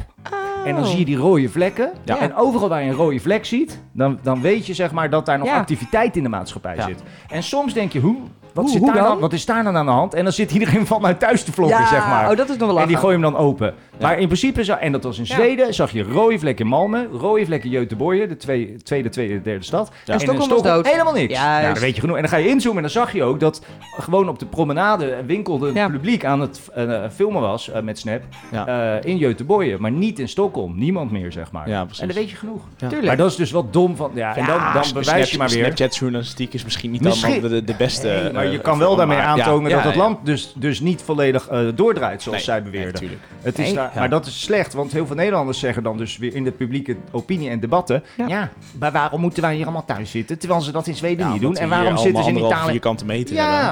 [SPEAKER 1] en
[SPEAKER 3] Oh.
[SPEAKER 1] dan zie je die rode vlekken.
[SPEAKER 2] Ja.
[SPEAKER 1] En overal waar je een rode vlek ziet, dan, dan weet je zeg maar dat daar nog
[SPEAKER 3] Ja.
[SPEAKER 1] activiteit in de maatschappij
[SPEAKER 2] Ja.
[SPEAKER 1] zit. En soms denk je, hoe? Wat,
[SPEAKER 3] Hoe-
[SPEAKER 1] zit
[SPEAKER 3] hoe
[SPEAKER 1] daar
[SPEAKER 3] dan?
[SPEAKER 1] dan? wat is daar dan aan de hand? En dan zit iedereen vanuit thuis te vlokken,
[SPEAKER 3] ja,
[SPEAKER 1] zeg maar.
[SPEAKER 3] oh, dat is nog wel
[SPEAKER 1] en die
[SPEAKER 3] lachen.
[SPEAKER 1] gooi hem dan open. Maar in principe, zou- en dat was in Zweden, zag je rode vlekken in Malmö, rode vlekken in Göteborg, de twee, tweede, tweede, derde stad.
[SPEAKER 3] En Stockholm was dood.
[SPEAKER 1] helemaal niks.
[SPEAKER 3] Juist.
[SPEAKER 1] Nou, dan weet je genoeg. En dan ga je inzoomen en dan zag je ook dat gewoon op de promenade en winkel het publiek aan het eh, filmen was eh, met Snap eh, in Göteborg, maar niet in Stockholm. Niemand meer, zeg maar.
[SPEAKER 2] Ja, precies.
[SPEAKER 1] En dan weet je genoeg.
[SPEAKER 2] Ja.
[SPEAKER 1] Tuurlijk. Maar dat is dus wat dom van, ja, en dan, dan
[SPEAKER 2] Snap-
[SPEAKER 1] bewijs je maar weer.
[SPEAKER 2] Snapchat-journalistiek is misschien niet
[SPEAKER 1] Misschien-
[SPEAKER 2] allemaal de, de beste.
[SPEAKER 1] Nee, maar je
[SPEAKER 2] eh,
[SPEAKER 1] kan wel
[SPEAKER 2] vorm,
[SPEAKER 1] daarmee
[SPEAKER 2] maar-
[SPEAKER 1] aantonen
[SPEAKER 2] ja,
[SPEAKER 1] dat
[SPEAKER 2] ja,
[SPEAKER 1] het
[SPEAKER 2] ja.
[SPEAKER 1] land dus, dus niet volledig eh, doordraait, zoals
[SPEAKER 2] Nee,
[SPEAKER 1] zij beweerden.
[SPEAKER 2] nee, tuurlijk.
[SPEAKER 1] het is
[SPEAKER 2] Nee.
[SPEAKER 1] daar,
[SPEAKER 2] Ja.
[SPEAKER 1] Maar dat is slecht, want heel veel Nederlanders zeggen dan dus weer in de publieke opinie en debatten... Ja, maar waarom moeten wij hier allemaal thuis zitten, terwijl ze dat in Zweden niet
[SPEAKER 2] omdat
[SPEAKER 1] doen?
[SPEAKER 2] we
[SPEAKER 1] En
[SPEAKER 2] hier
[SPEAKER 1] waarom zitten
[SPEAKER 2] allemaal
[SPEAKER 1] ze in
[SPEAKER 2] anderhalve
[SPEAKER 1] Italië...
[SPEAKER 2] vierkante meter
[SPEAKER 1] ja,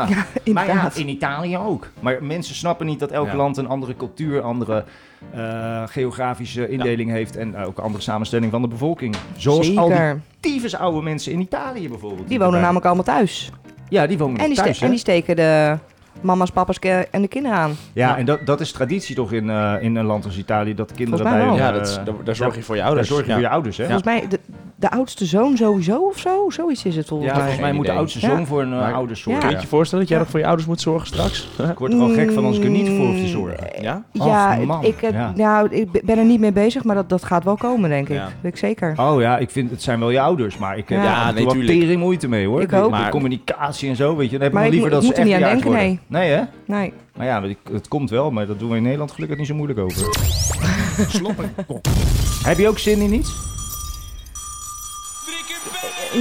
[SPEAKER 2] hebben.
[SPEAKER 1] maar ja, in Italië ook. Maar mensen snappen niet dat elk
[SPEAKER 2] Ja.
[SPEAKER 1] land een andere cultuur, andere eh, geografische indeling heeft... en eh, ook een andere samenstelling van de bevolking. Zoals al die
[SPEAKER 3] Zeker.
[SPEAKER 1] tyfus oude mensen in Italië bijvoorbeeld.
[SPEAKER 3] Die wonen
[SPEAKER 1] erbij-
[SPEAKER 3] namelijk allemaal thuis.
[SPEAKER 1] Ja, die wonen
[SPEAKER 3] En die, ste-
[SPEAKER 1] thuis, hè?
[SPEAKER 3] en die steken de mama's, papa's ke- en de kinderen aan.
[SPEAKER 1] Ja, en dat, dat is traditie toch in, eh, in een land als Italië, dat kinderen
[SPEAKER 3] Volgens
[SPEAKER 1] bij
[SPEAKER 3] mij wel.
[SPEAKER 1] hun,
[SPEAKER 2] Ja,
[SPEAKER 1] eh,
[SPEAKER 2] dat oh, is- daar- daar zorg je voor je ouders.
[SPEAKER 1] Daar zorg je
[SPEAKER 2] Ja.
[SPEAKER 1] voor je ouders, hè?
[SPEAKER 3] Volgens mij de, de oudste zoon sowieso of zo. Zoiets is het volgens
[SPEAKER 1] Ja,
[SPEAKER 3] mij.
[SPEAKER 1] volgens mij moet de oudste zoon voor een eh,
[SPEAKER 2] Maar-
[SPEAKER 1] ouder oude zorgen.
[SPEAKER 2] Kun je je voorstellen dat jij nog voor je ouders moet zorgen straks? Ik
[SPEAKER 1] word er al gek van als ik er niet voor hoef te zorgen.
[SPEAKER 2] Ja?
[SPEAKER 3] Ja,
[SPEAKER 1] Och, man,
[SPEAKER 3] ik, eh,
[SPEAKER 1] ja.
[SPEAKER 3] Nou, ik be- ben er niet mee bezig, maar dat, dat gaat wel komen, denk ik.
[SPEAKER 1] Ja.
[SPEAKER 3] Weet ik zeker.
[SPEAKER 1] Oh ja, ik vind het zijn wel je ouders, maar ik heb
[SPEAKER 3] Ja.
[SPEAKER 1] ja,
[SPEAKER 3] Ja,
[SPEAKER 1] ja,
[SPEAKER 2] nee, tuurlijk.
[SPEAKER 1] tering moeite mee hoor.
[SPEAKER 3] Ik
[SPEAKER 1] Die-
[SPEAKER 3] ook.
[SPEAKER 1] die
[SPEAKER 2] Maar-
[SPEAKER 1] communicatie en zo, weet je. Dan heb ik
[SPEAKER 3] Maar
[SPEAKER 1] nog
[SPEAKER 3] ik
[SPEAKER 1] liever
[SPEAKER 3] moet-
[SPEAKER 1] dat
[SPEAKER 3] ik
[SPEAKER 1] ze
[SPEAKER 3] moet er
[SPEAKER 1] echt
[SPEAKER 3] niet aan
[SPEAKER 1] jarig
[SPEAKER 3] denken,
[SPEAKER 1] worden. Nee hè?
[SPEAKER 3] Nee.
[SPEAKER 1] Maar ja, ik- het komt wel, maar dat doen we in Nederland gelukkig niet zo moeilijk over. Slopperkok. Heb je ook zin in iets?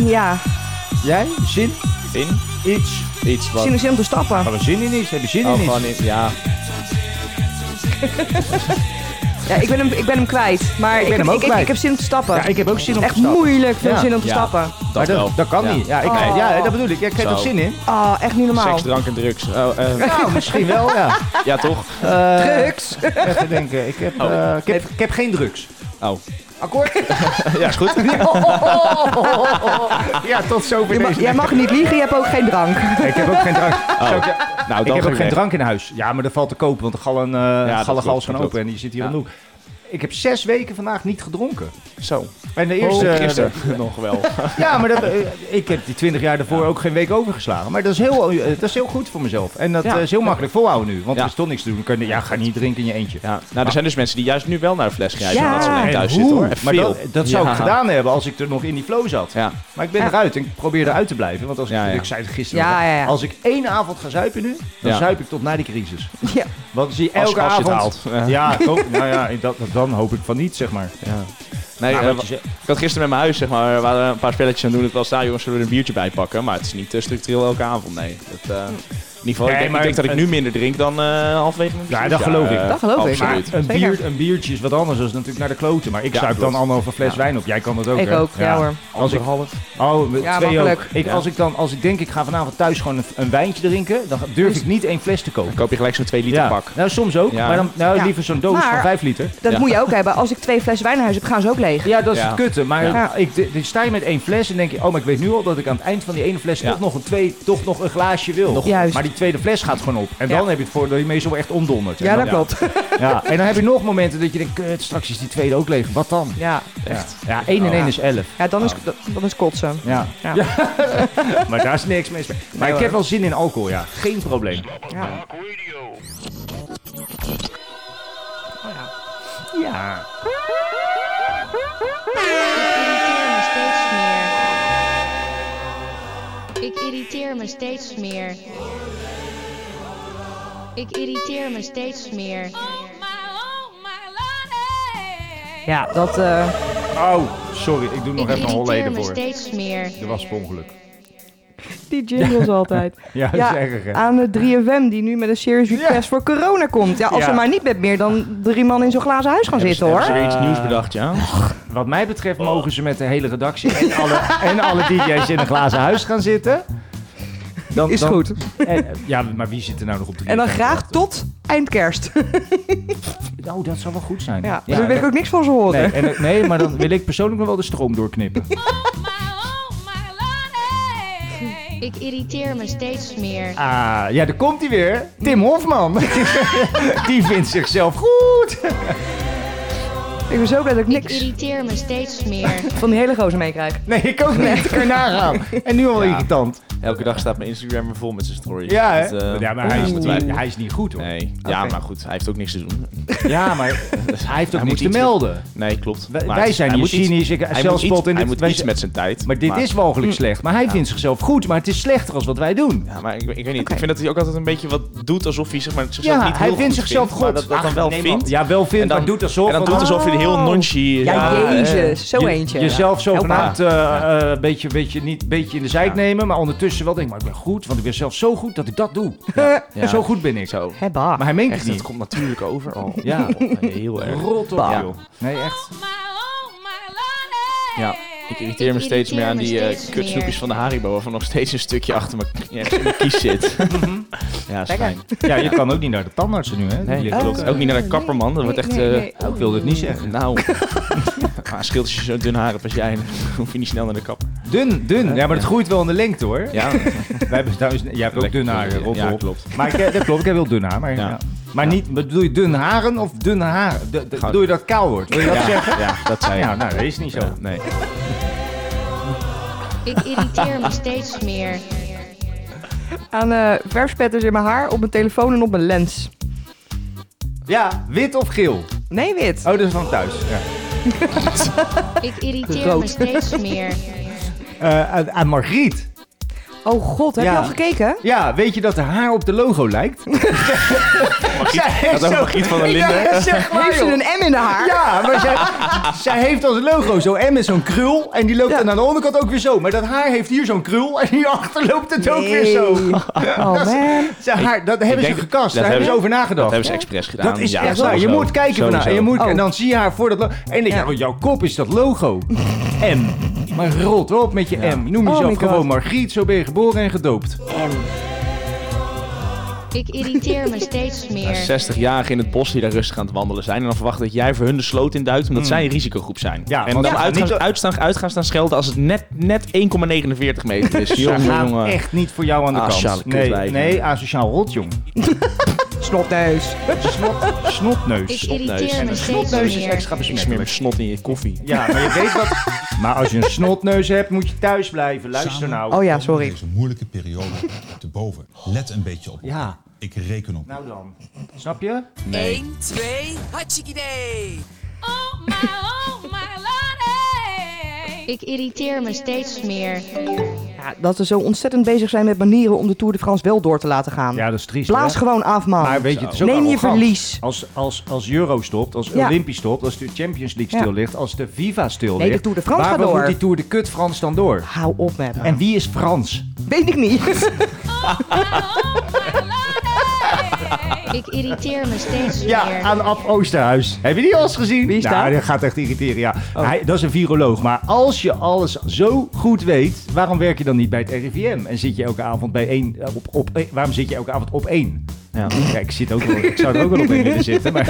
[SPEAKER 3] Ja,
[SPEAKER 1] Jij? Zin?
[SPEAKER 2] In?
[SPEAKER 1] Iets.
[SPEAKER 2] Iets wat...
[SPEAKER 3] zin is zin om te stappen.
[SPEAKER 1] Hebben we zin in iets? Heb je zin
[SPEAKER 2] Oh,
[SPEAKER 1] in
[SPEAKER 2] gewoon
[SPEAKER 1] iets?
[SPEAKER 2] in- ja.
[SPEAKER 3] Ja, ik, ben hem, ik ben hem kwijt. Maar ik,
[SPEAKER 1] ben
[SPEAKER 3] heb,
[SPEAKER 1] hem ook
[SPEAKER 3] ik, ik-
[SPEAKER 1] kwijt.
[SPEAKER 3] ik heb zin om te stappen.
[SPEAKER 1] Ja, ik heb ook zin om te
[SPEAKER 3] Echt
[SPEAKER 1] stappen.
[SPEAKER 3] moeilijk veel
[SPEAKER 1] Ja.
[SPEAKER 3] zin om te
[SPEAKER 1] Ja.
[SPEAKER 3] stappen.
[SPEAKER 1] Maar
[SPEAKER 2] wel.
[SPEAKER 1] dat, dat kan
[SPEAKER 2] Ja.
[SPEAKER 1] niet. Ja, ik,
[SPEAKER 3] Oh.
[SPEAKER 1] ja, dat bedoel ik. Ja, ik heb er
[SPEAKER 2] Zo.
[SPEAKER 1] zin in.
[SPEAKER 3] Oh, echt niet normaal.
[SPEAKER 2] Seks, drank en drugs. Oh, eh,
[SPEAKER 1] Nou, misschien wel, ja.
[SPEAKER 2] ja, toch?
[SPEAKER 1] Eh,
[SPEAKER 3] Drugs.
[SPEAKER 1] Even te denken. Ik heb, eh, ik, heb, ik heb geen drugs.
[SPEAKER 2] Oh.
[SPEAKER 1] Akkoord?
[SPEAKER 2] Ja, is goed.
[SPEAKER 1] ja, tot zover
[SPEAKER 3] Je mag,
[SPEAKER 1] deze.
[SPEAKER 3] jij mag niet liegen, je hebt ook geen drank.
[SPEAKER 1] Nee, Ik heb ook geen drank. Zou ik-
[SPEAKER 2] Nou,
[SPEAKER 1] ik
[SPEAKER 2] dan
[SPEAKER 1] heb ook geen
[SPEAKER 2] weg.
[SPEAKER 1] drank in huis. Ja, maar dat valt te kopen, want de gallen, eh gallen
[SPEAKER 2] klopt,
[SPEAKER 1] gals gaan
[SPEAKER 2] dat
[SPEAKER 1] open
[SPEAKER 2] klopt.
[SPEAKER 1] en je zit hier
[SPEAKER 2] Ja.
[SPEAKER 1] aan de hoek. Ik heb zes weken vandaag niet gedronken.
[SPEAKER 2] Zo.
[SPEAKER 1] En de eerste...
[SPEAKER 3] Oh,
[SPEAKER 2] Eerst, Oh, gisteren nog wel.
[SPEAKER 1] Ja, maar dat, eh, ik heb die twintig jaar daarvoor ook geen week overgeslagen. Maar dat is heel, eh, dat is heel goed voor mezelf. En dat
[SPEAKER 2] Ja.
[SPEAKER 1] eh, is heel makkelijk volhouden nu. Want
[SPEAKER 2] Ja.
[SPEAKER 1] er is toch niks te doen. Dan Kan je, ja, ga niet drinken in je eentje.
[SPEAKER 2] Ja. Nou, er zijn dus mensen die juist nu wel naar de fles grijpen.
[SPEAKER 3] Ja.
[SPEAKER 2] Omdat ze alleen
[SPEAKER 1] En
[SPEAKER 2] thuis
[SPEAKER 1] hoe?
[SPEAKER 2] zitten hoor. En
[SPEAKER 1] Maar
[SPEAKER 2] veel.
[SPEAKER 1] dat, dat zou
[SPEAKER 2] Ja.
[SPEAKER 1] ik gedaan hebben als ik er nog in die flow zat.
[SPEAKER 2] Ja.
[SPEAKER 1] Maar ik ben eruit en ik probeer eruit te blijven. Want als ik,
[SPEAKER 2] Ja, ja.
[SPEAKER 1] ik zei het gisteren,
[SPEAKER 3] Ja,
[SPEAKER 1] al,
[SPEAKER 3] ja, ja.
[SPEAKER 1] als ik één avond ga zuipen nu, dan
[SPEAKER 2] Ja.
[SPEAKER 1] zuip ik tot na die crisis.
[SPEAKER 3] Ja.
[SPEAKER 1] Want zie je
[SPEAKER 2] Als-
[SPEAKER 1] elke
[SPEAKER 2] als je het
[SPEAKER 1] avond...
[SPEAKER 2] haalt.
[SPEAKER 1] Ja, ik hoop- nou ja, dat, dan hoop ik van niet, zeg maar.
[SPEAKER 2] Nee,
[SPEAKER 1] Maar
[SPEAKER 2] eh,
[SPEAKER 1] wat je zegt-
[SPEAKER 2] ik had gisteren met mijn huis, zeg maar, we waren een paar spelletjes aan het doen. Het was daar, jongens, zullen we er een biertje bij pakken? Maar het is niet eh, structureel elke avond, nee. Dat, eh, in ieder geval,
[SPEAKER 1] Nee,
[SPEAKER 2] ik, denk,
[SPEAKER 1] maar
[SPEAKER 2] ik denk dat ik
[SPEAKER 1] het-
[SPEAKER 2] nu minder drink dan eh halfwege een
[SPEAKER 1] Ja,
[SPEAKER 2] besluit.
[SPEAKER 1] dat geloof ik.
[SPEAKER 2] eh,
[SPEAKER 3] Dat geloof ik.
[SPEAKER 2] absoluut.
[SPEAKER 1] Ah, Een,
[SPEAKER 3] Zeker.
[SPEAKER 1] bier, een biertje is wat anders dan natuurlijk naar de kloten. Maar ik
[SPEAKER 2] Ja,
[SPEAKER 1] zuip dan
[SPEAKER 2] klopt.
[SPEAKER 1] anderhalve fles
[SPEAKER 2] Ja.
[SPEAKER 1] wijn op. Jij kan dat ook,
[SPEAKER 3] Ik
[SPEAKER 1] hè?
[SPEAKER 3] ook, ja, hoor.
[SPEAKER 1] Als ik,
[SPEAKER 2] Anderhalf.
[SPEAKER 1] oh, we-
[SPEAKER 3] Ja,
[SPEAKER 1] twee
[SPEAKER 3] makkelijk.
[SPEAKER 1] ook. Ik, als, ik dan, als ik denk, ik ga vanavond thuis gewoon een, een wijntje drinken, dan durf ik niet één fles te kopen.
[SPEAKER 2] Dan koop je gelijk zo'n 2 liter
[SPEAKER 1] ja.
[SPEAKER 2] pak.
[SPEAKER 1] Nou, soms ook.
[SPEAKER 2] Ja.
[SPEAKER 1] Maar dan nou,
[SPEAKER 3] Ja.
[SPEAKER 1] liever zo'n doos van
[SPEAKER 3] Maar-
[SPEAKER 1] 5 liter.
[SPEAKER 3] Dat
[SPEAKER 2] Ja.
[SPEAKER 3] moet je ook hebben. Als ik twee flessen wijn in huis heb, gaan ze ook leeg.
[SPEAKER 1] Ja, dat is
[SPEAKER 2] Ja.
[SPEAKER 1] het kutte. Maar
[SPEAKER 3] Ja.
[SPEAKER 1] ik, d- dan sta je met één fles en denk je... Oh, maar ik weet nu al dat ik aan het eind van die ene fles...
[SPEAKER 2] Ja.
[SPEAKER 1] toch nog een twee, toch nog een glaasje wil.
[SPEAKER 3] Juist.
[SPEAKER 1] Maar die tweede fles gaat gewoon op. En
[SPEAKER 3] Ja.
[SPEAKER 1] dan heb je het voordeel dat je meestal echt omdondert. En
[SPEAKER 3] Ja,
[SPEAKER 1] dan-
[SPEAKER 3] dat klopt.
[SPEAKER 1] ja. En dan heb je nog momenten dat je denkt... Kut, straks is die tweede ook leeg. Wat dan?
[SPEAKER 3] Ja,
[SPEAKER 1] Echt? Ja, 1 en 1
[SPEAKER 3] Ja.
[SPEAKER 1] is 11.
[SPEAKER 3] ja dan,
[SPEAKER 1] Oh.
[SPEAKER 3] is, dan is kotsen.
[SPEAKER 1] Ja.
[SPEAKER 3] Ja.
[SPEAKER 1] maar daar is niks mis mee. Maar ik
[SPEAKER 3] hoor.
[SPEAKER 1] heb wel zin in alcohol, ja. Geen probleem.
[SPEAKER 3] Ja.
[SPEAKER 1] Ja.
[SPEAKER 9] irriteer me steeds meer. Ik irriteer me steeds meer. Ik irriteer me steeds meer.
[SPEAKER 3] Ja, dat... eh,
[SPEAKER 1] Oh, sorry. Ik doe nog
[SPEAKER 9] Ik
[SPEAKER 1] even een
[SPEAKER 9] irriteer
[SPEAKER 1] holleden
[SPEAKER 9] me
[SPEAKER 1] voor.
[SPEAKER 9] steeds meer.
[SPEAKER 1] Er was per ongeluk.
[SPEAKER 3] die jingles altijd.
[SPEAKER 1] Ja, dat is erg, hè?
[SPEAKER 3] aan de 3FM die nu met een serious request voor corona komt. Ja, als
[SPEAKER 1] Ja.
[SPEAKER 3] er maar niet met meer dan drie man in zo'n glazen huis gaan zitten,
[SPEAKER 2] Hebben ze
[SPEAKER 3] hoor.
[SPEAKER 2] weer iets
[SPEAKER 1] Eh.
[SPEAKER 2] nieuws bedacht, ja?
[SPEAKER 1] Wat mij betreft mogen ze met de hele redactie en alle, en alle DJ's in een glazen huis gaan zitten. Dan,
[SPEAKER 3] Is
[SPEAKER 1] dan-
[SPEAKER 3] goed.
[SPEAKER 1] en- ja, maar wie zit er nou nog op de
[SPEAKER 3] En dan
[SPEAKER 1] bierkamer?
[SPEAKER 3] graag tot eindkerst.
[SPEAKER 1] Oh, dat zou wel goed zijn.
[SPEAKER 3] Ja, dus daar wil ik ook niks van ze horen.
[SPEAKER 1] nee, en, nee, maar dan wil ik persoonlijk nog wel de stroom doorknippen.
[SPEAKER 9] Ik irriteer me steeds meer.
[SPEAKER 1] Ah, ja, daar komt hij weer. Tim Hofman. Die vindt zichzelf goed.
[SPEAKER 3] Ik ben zo blij dat ik
[SPEAKER 9] Ik
[SPEAKER 3] niks
[SPEAKER 9] irriteer me steeds meer.
[SPEAKER 3] van die hele gozer meekrijg.
[SPEAKER 1] Nee, ik ook niet. Kun je nagaan. En nu al irritant.
[SPEAKER 2] Elke dag staat mijn Instagram er vol met zijn stories.
[SPEAKER 1] Ja, hè?
[SPEAKER 2] Dat, eh,
[SPEAKER 1] Ja, maar hij is
[SPEAKER 2] moeten wij-
[SPEAKER 1] niet- hij is niet goed, hoor.
[SPEAKER 2] Nee. Ja,
[SPEAKER 1] Oké.
[SPEAKER 2] maar goed, hij heeft ook niks te doen.
[SPEAKER 1] Ja, maar hij heeft ook
[SPEAKER 2] moet
[SPEAKER 1] niks te
[SPEAKER 2] iets met-
[SPEAKER 1] melden.
[SPEAKER 2] Nee, klopt.
[SPEAKER 1] Wij-
[SPEAKER 2] Maar
[SPEAKER 1] wij
[SPEAKER 2] het-
[SPEAKER 1] zijn
[SPEAKER 2] hij
[SPEAKER 1] hier
[SPEAKER 2] moet iets-
[SPEAKER 1] cynisch. Ik-
[SPEAKER 2] hij
[SPEAKER 1] zelfspot
[SPEAKER 2] moet iets-
[SPEAKER 1] in dit-
[SPEAKER 2] Hij moet
[SPEAKER 1] wij
[SPEAKER 2] iets
[SPEAKER 1] zijn-
[SPEAKER 2] met zijn tijd.
[SPEAKER 1] Maar dit
[SPEAKER 2] maar-
[SPEAKER 1] is mogelijk
[SPEAKER 2] Mm.
[SPEAKER 1] slecht. Maar hij
[SPEAKER 2] Ja.
[SPEAKER 1] vindt zichzelf goed, maar het is slechter als wat wij doen.
[SPEAKER 2] Ja, maar ik, ik weet niet. Ik vind dat hij ook altijd een beetje wat doet alsof hij zeg maar, zichzelf
[SPEAKER 1] Ja,
[SPEAKER 2] niet heel
[SPEAKER 1] hij
[SPEAKER 2] goed
[SPEAKER 1] vindt zichzelf
[SPEAKER 2] vindt, maar
[SPEAKER 1] God.
[SPEAKER 2] dat, dat dan
[SPEAKER 1] Ach,
[SPEAKER 2] wel
[SPEAKER 1] nee, man.
[SPEAKER 2] vindt.
[SPEAKER 1] Ja, wel vindt, maar doet alsof-
[SPEAKER 2] En dan doet alsof hij
[SPEAKER 1] "Oh."
[SPEAKER 2] heel nonchi...
[SPEAKER 1] Ja, eh,
[SPEAKER 3] jezus. Zo eentje.
[SPEAKER 1] Jezelf
[SPEAKER 3] Help
[SPEAKER 1] zogenaamd
[SPEAKER 3] maar.
[SPEAKER 1] eh, een beetje, beetje, niet, beetje in de zijk nemen, maar ondertussen wel denken, maar ik ben goed, want ik ben zelf zo goed dat ik dat doe.
[SPEAKER 2] Ja.
[SPEAKER 1] Zo goed ben ik.
[SPEAKER 2] Zo.
[SPEAKER 1] Maar hij meent
[SPEAKER 2] Echt,
[SPEAKER 1] het niet.
[SPEAKER 2] dat komt natuurlijk over. al.
[SPEAKER 1] Ja.
[SPEAKER 2] heel erg.
[SPEAKER 1] Rot op,
[SPEAKER 2] Ja.
[SPEAKER 1] joh. Nee, echt.
[SPEAKER 2] Ja, ik irriteer me
[SPEAKER 9] Ik
[SPEAKER 2] steeds
[SPEAKER 9] irriteer
[SPEAKER 2] meer aan
[SPEAKER 9] me
[SPEAKER 2] die eh,
[SPEAKER 9] steeds
[SPEAKER 2] kutsnoepjes
[SPEAKER 9] meer.
[SPEAKER 2] van de Haribo, waarvan nog steeds een stukje achter mijn, ergens in mijn kies zit.
[SPEAKER 1] Mhm.
[SPEAKER 2] ja, fijn.
[SPEAKER 1] Ja, je kan ook niet naar de tandartsen nu, hè?
[SPEAKER 2] Nee,
[SPEAKER 1] Die
[SPEAKER 2] Oh.
[SPEAKER 1] ligt
[SPEAKER 2] klopt.
[SPEAKER 1] ook, eh,
[SPEAKER 2] Ook niet naar de kapper, man. Dat wordt echt...
[SPEAKER 1] nee,
[SPEAKER 2] eh,
[SPEAKER 1] nee. Ik wilde het niet zeggen.
[SPEAKER 2] Nou, maar scheelt als je zo'n dun haar hebt als jij, dan hoef je niet snel naar de kapper.
[SPEAKER 1] Dun, dun. Ja, maar het groeit wel in de lengte, hoor.
[SPEAKER 2] Ja.
[SPEAKER 1] Wij hebben thuis, jij hebt ook
[SPEAKER 2] Lekker.
[SPEAKER 1] dun haar, eh, Rob.
[SPEAKER 2] Ja,
[SPEAKER 1] Rob.
[SPEAKER 2] klopt.
[SPEAKER 1] Maar ik, eh, dat klopt, ik heb heel dun haar. Maar, ja. maar niet, bedoel je dun haren of dun haar? De- de- Bedoel je dat het kaal wordt? Wil je dat
[SPEAKER 2] Ja,
[SPEAKER 1] zeggen?
[SPEAKER 2] Ja, dat zei je.
[SPEAKER 1] Ja, nou, dat is niet zo.
[SPEAKER 2] nee.
[SPEAKER 9] Ik irriteer me steeds meer.
[SPEAKER 3] Aan eh verfspetters in mijn haar, op mijn telefoon en op mijn lens.
[SPEAKER 1] Ja, wit of geel?
[SPEAKER 3] Nee, wit.
[SPEAKER 1] Oh, dat is van thuis. Ja.
[SPEAKER 9] Ik irriteer me
[SPEAKER 3] Rood.
[SPEAKER 9] steeds meer.
[SPEAKER 1] Eh, aan, aan Margriet.
[SPEAKER 3] Oh god, heb
[SPEAKER 1] Ja.
[SPEAKER 3] je al gekeken?
[SPEAKER 1] Ja, weet je dat haar haar op de logo lijkt? Zij
[SPEAKER 2] dat is ook
[SPEAKER 1] zo-
[SPEAKER 2] Margriet van der
[SPEAKER 1] Ja,
[SPEAKER 2] Linden.
[SPEAKER 1] zeg maar,
[SPEAKER 3] Heeft ze
[SPEAKER 1] joh.
[SPEAKER 3] een M in de haar?
[SPEAKER 1] Ja, maar zij, zij heeft als logo zo'n M met zo'n krul. En die loopt dan aan de onderkant ook weer zo. Maar dat haar heeft hier zo'n krul. En hierachter loopt het ook weer zo.
[SPEAKER 3] Nee. Oh man.
[SPEAKER 1] Zij haar, dat hebben ze
[SPEAKER 2] denk-
[SPEAKER 1] gekast.
[SPEAKER 2] dat
[SPEAKER 1] Daar hebben ze over
[SPEAKER 2] Dat
[SPEAKER 1] nagedacht.
[SPEAKER 2] hebben ze expres gedaan.
[SPEAKER 1] Dat is
[SPEAKER 2] Ja,
[SPEAKER 1] echt waar. Je
[SPEAKER 2] sowieso.
[SPEAKER 1] moet kijken
[SPEAKER 2] Sowieso.
[SPEAKER 1] vandaar. Je moet,
[SPEAKER 3] Oh.
[SPEAKER 1] En dan zie je haar voor dat logo. En dan denk je,
[SPEAKER 3] Ja.
[SPEAKER 1] oh, jouw kop is dat logo. M. Maar rot op met je M. Noem
[SPEAKER 3] Oh
[SPEAKER 1] jezelf
[SPEAKER 3] my God.
[SPEAKER 1] gewoon Margriet. Zo ben je geboren en gedoopt.
[SPEAKER 9] Ik irriteer me steeds
[SPEAKER 2] Nou,
[SPEAKER 9] meer.
[SPEAKER 2] 60-jarigen in het bos die daar rustig aan het wandelen zijn. En dan verwachten dat jij voor hun de sloot in duikt, omdat zij een risicogroep zijn.
[SPEAKER 1] Mm. Ja,
[SPEAKER 2] en
[SPEAKER 1] want-
[SPEAKER 2] dan
[SPEAKER 1] Ja,
[SPEAKER 2] uitgaan,
[SPEAKER 1] niet-
[SPEAKER 2] uitstaan, uitgaan staan schelden als het net, net 1,49 meter is.
[SPEAKER 1] Ze
[SPEAKER 2] jongen,
[SPEAKER 1] gaan
[SPEAKER 2] jongen.
[SPEAKER 1] echt niet voor jou aan de
[SPEAKER 2] Asociale
[SPEAKER 1] kant. Nee,
[SPEAKER 2] kutwijven.
[SPEAKER 1] nee, asociaal rot, jong.
[SPEAKER 3] Snotneus.
[SPEAKER 1] Snot,
[SPEAKER 9] Ik
[SPEAKER 1] snotneus.
[SPEAKER 9] irriteer me steeds
[SPEAKER 1] Snotneus is
[SPEAKER 9] meer.
[SPEAKER 1] extra
[SPEAKER 2] Ik smeer mijn
[SPEAKER 1] besmettelijk.
[SPEAKER 2] snot in je koffie.
[SPEAKER 1] Ja, maar je weet wat... Maar als je een snotneus hebt, moet je thuis blijven. Luister
[SPEAKER 7] Samen.
[SPEAKER 1] nou.
[SPEAKER 3] Oh ja,
[SPEAKER 7] Komen we
[SPEAKER 3] sorry.
[SPEAKER 7] Deze moeilijke periode te boven. Let een beetje op. elkaar.
[SPEAKER 1] Ja,
[SPEAKER 7] Ik reken op.
[SPEAKER 1] nou dan. Snap je?
[SPEAKER 5] 1, 2, hatsikidee.
[SPEAKER 9] Ik irriteer me steeds meer.
[SPEAKER 3] Ja, dat ze zo ontzettend bezig zijn met manieren om de Tour de France wel door te laten gaan.
[SPEAKER 1] Ja, dat is triest.
[SPEAKER 3] Blaas
[SPEAKER 1] hè?
[SPEAKER 3] gewoon af, man.
[SPEAKER 1] Maar weet je, het is ook
[SPEAKER 3] Neem je
[SPEAKER 1] arrogant.
[SPEAKER 3] verlies.
[SPEAKER 1] Als, als, als Euro stopt, als
[SPEAKER 3] Ja.
[SPEAKER 1] Olympisch stopt, als de Champions League
[SPEAKER 3] Ja.
[SPEAKER 1] stil ligt, als de Viva stil
[SPEAKER 3] Nee, de
[SPEAKER 1] ligt.
[SPEAKER 3] Tour de France
[SPEAKER 1] waarom
[SPEAKER 3] gaat door.
[SPEAKER 1] moet die Tour de Kut Frans dan door?
[SPEAKER 3] Hou op met me.
[SPEAKER 1] En wie is Frans?
[SPEAKER 3] Weet ik niet.
[SPEAKER 9] Ik irriteer me steeds
[SPEAKER 1] Ja,
[SPEAKER 9] meer.
[SPEAKER 1] aan Ab Oosterhuis. Heb je die al eens gezien?
[SPEAKER 3] Wie is
[SPEAKER 1] nou,
[SPEAKER 3] dat? Oh.
[SPEAKER 1] dat gaat echt irriteren, ja. Hij, dat is een viroloog. Maar als je alles zo goed weet, waarom werk je dan niet bij het RIVM? En zit je elke avond bij één... eh, Op, op, eh, waarom zit je elke avond op één?
[SPEAKER 2] Ja.
[SPEAKER 1] Ja, ik, zit ook wel, ik zou er ook wel op in willen zitten. Maar.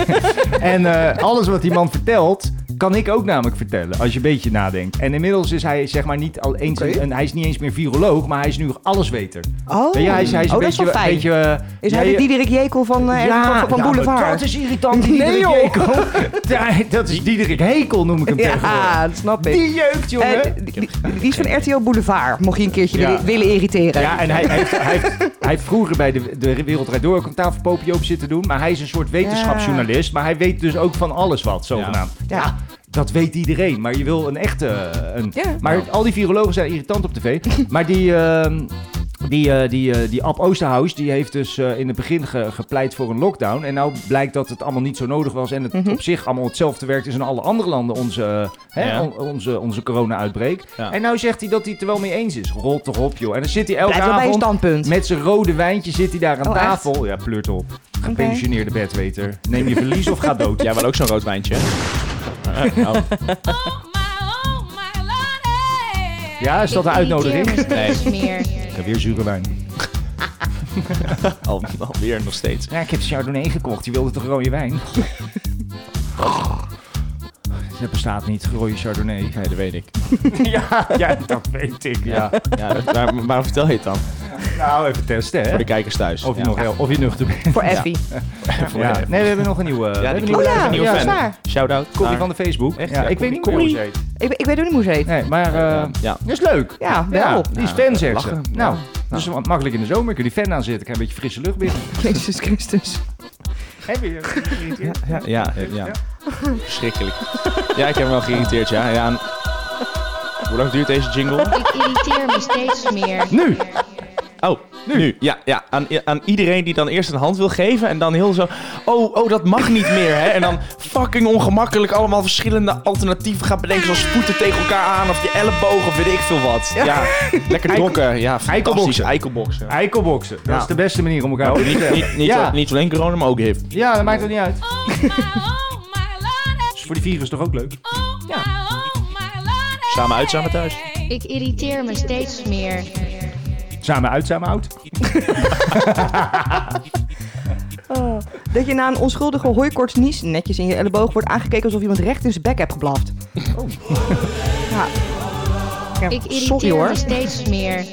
[SPEAKER 1] En eh, alles wat die man vertelt, kan ik ook namelijk vertellen. Als je een beetje nadenkt. En inmiddels is hij zeg maar niet al eens...
[SPEAKER 3] Oké.
[SPEAKER 1] Een, hij is niet eens meer viroloog, maar hij is nu allesweter.
[SPEAKER 3] Oh,
[SPEAKER 1] ja, hij is, hij is
[SPEAKER 3] oh
[SPEAKER 1] een
[SPEAKER 3] dat is
[SPEAKER 1] beetje...
[SPEAKER 3] wel fijn.
[SPEAKER 1] beetje, eh,
[SPEAKER 3] is
[SPEAKER 1] ja,
[SPEAKER 3] hij
[SPEAKER 1] je-
[SPEAKER 3] de Diederik Jekel van, eh, van- van,
[SPEAKER 1] ja, maar
[SPEAKER 3] Boulevard?
[SPEAKER 1] Dat is irritant, die
[SPEAKER 3] Nee,
[SPEAKER 1] Diederik
[SPEAKER 3] joh.
[SPEAKER 1] Hekel. Ja, dat is Diederik Hekel, noem ik hem tegenwoordig.
[SPEAKER 3] Ja, dat snap ik.
[SPEAKER 1] Die jeukt, jongen.
[SPEAKER 3] Eh, die, die- die is van RTL Boulevard, mocht je een keertje
[SPEAKER 1] Ja.
[SPEAKER 3] willen, willen irriteren.
[SPEAKER 1] ja, en hij, hij, heeft, hij, heeft, hij heeft vroeger bij de, de Wereld Draait Door ook een tafelpoopje op zitten doen. Maar hij is een soort wetenschapsjournalist. Maar hij weet dus ook van alles wat, zogenaamd. Ja.
[SPEAKER 3] Ja.
[SPEAKER 1] dat weet iedereen. Maar je wil een echte... eh, Een,
[SPEAKER 3] Ja.
[SPEAKER 1] Maar al die virologen zijn irritant op tv. maar die... ehm, die, eh, die, eh, die Ab Oosterhuis die heeft dus eh, in het begin ge- gepleit voor een lockdown. En nou blijkt dat het allemaal niet zo nodig was. En het
[SPEAKER 3] Mhm.
[SPEAKER 1] op zich allemaal hetzelfde werkt als in alle andere landen onze, eh, hè,
[SPEAKER 2] Ja.
[SPEAKER 1] on- onze, onze corona-uitbreek.
[SPEAKER 2] Ja.
[SPEAKER 1] En nou zegt hij dat hij het er wel mee eens is. Rot toch op, joh. En dan zit hij elke
[SPEAKER 3] Blijft wel bij een
[SPEAKER 1] avond
[SPEAKER 3] standpunt.
[SPEAKER 1] met zijn rode wijntje zit hij daar aan
[SPEAKER 3] Oh, echt?
[SPEAKER 1] tafel. Ja, pleurt op. Gepensioneerde bedweter. Neem je verlies of ga dood.
[SPEAKER 2] Jij wil ook zo'n rood wijntje? Eh, oh.
[SPEAKER 1] Ja, is dat de uitnodiging? Ik
[SPEAKER 9] Ik irriteer me steeds meer.
[SPEAKER 1] heb weer zure wijn.
[SPEAKER 2] Al, alweer nog steeds.
[SPEAKER 1] Ja, ik heb Chardonnay gekocht. Je wilde toch rode wijn? Dat bestaat niet, rode Chardonnay.
[SPEAKER 2] Nee, dat weet ik.
[SPEAKER 1] Ja, ja dat weet ik.
[SPEAKER 2] Ja. Ja, dat- waar- waarom vertel je het dan?
[SPEAKER 1] Nou, even testen, hè?
[SPEAKER 2] Voor de kijkers thuis.
[SPEAKER 1] Of je,
[SPEAKER 2] Ja.
[SPEAKER 1] nog heel, of je nuchter bent.
[SPEAKER 3] Voor Effie.
[SPEAKER 1] Ja. Nee, we hebben nog een nieuwe. we
[SPEAKER 2] Ja,
[SPEAKER 1] hebben
[SPEAKER 2] die
[SPEAKER 1] een
[SPEAKER 2] nieuwe,
[SPEAKER 3] Oh ja,
[SPEAKER 2] een nieuwe
[SPEAKER 3] ja,
[SPEAKER 2] fan.
[SPEAKER 3] dat is waar.
[SPEAKER 2] Shout-out.
[SPEAKER 1] Corrie
[SPEAKER 2] naar-
[SPEAKER 1] van de Facebook.
[SPEAKER 2] Echt,
[SPEAKER 1] ja,
[SPEAKER 2] ja,
[SPEAKER 1] ik weet
[SPEAKER 2] Corrie,
[SPEAKER 1] niet meer hoe
[SPEAKER 2] Corrie.
[SPEAKER 1] ze heet.
[SPEAKER 3] Ik, ik weet ook niet hoe ze heet.
[SPEAKER 1] Nee, maar eh
[SPEAKER 2] Ja.
[SPEAKER 1] dat is leuk.
[SPEAKER 3] Ja, wel.
[SPEAKER 1] die is fan, zegt ze.
[SPEAKER 2] lachen.
[SPEAKER 1] Nou, Dus wat makkelijk in de zomer. Kun je die fan aan zetten. Krijg een beetje frisse lucht binnen.
[SPEAKER 3] Jezus Christus.
[SPEAKER 1] Heb je
[SPEAKER 2] Ja, ja, ja. ja. Verschrikkelijk. Ja, ik heb hem wel geïrriteerd, ja. ja. en- Hoe lang duurt deze jingle?
[SPEAKER 9] Ik irriteer me steeds meer.
[SPEAKER 2] Nu! Oh, nu. Ja, ja. Aan, aan iedereen die dan eerst een hand wil geven en dan heel zo... Oh, oh, dat mag niet meer, hè. En dan fucking ongemakkelijk allemaal verschillende alternatieven gaat bedenken. Zoals voeten tegen elkaar aan of je elleboog of weet ik veel wat. Ja, lekker dokken. Ja, fantastisch.
[SPEAKER 1] Eikelboksen.
[SPEAKER 2] Eikelboksen.
[SPEAKER 1] Eikelboksen. Dat
[SPEAKER 2] Ja.
[SPEAKER 1] is de beste manier om elkaar op te
[SPEAKER 2] Niet,
[SPEAKER 1] stellen.
[SPEAKER 2] niet, niet,
[SPEAKER 1] ja.
[SPEAKER 2] niet alleen corona, maar ook HIV.
[SPEAKER 1] ja, dat maakt ook niet uit. Is voor die virus toch ook leuk?
[SPEAKER 2] Samen uit, samen thuis.
[SPEAKER 9] Ik irriteer me steeds meer.
[SPEAKER 1] Samen uit, samen oud.
[SPEAKER 3] Oh. Dat je na een onschuldige hooikorts nies netjes in je elleboog wordt aangekeken alsof iemand recht in zijn bek hebt geblaft.
[SPEAKER 1] Oh.
[SPEAKER 3] Ja. Ja,
[SPEAKER 9] Ik
[SPEAKER 3] sorry
[SPEAKER 9] irriteer
[SPEAKER 3] hoor.
[SPEAKER 9] me steeds meer.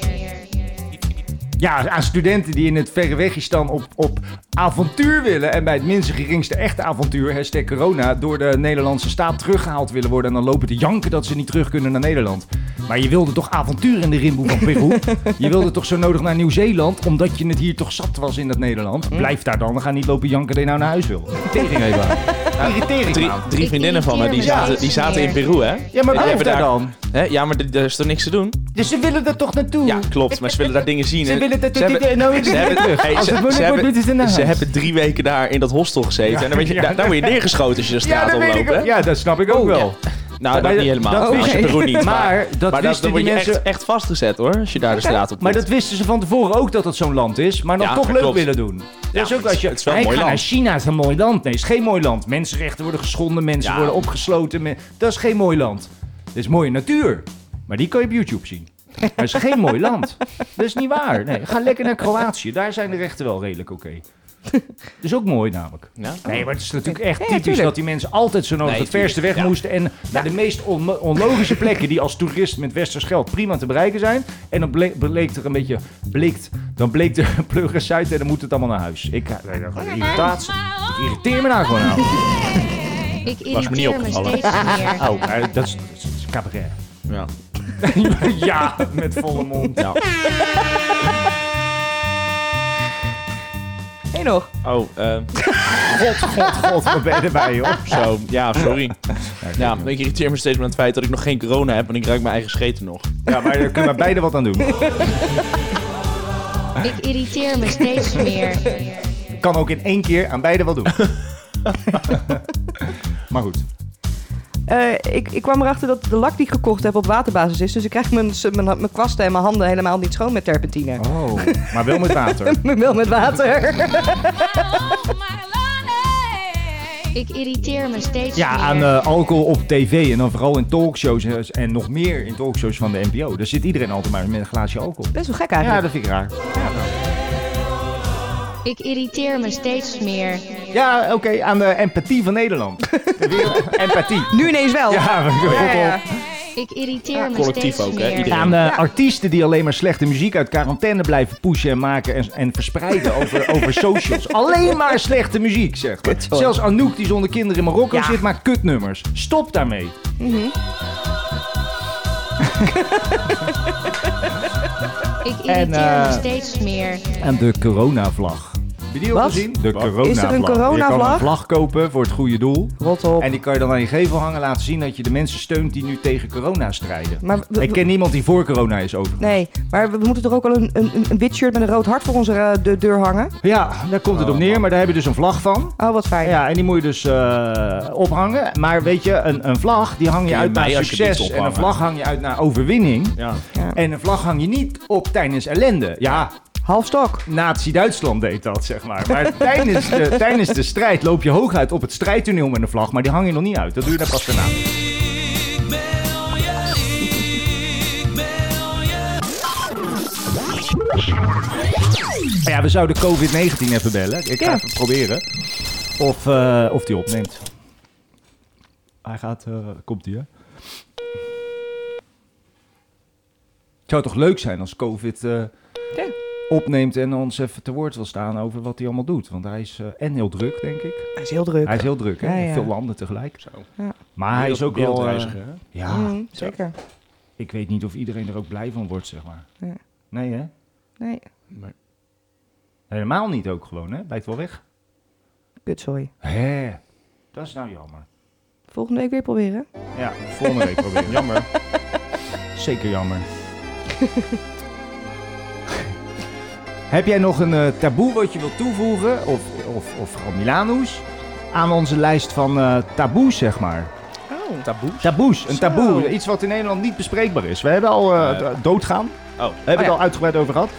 [SPEAKER 1] Ja, aan studenten die in het verre Wegistan op, op avontuur willen. En bij het minste geringste echte avontuur, hashtag corona, door de Nederlandse staat teruggehaald willen worden. En dan lopen te janken dat ze niet terug kunnen naar Nederland. Maar je wilde toch avontuur in de rimboe van Peru? je wilde toch zo nodig naar Nieuw-Zeeland, omdat je het hier toch zat was in dat Nederland?
[SPEAKER 2] Hm?
[SPEAKER 1] Blijf daar dan, ga niet lopen janken dat je nou naar huis wil. Irritering even. Irritering
[SPEAKER 2] Drie, drie vriendinnen van me, die
[SPEAKER 9] irriteer me
[SPEAKER 2] zaten, die
[SPEAKER 9] steeds
[SPEAKER 2] zaten in
[SPEAKER 9] meer.
[SPEAKER 2] Peru, hè?
[SPEAKER 1] Ja, maar
[SPEAKER 2] Die
[SPEAKER 1] blijf
[SPEAKER 2] hebben
[SPEAKER 1] daar dan.
[SPEAKER 2] Hè? Ja, maar d- daar is toch niks te doen?
[SPEAKER 1] Dus ze willen er toch naartoe?
[SPEAKER 2] Ja, klopt. Maar ze willen daar dingen zien.
[SPEAKER 1] Ze
[SPEAKER 2] En
[SPEAKER 1] willen dat-
[SPEAKER 2] ze hebben-
[SPEAKER 1] dit- nou, ik
[SPEAKER 2] ze
[SPEAKER 1] ben
[SPEAKER 2] hebben-
[SPEAKER 1] terug.
[SPEAKER 2] hey,
[SPEAKER 1] Als
[SPEAKER 2] ze-
[SPEAKER 1] het moeilijk
[SPEAKER 2] ze
[SPEAKER 1] wordt,
[SPEAKER 2] hebben-
[SPEAKER 1] moeten ze naar
[SPEAKER 2] Ze
[SPEAKER 1] huis.
[SPEAKER 2] hebben drie weken daar in dat hostel gezeten.
[SPEAKER 1] Ja,
[SPEAKER 2] en dan, weet je,
[SPEAKER 1] ja.
[SPEAKER 2] daar, daar word je neergeschoten als je de straat
[SPEAKER 1] dat weet
[SPEAKER 2] oploopt,
[SPEAKER 1] ik ook.
[SPEAKER 2] hè?
[SPEAKER 1] Ja, dat snap
[SPEAKER 2] Oh,
[SPEAKER 1] ik ook wel.
[SPEAKER 2] Nou, dat
[SPEAKER 1] Maar
[SPEAKER 2] niet
[SPEAKER 1] dat-
[SPEAKER 2] helemaal.
[SPEAKER 1] dat
[SPEAKER 2] Dat
[SPEAKER 1] wist-
[SPEAKER 2] je Peru niet.
[SPEAKER 1] maar dat
[SPEAKER 2] maar
[SPEAKER 1] wisten
[SPEAKER 2] dan word
[SPEAKER 1] die
[SPEAKER 2] je echt-
[SPEAKER 1] mensen-
[SPEAKER 2] echt, vastgezet, hoor. Als je daar de straat op
[SPEAKER 1] Maar
[SPEAKER 2] moet.
[SPEAKER 1] dat wisten ze van tevoren ook dat dat zo'n land is, maar dan
[SPEAKER 2] Ja,
[SPEAKER 1] toch
[SPEAKER 2] dat
[SPEAKER 1] leuk
[SPEAKER 2] klopt.
[SPEAKER 1] willen doen.
[SPEAKER 2] Ja,
[SPEAKER 1] Dat is ook
[SPEAKER 2] het
[SPEAKER 1] als je.
[SPEAKER 2] is- het is wel een
[SPEAKER 1] "Hey,
[SPEAKER 2] mooi
[SPEAKER 1] ik ga naar
[SPEAKER 2] land."
[SPEAKER 1] China, het is een mooi land. Nee, het is geen mooi land. Mensenrechten worden geschonden, mensen
[SPEAKER 2] Ja.
[SPEAKER 1] worden opgesloten. men- Dat is geen mooi land. Het is mooie natuur, maar die kan je op YouTube zien. Maar het is geen mooi land. Dat is niet waar. Nee, ga lekker naar Kroatië. Daar zijn de rechten wel redelijk oké. Dat is ook mooi namelijk.
[SPEAKER 2] Ja?
[SPEAKER 1] Nee, maar het is natuurlijk echt
[SPEAKER 3] Ja,
[SPEAKER 1] typisch
[SPEAKER 3] tuurlijk.
[SPEAKER 1] dat die mensen altijd zo nodig
[SPEAKER 2] Nee,
[SPEAKER 1] het verste weg
[SPEAKER 2] tuurlijk,
[SPEAKER 1] moesten.
[SPEAKER 2] ja.
[SPEAKER 1] En naar de meest onmo- onlogische plekken die als toerist met westers geld prima te bereiken zijn. En dan bleek, bleek er een beetje blikt. Dan bleek de pleuris uit en dan moet het allemaal naar huis. Ik, eh, eh, gewoon irritatie. Ik irriteer me nou gewoon aan.
[SPEAKER 9] Ik
[SPEAKER 2] Was me niet
[SPEAKER 9] irriteer me
[SPEAKER 2] opgevallen.
[SPEAKER 9] steeds meer.
[SPEAKER 1] Oh, eh, dat is, dat is- dat is cabaret.
[SPEAKER 2] Ja.
[SPEAKER 1] ja, met volle mond.
[SPEAKER 2] Ja.
[SPEAKER 3] Hey nog.
[SPEAKER 2] Oh, ehm,
[SPEAKER 1] God, god, god, wat ben je erbij, joh.
[SPEAKER 2] zo. Ja, sorry. Ja,
[SPEAKER 1] Ja,
[SPEAKER 2] ik irriteer me steeds met het feit dat ik nog geen corona heb. En ik ruik mijn eigen scheten nog.
[SPEAKER 1] maar daar kunnen we beide wat aan doen.
[SPEAKER 9] Ik irriteer me steeds meer.
[SPEAKER 1] Kan ook in één keer aan beide wat doen. maar goed.
[SPEAKER 3] Eh, ik, ik kwam erachter dat de lak die ik gekocht heb op waterbasis is. Dus ik krijg mijn, mijn, mijn kwasten en mijn handen helemaal niet schoon met terpentine.
[SPEAKER 1] Oh, maar wel met water.
[SPEAKER 3] Wel met water.
[SPEAKER 9] Ik irriteer me steeds
[SPEAKER 1] Ja,
[SPEAKER 9] meer.
[SPEAKER 1] aan eh, alcohol op tv en dan vooral in talkshows eh, en nog meer in talkshows van de NPO. Daar zit iedereen altijd maar met een glaasje alcohol.
[SPEAKER 3] Best wel gek
[SPEAKER 1] Ja,
[SPEAKER 3] eigenlijk.
[SPEAKER 1] dat vind ik raar.
[SPEAKER 9] Ik irriteer me steeds meer.
[SPEAKER 1] Ja, oké, aan de empathie van Nederland. Weer empathie.
[SPEAKER 3] Nu ineens wel.
[SPEAKER 1] Ja, we-
[SPEAKER 3] Ja, ja.
[SPEAKER 9] Ik irriteer me
[SPEAKER 2] collectief
[SPEAKER 9] steeds
[SPEAKER 2] ook, hè,
[SPEAKER 9] meer.
[SPEAKER 2] iedereen.
[SPEAKER 1] Aan de artiesten die alleen maar slechte muziek uit quarantaine blijven pushen en maken en, en verspreiden over, over socials. Alleen maar slechte muziek, zeg maar.
[SPEAKER 3] Kutzooi.
[SPEAKER 1] Zelfs Anouk die zonder kinderen in Marokko
[SPEAKER 3] Ja.
[SPEAKER 1] zit maakt kutnummers. Stop daarmee.
[SPEAKER 9] Ik irriteer
[SPEAKER 1] En,
[SPEAKER 9] me
[SPEAKER 1] eh,
[SPEAKER 9] steeds meer.
[SPEAKER 1] En de coronavlag. Heb je die al
[SPEAKER 3] Wat?
[SPEAKER 1] gezien? De coronavlag.
[SPEAKER 3] Is er een
[SPEAKER 1] Je kan
[SPEAKER 3] coronavlag?
[SPEAKER 1] een vlag kopen voor het goede doel.
[SPEAKER 3] Rot op.
[SPEAKER 1] En die kan je dan aan je gevel hangen laten zien dat je de mensen steunt die nu tegen corona strijden.
[SPEAKER 3] Maar w- w-
[SPEAKER 1] ik ken niemand die voor corona is overigens.
[SPEAKER 3] Nee, maar we we moeten toch ook al een, een, een wit shirt met een rood hart voor onze eh, de deur hangen?
[SPEAKER 1] Ja, daar komt het op neer, maar daar heb je dus een vlag van.
[SPEAKER 3] Oh, wat fijn.
[SPEAKER 1] Ja, en die moet je dus eh, ophangen. Maar weet je, een, een vlag die hang je
[SPEAKER 2] Kun je
[SPEAKER 1] uit naar
[SPEAKER 2] mij alsjeblieft
[SPEAKER 1] succes. En een
[SPEAKER 2] ophangen?
[SPEAKER 1] vlag hang je uit naar overwinning.
[SPEAKER 2] Ja.
[SPEAKER 3] Ja.
[SPEAKER 1] En een vlag hang je niet op tijdens ellende. Ja,
[SPEAKER 3] Half stok.
[SPEAKER 1] Nazi-Duitsland deed dat, zeg maar. Maar tijdens de, tijdens de strijd loop je hooguit op het strijdtoneel met een vlag, maar die hang je nog niet uit. Dat doe je dan pas daarna. Ja, we zouden COVID-19 even bellen. Ik ga
[SPEAKER 3] Ja.
[SPEAKER 1] even proberen of, eh, of die opneemt. Hij gaat, eh, komt hij, hè? Het zou toch leuk zijn als COVID eh,
[SPEAKER 3] Ja.
[SPEAKER 1] opneemt en ons even te woord wil staan over wat hij allemaal doet. Want hij is eh, en heel druk, denk ik.
[SPEAKER 3] Hij is heel druk.
[SPEAKER 1] Hij is heel druk, hè?
[SPEAKER 3] Ja,
[SPEAKER 1] In
[SPEAKER 3] ja.
[SPEAKER 1] Veel landen tegelijk.
[SPEAKER 3] Ja.
[SPEAKER 1] Maar hij is ook wel... eh,
[SPEAKER 2] Wereldreiziger, hè?
[SPEAKER 1] ja,
[SPEAKER 3] Mm, zeker.
[SPEAKER 1] ik weet niet of iedereen er ook blij van wordt, zeg maar.
[SPEAKER 3] Ja.
[SPEAKER 1] Nee, hè?
[SPEAKER 3] Nee.
[SPEAKER 1] Helemaal niet ook gewoon, hè? Blijft wel weg.
[SPEAKER 3] Kutzooi.
[SPEAKER 1] Hé, dat is nou jammer.
[SPEAKER 3] Volgende week weer proberen.
[SPEAKER 1] Ja, volgende week proberen. Jammer. Zeker jammer. Heb jij nog een eh, taboe wat je wilt toevoegen, of, of, of gewoon Milano's, aan onze lijst van eh, taboes, zeg maar?
[SPEAKER 2] Oh. Taboes?
[SPEAKER 1] Taboes, een
[SPEAKER 2] Zo.
[SPEAKER 1] taboe. Iets wat in Nederland niet bespreekbaar is. We hebben al eh,
[SPEAKER 2] Eh.
[SPEAKER 1] doodgaan.
[SPEAKER 2] Oh.
[SPEAKER 1] We hebben het al uitgebreid over gehad.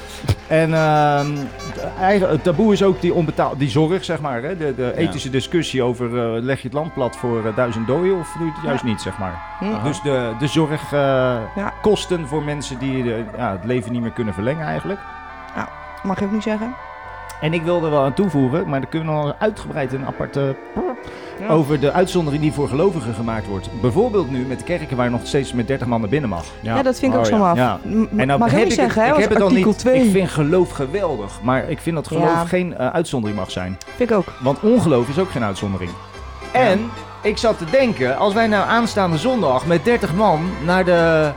[SPEAKER 1] En ehm, de eigen- het taboe is ook die, onbetaal, die zorg, zeg maar. Hè? De, de
[SPEAKER 2] Ja.
[SPEAKER 1] ethische discussie over eh, leg je het land plat voor eh, duizend doden of doe je het juist
[SPEAKER 2] Ja.
[SPEAKER 1] niet, zeg maar.
[SPEAKER 2] Hm.
[SPEAKER 1] Dus de, de zorg eh, kosten voor mensen die eh, ja, het leven niet meer kunnen verlengen eigenlijk.
[SPEAKER 3] Nou, mag je ook niet zeggen.
[SPEAKER 1] En ik wilde er wel aan toevoegen, maar daar kunnen we al uitgebreid een aparte
[SPEAKER 3] Ja.
[SPEAKER 1] over de uitzondering die voor gelovigen gemaakt wordt. Bijvoorbeeld nu met kerken waar je nog steeds met 30 man naar binnen mag.
[SPEAKER 3] Ja, dat vind ik ook zo maf.
[SPEAKER 1] Oh, Ja.
[SPEAKER 3] M-
[SPEAKER 1] En dan
[SPEAKER 3] mag ik
[SPEAKER 1] heb
[SPEAKER 3] niet
[SPEAKER 1] ik het-
[SPEAKER 3] zeggen, hè,
[SPEAKER 1] ik
[SPEAKER 3] want
[SPEAKER 1] heb het dan
[SPEAKER 3] artikel
[SPEAKER 1] niet.
[SPEAKER 3] 2.
[SPEAKER 1] Ik vind geloof geweldig, maar ik vind dat geloof
[SPEAKER 3] Ja.
[SPEAKER 1] geen eh, uitzondering mag zijn.
[SPEAKER 3] Vind ik ook.
[SPEAKER 1] Want ongeloof is ook geen uitzondering. En ik zat te denken, als wij nou aanstaande zondag met 30 man naar de,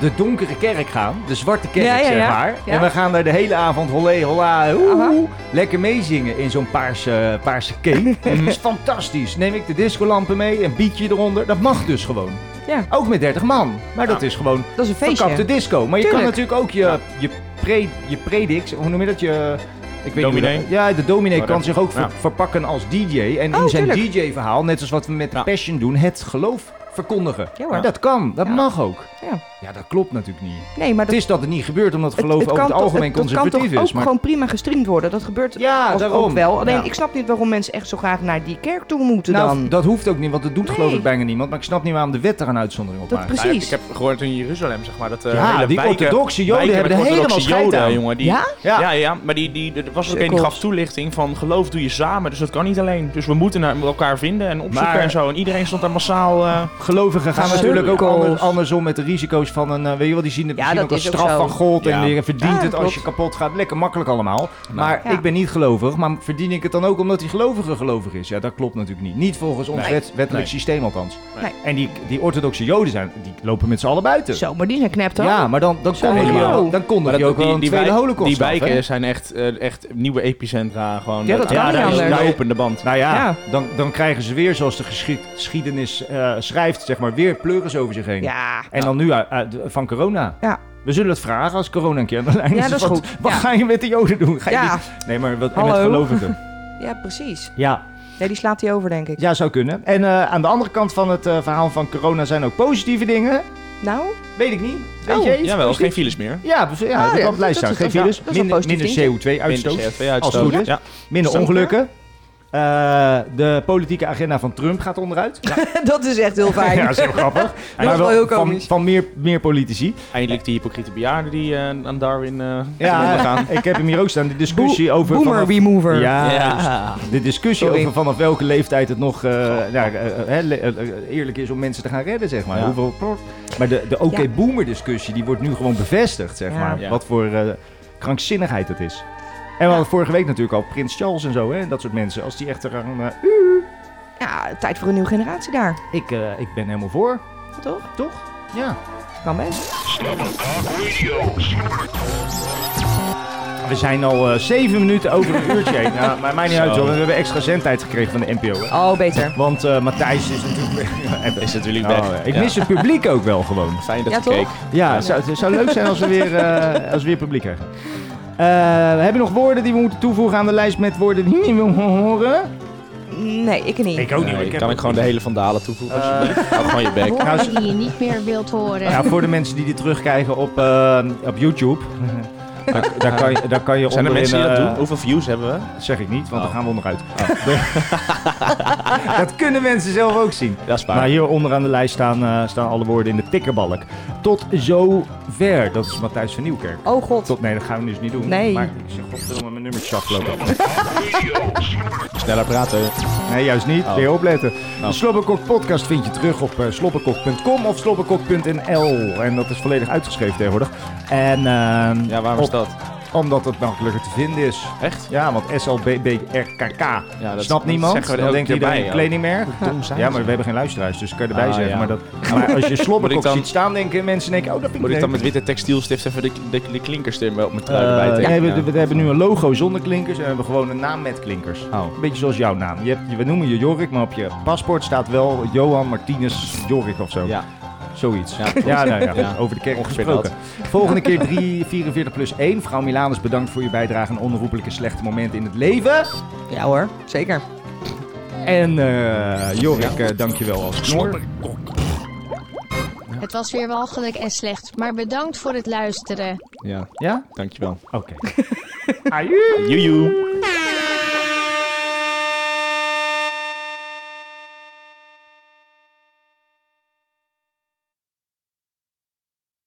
[SPEAKER 1] de donkere kerk gaan, de zwarte kerk
[SPEAKER 3] Ja, ja,
[SPEAKER 1] zeg
[SPEAKER 3] ja.
[SPEAKER 1] maar,
[SPEAKER 3] Ja.
[SPEAKER 1] en we gaan daar de hele avond holle holla, hoe, lekker meezingen in zo'n paarse, paarse cape. dat is fantastisch. Neem ik de discolampen mee, een bietje eronder, dat mag dus gewoon.
[SPEAKER 3] Ja.
[SPEAKER 1] Ook met 30 man, maar dat is gewoon
[SPEAKER 3] Dat is een feestje.
[SPEAKER 1] verkapte disco. Maar je
[SPEAKER 3] Tuurlijk.
[SPEAKER 1] kan natuurlijk ook je, je, pre, je predix, hoe noem je dat, je... Ik weet niet hoe
[SPEAKER 2] Dominee.
[SPEAKER 1] dat- ja, de dominee
[SPEAKER 2] Maar
[SPEAKER 1] kan
[SPEAKER 2] dat-
[SPEAKER 1] zich ook ver-
[SPEAKER 2] ja.
[SPEAKER 1] verpakken als DJ. En
[SPEAKER 3] Oh,
[SPEAKER 1] in zijn
[SPEAKER 3] tuurlijk.
[SPEAKER 1] DJ-verhaal, net zoals wat we met Passion doen, het geloof verkondigen.
[SPEAKER 3] Ja, hoor.
[SPEAKER 1] Dat kan, dat mag ook.
[SPEAKER 3] Ja.
[SPEAKER 1] Ja, dat klopt natuurlijk niet.
[SPEAKER 3] Nee, maar dat,
[SPEAKER 1] het is dat het niet gebeurt omdat geloof over het
[SPEAKER 3] toch-
[SPEAKER 1] algemeen
[SPEAKER 3] het- dat
[SPEAKER 1] conservatief
[SPEAKER 3] kan toch
[SPEAKER 1] is.
[SPEAKER 3] ook
[SPEAKER 1] maar-
[SPEAKER 3] gewoon prima gestreamd worden. Dat gebeurt
[SPEAKER 1] Ja,
[SPEAKER 3] ook-
[SPEAKER 1] daarom.
[SPEAKER 3] ook wel. Alleen
[SPEAKER 1] Ja.
[SPEAKER 3] ik snap niet waarom mensen echt zo graag naar die kerk toe moeten
[SPEAKER 1] nou,
[SPEAKER 3] dan.
[SPEAKER 1] dat hoeft ook niet, want dat doet geloof
[SPEAKER 3] Nee.
[SPEAKER 1] ik bijna niemand. Maar ik snap niet waarom de wet daar een uitzondering op
[SPEAKER 3] Dat
[SPEAKER 1] maakt.
[SPEAKER 3] precies.
[SPEAKER 2] Nou, ik heb gehoord in Jeruzalem, zeg maar, dat eh,
[SPEAKER 1] Ja,
[SPEAKER 2] hele
[SPEAKER 1] die
[SPEAKER 2] wijken-
[SPEAKER 1] orthodoxe joden
[SPEAKER 2] wijken
[SPEAKER 1] hebben
[SPEAKER 2] met
[SPEAKER 1] er
[SPEAKER 2] orthodoxe
[SPEAKER 1] helemaal scheid
[SPEAKER 2] joden,
[SPEAKER 1] aan.
[SPEAKER 2] jongen. Die,
[SPEAKER 1] Ja?
[SPEAKER 2] ja? Ja, maar die, die, er was ook een die
[SPEAKER 3] Sukkels.
[SPEAKER 2] gaf toelichting van geloof doe je samen, dus dat kan niet alleen. Dus we moeten naar- elkaar vinden en opzoeken
[SPEAKER 1] Maar-
[SPEAKER 2] en zo. En iedereen stond daar massaal... eh,
[SPEAKER 1] Gelovigen gaan
[SPEAKER 2] Ah,
[SPEAKER 1] natuurlijk ook
[SPEAKER 2] cirkels.
[SPEAKER 1] ander- andersom met de risico's van een, eh, weet je wel, die zien het
[SPEAKER 3] Ja,
[SPEAKER 1] misschien ook
[SPEAKER 3] dat
[SPEAKER 1] als
[SPEAKER 3] is ook
[SPEAKER 1] straf
[SPEAKER 3] zo.
[SPEAKER 1] van God en
[SPEAKER 2] Ja.
[SPEAKER 1] je verdient
[SPEAKER 3] Ja,
[SPEAKER 1] het als
[SPEAKER 3] klopt.
[SPEAKER 1] je kapot gaat. Lekker makkelijk allemaal. Maar
[SPEAKER 3] Ja.
[SPEAKER 1] ik ben niet gelovig, maar verdien ik het dan ook omdat die gelovige gelovig is? Ja, dat klopt natuurlijk niet. Niet volgens ons
[SPEAKER 2] Nee.
[SPEAKER 1] wet- wettelijk
[SPEAKER 2] Nee.
[SPEAKER 1] systeem althans.
[SPEAKER 3] Nee.
[SPEAKER 1] En die, die orthodoxe joden zijn, die lopen met z'n allen buiten.
[SPEAKER 3] Zo, maar die zijn knept hoor.
[SPEAKER 1] Ja, maar dan, dan
[SPEAKER 3] Zo.
[SPEAKER 1] konden die
[SPEAKER 3] Hallo.
[SPEAKER 1] ook, dan konden
[SPEAKER 2] Maar
[SPEAKER 1] die
[SPEAKER 2] dat-
[SPEAKER 1] ook wel een tweede
[SPEAKER 2] wijk-
[SPEAKER 1] holocaust
[SPEAKER 2] Die
[SPEAKER 1] af, hè?
[SPEAKER 2] wijken zijn echt, eh, echt nieuwe epicentra. Gewoon, eh,
[SPEAKER 3] Ja, dat kan niet
[SPEAKER 2] daar is
[SPEAKER 3] anders.
[SPEAKER 2] een lopende band.
[SPEAKER 1] Nou ja,
[SPEAKER 3] Ja.
[SPEAKER 1] Dan, dan krijgen ze weer, zoals de geschied- geschiedenis eh, schrijft, zeg maar, weer pleuris over zich heen.
[SPEAKER 3] Ja.
[SPEAKER 1] En dan nu uit- uit- van corona.
[SPEAKER 3] Ja.
[SPEAKER 1] We zullen het vragen als corona een keer aan de lijn
[SPEAKER 3] Ja, dat is
[SPEAKER 1] Wat-
[SPEAKER 3] goed.
[SPEAKER 1] Wat
[SPEAKER 3] Ja.
[SPEAKER 1] ga je met de joden doen? Ga je
[SPEAKER 3] Ja.
[SPEAKER 1] die- Nee, maar wat, en met
[SPEAKER 3] Hallo?
[SPEAKER 1] gelovigen.
[SPEAKER 3] Ja, precies.
[SPEAKER 1] ja.
[SPEAKER 3] Nee, die slaat hij over denk ik.
[SPEAKER 1] ja, zou kunnen. En eh, aan de andere kant van het eh, verhaal van corona zijn ook positieve dingen.
[SPEAKER 3] Nou,
[SPEAKER 1] Weet ik niet. Weet
[SPEAKER 3] Oh,
[SPEAKER 1] je iets?
[SPEAKER 2] Jawel,
[SPEAKER 1] Positief?
[SPEAKER 2] geen files meer.
[SPEAKER 1] Ja, dus- ja,
[SPEAKER 3] Ah,
[SPEAKER 1] dat kan
[SPEAKER 3] ja,
[SPEAKER 1] op
[SPEAKER 3] dat
[SPEAKER 1] de lijst
[SPEAKER 3] is-
[SPEAKER 1] staan. Geen
[SPEAKER 3] dat is-
[SPEAKER 1] files.
[SPEAKER 3] dat is wel
[SPEAKER 1] minder
[SPEAKER 3] positief,
[SPEAKER 1] minder CO2-uitstoot. Als het
[SPEAKER 2] CO2-uitstoot.
[SPEAKER 1] goed is.
[SPEAKER 2] Ja.
[SPEAKER 1] Minder
[SPEAKER 3] Zeker.
[SPEAKER 1] ongelukken. Eh, de politieke agenda van Trump gaat onderuit.
[SPEAKER 3] dat is echt heel fijn.
[SPEAKER 1] Ja, dat is heel grappig.
[SPEAKER 3] is
[SPEAKER 1] Maar
[SPEAKER 3] wel heel
[SPEAKER 1] van,
[SPEAKER 3] komisch.
[SPEAKER 1] van meer, meer politici.
[SPEAKER 2] Eindelijk die hypocriete bejaarden die eh, aan Darwin eh
[SPEAKER 1] Ja,
[SPEAKER 2] gaan.
[SPEAKER 1] ik heb hem hier ook staan. De discussie
[SPEAKER 3] Bo-
[SPEAKER 1] over...
[SPEAKER 3] Boomer
[SPEAKER 1] vanaf-
[SPEAKER 3] remover.
[SPEAKER 1] Ja,
[SPEAKER 2] Ja.
[SPEAKER 1] de discussie
[SPEAKER 3] Sorry.
[SPEAKER 1] over vanaf welke leeftijd het nog eh, ja, eh, eh, le- eh, eh, eerlijk is om mensen te gaan redden, zeg maar.
[SPEAKER 2] Ja.
[SPEAKER 1] Hoeveel, maar de, de
[SPEAKER 3] Ja.
[SPEAKER 1] oké-boomer-discussie, die wordt nu gewoon bevestigd, zeg
[SPEAKER 3] Ja.
[SPEAKER 1] maar.
[SPEAKER 2] Ja.
[SPEAKER 1] Wat voor eh, krankzinnigheid het is. En we hadden vorige week natuurlijk al Prins Charles en zo, hè, en dat soort mensen. Als die echt eraan... eh,
[SPEAKER 3] Ja, tijd voor een nieuwe generatie daar.
[SPEAKER 1] ik, eh, ik ben helemaal voor,
[SPEAKER 3] Toch?
[SPEAKER 1] toch? Ja.
[SPEAKER 3] Kan best.
[SPEAKER 1] We zijn al eh, zeven minuten over een uurtje heen. Ja, maar mij niet uit,
[SPEAKER 2] Zo.
[SPEAKER 1] hoor. We hebben extra zendtijd gekregen van de NPO. hè.
[SPEAKER 3] Oh, beter.
[SPEAKER 1] Want eh, Matthijs is natuurlijk...
[SPEAKER 2] Is natuurlijk
[SPEAKER 1] Oh,
[SPEAKER 2] weg.
[SPEAKER 1] ja. ik
[SPEAKER 2] Ja.
[SPEAKER 1] mis het publiek ook wel gewoon.
[SPEAKER 2] Fijn dat
[SPEAKER 3] Ja,
[SPEAKER 2] je keek.
[SPEAKER 3] toch?
[SPEAKER 1] Ja, het zou, het zou leuk zijn als we weer, eh, als we weer publiek krijgen. Eh, heb je nog woorden die we moeten toevoegen aan de lijst met woorden die niet wil horen?
[SPEAKER 3] Nee, ik niet.
[SPEAKER 1] ook
[SPEAKER 2] Nee, kan ik gewoon de hele Vandalen toevoegen? alsjeblieft? Hou gewoon je bek.
[SPEAKER 1] Nou,
[SPEAKER 9] Woorden die je niet meer wilt horen.
[SPEAKER 1] Ja, voor de mensen die dit terugkijken op, eh, op YouTube. Daar, daar kan je, daar kan je
[SPEAKER 2] Zijn er
[SPEAKER 1] onderin,
[SPEAKER 2] mensen die dat
[SPEAKER 1] eh,
[SPEAKER 2] doen? Hoeveel views hebben we?
[SPEAKER 1] Zeg ik niet, want
[SPEAKER 2] Oh.
[SPEAKER 1] dan gaan we onderuit. dat kunnen mensen zelf ook zien.
[SPEAKER 2] Dat is waar.
[SPEAKER 1] Maar hier onderaan de lijst staan, eh, staan alle woorden in de tikkerbalk. Tot zover. Dat is Matthijs van Nieuwkerk.
[SPEAKER 3] Oh god.
[SPEAKER 1] Tot, nee, dat gaan we dus niet doen.
[SPEAKER 3] Nee.
[SPEAKER 1] Maar ik zeg, godverdomme, mijn nummertje afgelopen.
[SPEAKER 2] Sneller praten.
[SPEAKER 1] Nee, juist niet.
[SPEAKER 2] Oh.
[SPEAKER 1] Weer opletten.
[SPEAKER 2] Oh.
[SPEAKER 1] De Slobberkok podcast vind je terug op eh, slobberkok.com of slobberkok.nl. En dat is volledig uitgeschreven tegenwoordig. En ehm,
[SPEAKER 2] Ja, waarom
[SPEAKER 1] op
[SPEAKER 2] is dat?
[SPEAKER 1] Omdat het makkelijker te vinden is.
[SPEAKER 2] Echt?
[SPEAKER 1] Ja, want SLBBRKK
[SPEAKER 2] dat-
[SPEAKER 1] snapt
[SPEAKER 2] dat
[SPEAKER 1] niemand.
[SPEAKER 2] zeggen we er
[SPEAKER 1] Dan denkt
[SPEAKER 2] elke keer
[SPEAKER 1] iedereen
[SPEAKER 2] bij, ja.
[SPEAKER 1] kledingmerk.
[SPEAKER 2] Hoe dom zijn
[SPEAKER 1] Ja,
[SPEAKER 2] ze?
[SPEAKER 1] maar we hebben geen luisteraars, dus ik kan je erbij
[SPEAKER 2] Ah,
[SPEAKER 1] zeggen.
[SPEAKER 2] ja.
[SPEAKER 1] Maar, dat, maar als je
[SPEAKER 2] Moet
[SPEAKER 1] slobberkop
[SPEAKER 2] ik dan-
[SPEAKER 1] ziet staan, denken mensen denken, oh, dat vind
[SPEAKER 2] Moet ik
[SPEAKER 1] ik
[SPEAKER 2] dan
[SPEAKER 1] leuk.
[SPEAKER 2] met witte textielstift even de, de, de klinkerstem op mijn
[SPEAKER 1] Eh,
[SPEAKER 2] trui erbij
[SPEAKER 1] nee,
[SPEAKER 2] tekenen?
[SPEAKER 1] we, we- we hebben nu een logo zonder klinkers en we hebben gewoon een naam met klinkers. Een beetje zoals jouw naam. Je hebt, je- we noemen je Jorik, maar op je paspoort staat wel Johan Martinez Jorik of zo. Ja. Zoiets. Ja,
[SPEAKER 2] klopt.
[SPEAKER 1] nou ja,
[SPEAKER 2] Ja.
[SPEAKER 1] over de kerk
[SPEAKER 2] Ongeveer
[SPEAKER 1] gesproken.
[SPEAKER 2] dat.
[SPEAKER 1] Volgende keer 3, 44 plus 1. Vrouw Milanus, bedankt voor je bijdrage aan onroepelijke slechte momenten in het leven.
[SPEAKER 3] Ja hoor, zeker.
[SPEAKER 1] En eh Jorik, eh, dankjewel als knor.
[SPEAKER 9] Het was weer walgelijk en slecht, maar bedankt voor het luisteren.
[SPEAKER 2] Ja.
[SPEAKER 1] Ja?
[SPEAKER 2] Dankjewel.
[SPEAKER 1] Oké. Ajoe.
[SPEAKER 2] Joejoe.